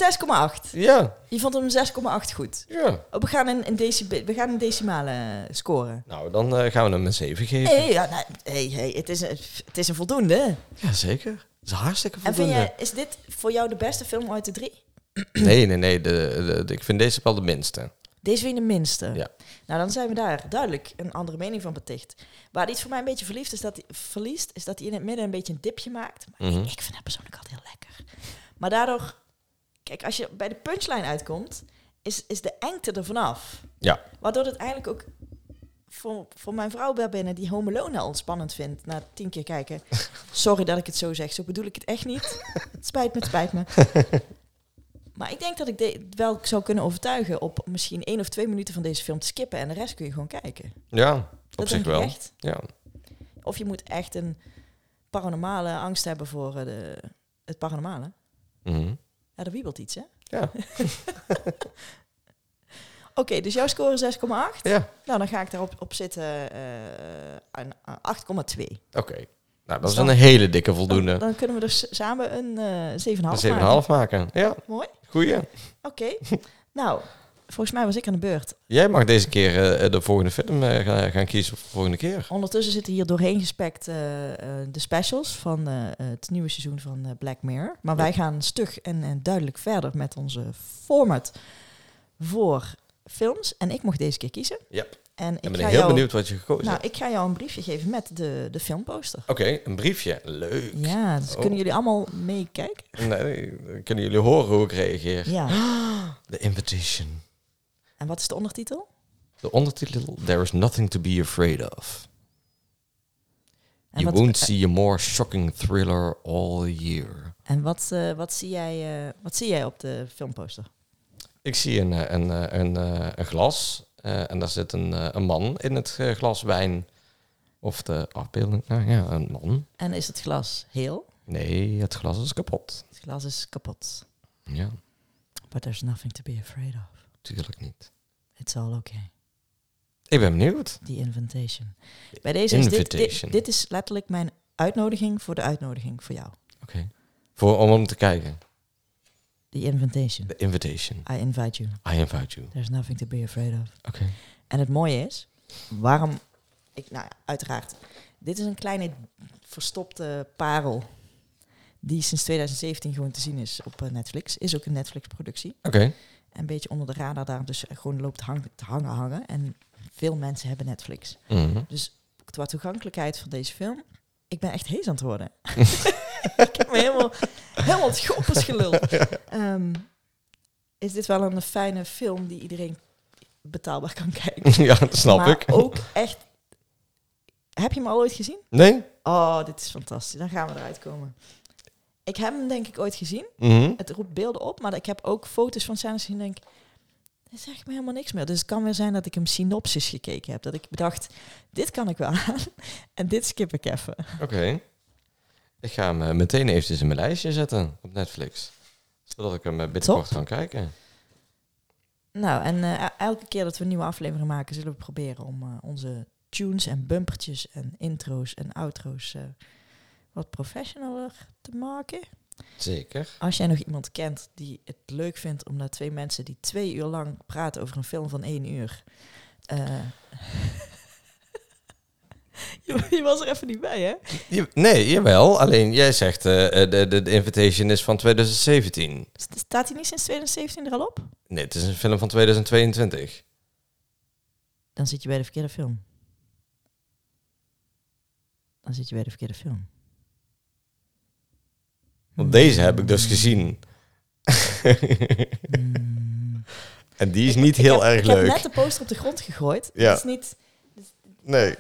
6,8. Ja, Je vond hem 6,8 goed. ja. Oh, we, gaan een, een decib- we gaan een decimale scoren. Nou, dan eh, gaan we hem een 7 geven. Hey, ja, nou, hey, hey, het, is een, het is een voldoende. Jazeker. Dat is hartstikke En voldoende. vind je, is dit voor jou de beste film uit de drie? <clears throat> Nee, nee, nee. De, de- de- ik vind deze wel de minste. Deze vind je de minste. Ja. Nou, dan zijn we daar duidelijk een andere mening van beticht. Waar die het voor mij een beetje verliefd is dat hij, verliest, is dat hij in het midden een beetje een dipje maakt. Maar Mhm. ik vind dat persoonlijk altijd heel lekker. Maar daardoor, kijk, als je bij de punchline uitkomt, is, is de engte er vanaf. Ja. Waardoor het eigenlijk ook voor, voor mijn vrouw binnen die Home Alone al ontspannend vindt na tien keer <laughs> kijken. Sorry dat ik het zo zeg, zo bedoel ik het echt niet. Het spijt me, het spijt me. Maar ik denk dat ik de, wel zou kunnen overtuigen op misschien één of twee minuten van deze film te skippen en de rest kun je gewoon kijken. Ja, op dat zich denk wel. ik echt. Ja. Of je moet echt een paranormale angst hebben voor eh, de, het paranormale. Mhm. Ja, er wiebelt iets, hè? Ja. <laughs> Oké, dus jouw score 6,8. Ja, Nou, dan ga ik daarop op zitten eh, een- een 8,2. oké. Nou, dat is Dan- een hele dikke Dan, voldoende. dan kunnen we dus samen een eh 7,5 Een 7,5 maken. maken. Ja, Mooi. goeie. Oké. nou, volgens mij was ik aan de beurt. Jij mag deze keer eh, de volgende film eh, gaan- gaan kiezen voor de volgende keer. Ondertussen zitten hier doorheen gespekt eh, eh, de specials van eh, het nieuwe seizoen van eh, Black Mirror. Maar wij gaan stug en, en duidelijk verder met onze format voor films. En ik mocht deze keer kiezen. Ja. En ik, Ik ben ga heel jou, benieuwd wat je gekozen Nou, hebt. ik ga jou een briefje geven met de, de filmposter. Oké, een briefje. Leuk. Ja, dus Oh. kunnen jullie allemaal meekijken? Nee, dan kunnen jullie horen hoe ik reageer? Ja. The Invitation. En wat is de ondertitel? De ondertitel, There is nothing to be afraid of. En you wat, won't see a more shocking thriller all year. En wat, eh, wat, zie jij, eh, wat zie jij op de filmposter? Ik zie een, eh, een, eh, een, eh, een glas eh, en daar zit een, eh, een man in het eh, glas wijn. Of de afbeelding. Nou ja, een man. En is het glas heel? Nee, het glas is kapot. Het glas is kapot. Ja, But there's nothing to be afraid of. natuurlijk niet. It's all okay. Ik ben benieuwd. The invitation. Bij deze is dit, dit, invitation. dit is letterlijk mijn uitnodiging voor de uitnodiging voor jou. Oké. Voor, om hem te kijken. The invitation. The invitation. I invite you. I invite you. There's nothing to be afraid of. Oké. En het mooie is, waarom ik, nou ja, uiteraard, dit is een kleine verstopte parel die sinds 2017 gewoon te zien is op eh, Netflix. Is ook een Netflix-productie. Oké. Een beetje onder de radar daar, dus gewoon loopt hang, te hangen hangen. En veel mensen hebben Netflix. Mhm. <laughs> Qua toegankelijkheid van deze film, ik ben echt hees aan het <laughs> <laughs> <laughs> worden. ik heb me helemaal, helemaal het schoppers geluld. Ehm, is dit wel een fijne film die iedereen betaalbaar kan kijken. ja, dat snap maar ik. ook echt... Heb je hem al ooit gezien? Nee? Oh, dit is fantastisch. Dan gaan we eruit komen. Ik heb hem denk ik ooit gezien. Mhm. Het roept beelden op, maar ik heb ook foto's van scènes gezien en denk... Dit zegt me helemaal niks meer. Dus het kan weer zijn dat ik hem synopsis gekeken heb. Dat ik bedacht, dit kan ik wel aan. <laughs> En dit skip ik even. Oké. Ik ga hem eh, meteen eventjes in mijn lijstje zetten op Netflix. Zodat ik hem eh, binnenkort kan kijken. Nou, en eh, el- elke keer dat we een nieuwe aflevering maken, zullen we proberen om eh, onze tunes en bumpertjes en intro's en outro's eh, wat professioneler te maken. Zeker. Als jij nog iemand kent die het leuk vindt om naar twee mensen die twee uur lang praten over een film van één uur. eh, <laughs> je, je was er even niet bij, hè? Je- nee, jawel. Alleen jij zegt eh, eh, de, de, de Invitation is van 2017. St- Staat hij niet sinds 2017 er al op? Nee, het is een film van 2022. Dan zit je bij de verkeerde film. Dan zit je bij de verkeerde film. Want deze heb ik dus <laughs> gezien. Mm. en die is niet Ik heel heb- erg ik leuk. heb net de poster op de grond gegooid. Ja. Dat is niet... Eh, Nee.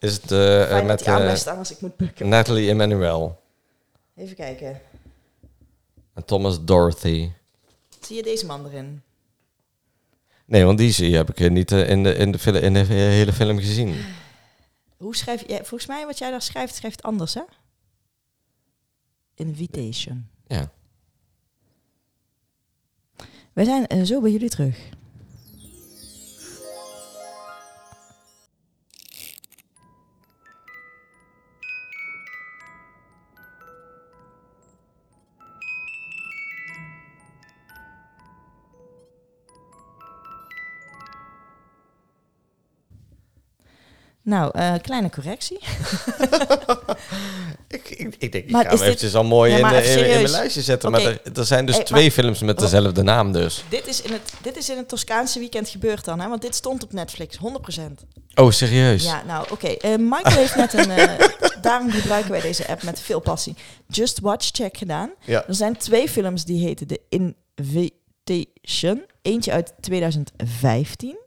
Is het eh, eh, Fijn dat met die aan eh, blijft staan als ik moet bukken. Natalie Emmanuel Even kijken. en Thomas Dorothy? Zie je deze man erin? Nee, want die zie- heb ik eh, niet eh, in, de, in, de fil- in de hele film gezien. Hoe schrijf je... Volgens mij wat jij daar schrijft, schrijft anders, hè? Invitation. Ja. Wij zijn eh, zo bij jullie terug. Nou, eh, kleine correctie. Ik, ik, ik denk, ik Maar ga is hem dit- eventjes al mooi Ja, in, maar eh, even in, in mijn serieus. lijstje zetten. Oké. Maar er, er zijn dus Hey, twee films met dezelfde naam dus. Dit is in het, dit is in het Toscaanse weekend gebeurd dan, hè? Want dit stond op Netflix, 100%. Oh, serieus? Ja, nou oké. Eh, Michael heeft net een. eh, <laughs> daarom gebruiken wij deze app met veel passie. Just Watch Check gedaan. Ja. Er zijn twee films die heten The Invitation. Eentje uit 2015.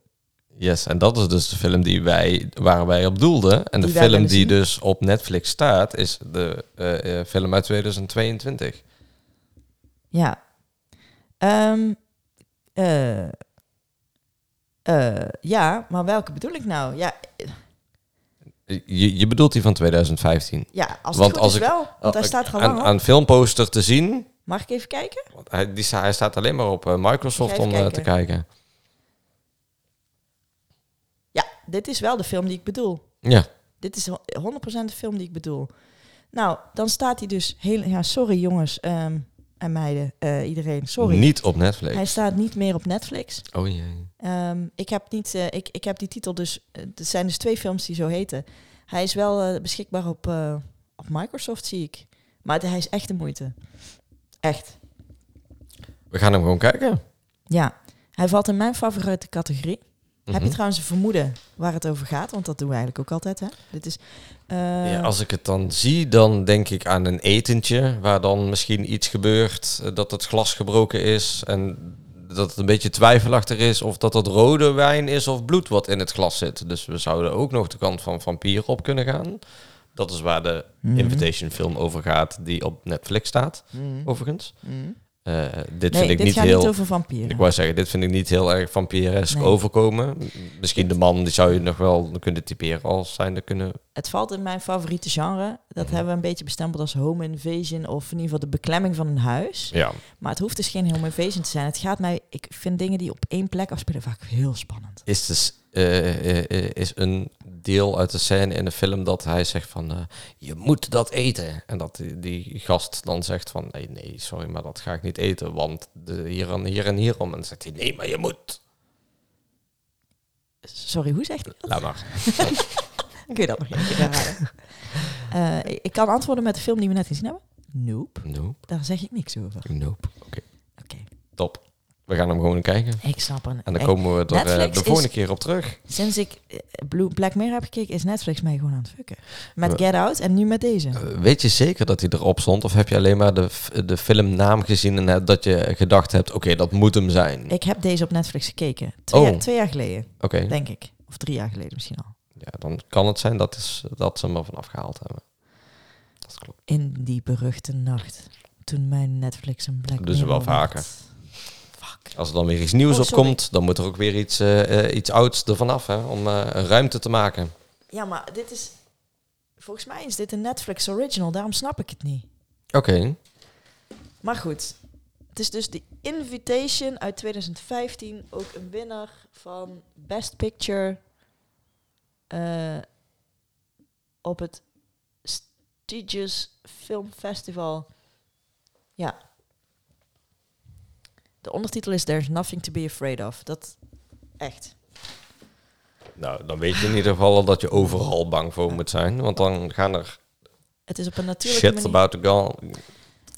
Yes, en dat is dus de film die wij, waar wij op doelden. En Die de wij film willen die zien. dus op Netflix staat, is de eh, eh, film uit 2022. Ja. Ehm, eh, eh, ja, maar welke bedoel ik nou? Ja, Je, je bedoelt die van 2015. ja als het Want goed als is ik- wel. Want hij Oh, staat er al lang Aan, op. aan filmposter te zien. Mag ik even kijken? Want hij, die, sta- hij staat alleen maar op eh, Microsoft Even om eh, kijken. te kijken. Ja, dit is wel de film die ik bedoel. Ja. Dit is ho- 100% de film die ik bedoel. Nou, dan staat hij dus heel. Ja, sorry jongens ehm, en meiden, eh, iedereen. Sorry. Niet op Netflix. Hij staat niet meer op Netflix. Oh jee. Ehm, ik, heb niet, eh, ik, ik heb die titel dus. eh, er zijn dus twee films die zo heten. Hij is wel eh, beschikbaar op, eh, op Microsoft, zie ik. Maar het- hij is echt de moeite. Echt. We gaan hem gewoon kijken. Ja. Hij valt in mijn favoriete categorie. Heb Mhm. je trouwens een vermoeden waar het over gaat? Want dat doen we eigenlijk ook altijd, hè? Dit is. eh, Ja, als ik het dan zie, dan denk ik aan een etentje waar dan misschien iets gebeurt, eh, dat het glas gebroken is en dat het een beetje twijfelachtig is of dat het rode wijn is of bloed wat in het glas zit. Dus we zouden ook nog de kant van vampier op kunnen gaan. Dat is waar de mhm. Invitation film over gaat, die op Netflix staat, Mhm. overigens. Mhm. Eh, dit nee, vind ik dit niet gaat heel... niet over vampieren. Ik wou zeggen, dit vind ik niet heel erg vampiresk Nee. overkomen. Misschien de man, die zou je nog wel kunnen typeren als zijnde kunnen... Het valt in mijn favoriete genre. Dat Mhm. hebben we een beetje bestempeld als home invasion of in ieder geval de beklemming van een huis. Ja. Maar het hoeft dus geen home invasion te zijn. Het gaat mij, ik vind dingen die op één plek afspelen vaak heel spannend. is, dus, eh, eh, eh, is een deel uit de scène in de film dat hij zegt van eh, je moet dat eten. En dat die, die gast dan zegt van nee, nee, sorry, maar dat ga ik niet eten. Want de, hier en hier en hierom. En dan zegt hij nee, maar je moet. Sorry, hoe zegt hij dat? Laat maar. Kun je dat nog een keer herhalen? <laughs> Eh, ik kan antwoorden met de film die we net gezien hebben. Nope, Nope, daar zeg ik niks over. nope. Oké. Top. We We gaan hem gewoon kijken. Ik snap het. En Ik- dan komen we er eh, Netflix de is- volgende keer op terug. Sinds ik eh, Blue Black Mirror heb gekeken, is Netflix mij gewoon aan het fucken. Met We- Get Out en nu met deze. Eh, Weet je zeker dat hij erop stond? Of heb je alleen maar de, f- de filmnaam gezien en eh, dat je gedacht hebt... oké, dat moet hem zijn. Ik heb deze op Netflix gekeken. Twee, Oh. jaar, twee jaar geleden, Oké, denk ik. Of drie jaar geleden misschien al. ja, dan kan het zijn dat, is, dat ze hem ervan afgehaald hebben. Dat klopt. In die beruchte nacht. Toen mijn Netflix een Black Dat doen ze Mirror Dus wel vaker. werd. Fuck. Als er dan weer iets nieuws Oh, op sorry. komt, dan moet er ook weer iets, eh, eh, iets ouds ervan af, hè, om eh, een ruimte te maken. Ja, maar dit is... Volgens mij is dit een Netflix original. Daarom snap ik het niet. Oké, Maar goed. Het is dus de Invitation uit 2015. Ook een winnaar van Best Picture. eh, op het Stiges Film Festival. Ja. De ondertitel is There's Nothing to Be Afraid of. Dat echt. nou dan weet je in ieder geval al dat je overal bang voor moet zijn. Want dan gaan er Het is op een natuurlijke shit manier. about to go.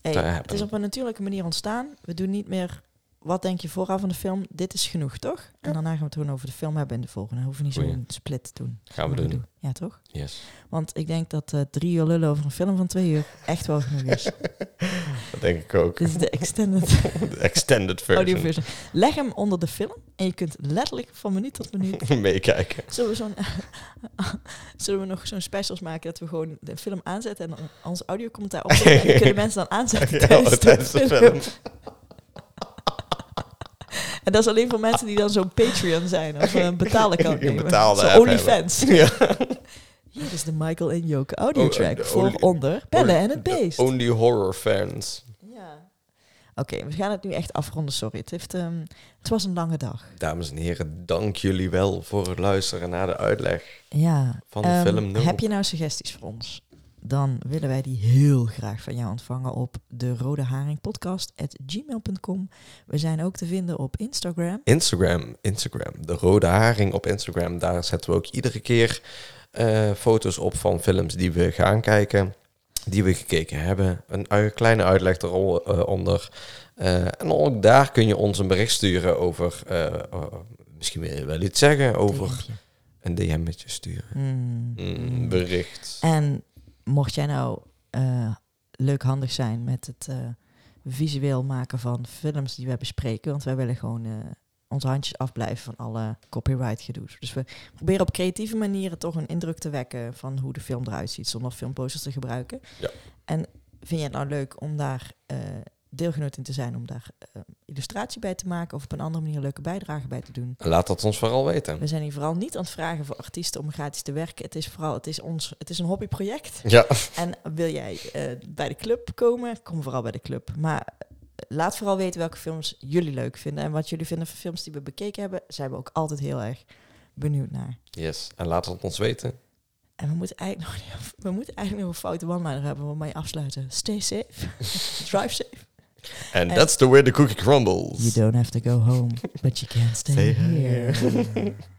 Hey, te het hebben. is op een natuurlijke manier ontstaan. We doen niet meer wat denk je vooraf van de film. Dit is genoeg, toch? En daarna gaan we het gewoon over de film hebben in de volgende. Dan hoeven we niet Goeie. zo'n split te doen. Gaan we doen. Ja, toch? Yes. Want ik denk dat eh, drie uur lullen over een film van twee uur echt wel genoeg <laughs> is. Dat denk ik ook. Dit is de extended De extended audio version. version. Leg hem onder de film en je kunt letterlijk van minuut tot <laughs> minuut... <laughs> Meekijken. Zullen we, zo'n, <laughs> zullen we nog zo'n specials maken dat we gewoon de film aanzetten en dan ons audiocommentaar opzetten? En die <laughs> kunnen mensen dan aanzetten Ja, tijdens, tijdens de, de film. film. En dat is alleen voor mensen die dan zo'n Patreon zijn of een betalen <laughs> kan Een nemen. betaalde Zo'n app OnlyFans. <laughs> Ja. Hier is de Michael en Joke audio Oh, track de voor only- onder <laughs> Bellen en het Beest. Only horror fans. Ja. Oké, we gaan het nu echt afronden, sorry. Het, heeft, ehm, het was een lange dag. Dames en heren, dank jullie wel voor het luisteren naar de uitleg. Ja. Van de ehm, film nul. Heb je nou suggesties voor ons? Dan willen wij die heel graag van jou ontvangen op de Rode Haring gmail.com. We zijn ook te vinden op Instagram. Instagram, Instagram, de rode haring op Instagram. Daar zetten we ook iedere keer eh, foto's op van films die we gaan kijken, die we gekeken hebben. Een ui- kleine uitleg eronder. Eh en ook daar kun je ons een bericht sturen over, eh, eh, misschien wil je wel iets zeggen, over DM'tje. een DM'tje sturen. Hmm. Een bericht. En mocht jij nou eh, leuk handig zijn met het eh, visueel maken van films die wij bespreken, want wij willen gewoon eh, onze handjes afblijven van alle copyright gedoe's. Dus we proberen op creatieve manieren toch een indruk te wekken van hoe de film eruit ziet, zonder filmposters te gebruiken. Ja. En vind je het nou leuk om daar eh, deelgenoot in te zijn, om daar eh, illustratie bij te maken of op een andere manier leuke bijdrage bij te doen? Laat dat ons vooral weten. We zijn hier vooral niet aan het vragen voor artiesten om gratis te werken. Het is vooral, het is ons, het is een hobbyproject. Ja, En wil jij eh, bij de club komen? Kom vooral bij de club. Maar eh, laat vooral weten welke films jullie leuk vinden. En wat jullie vinden van films die we bekeken hebben, zijn we ook altijd heel erg benieuwd naar. yes. En laat het ons weten. En we moeten eigenlijk nog, niet over- we moeten eigenlijk nog een foute one-liner hebben om mee afsluiten. Stay safe. <laughs> Drive safe. And En- that's the way the cookie You crumbles. don't have to go home, but you can't stay, Stay here.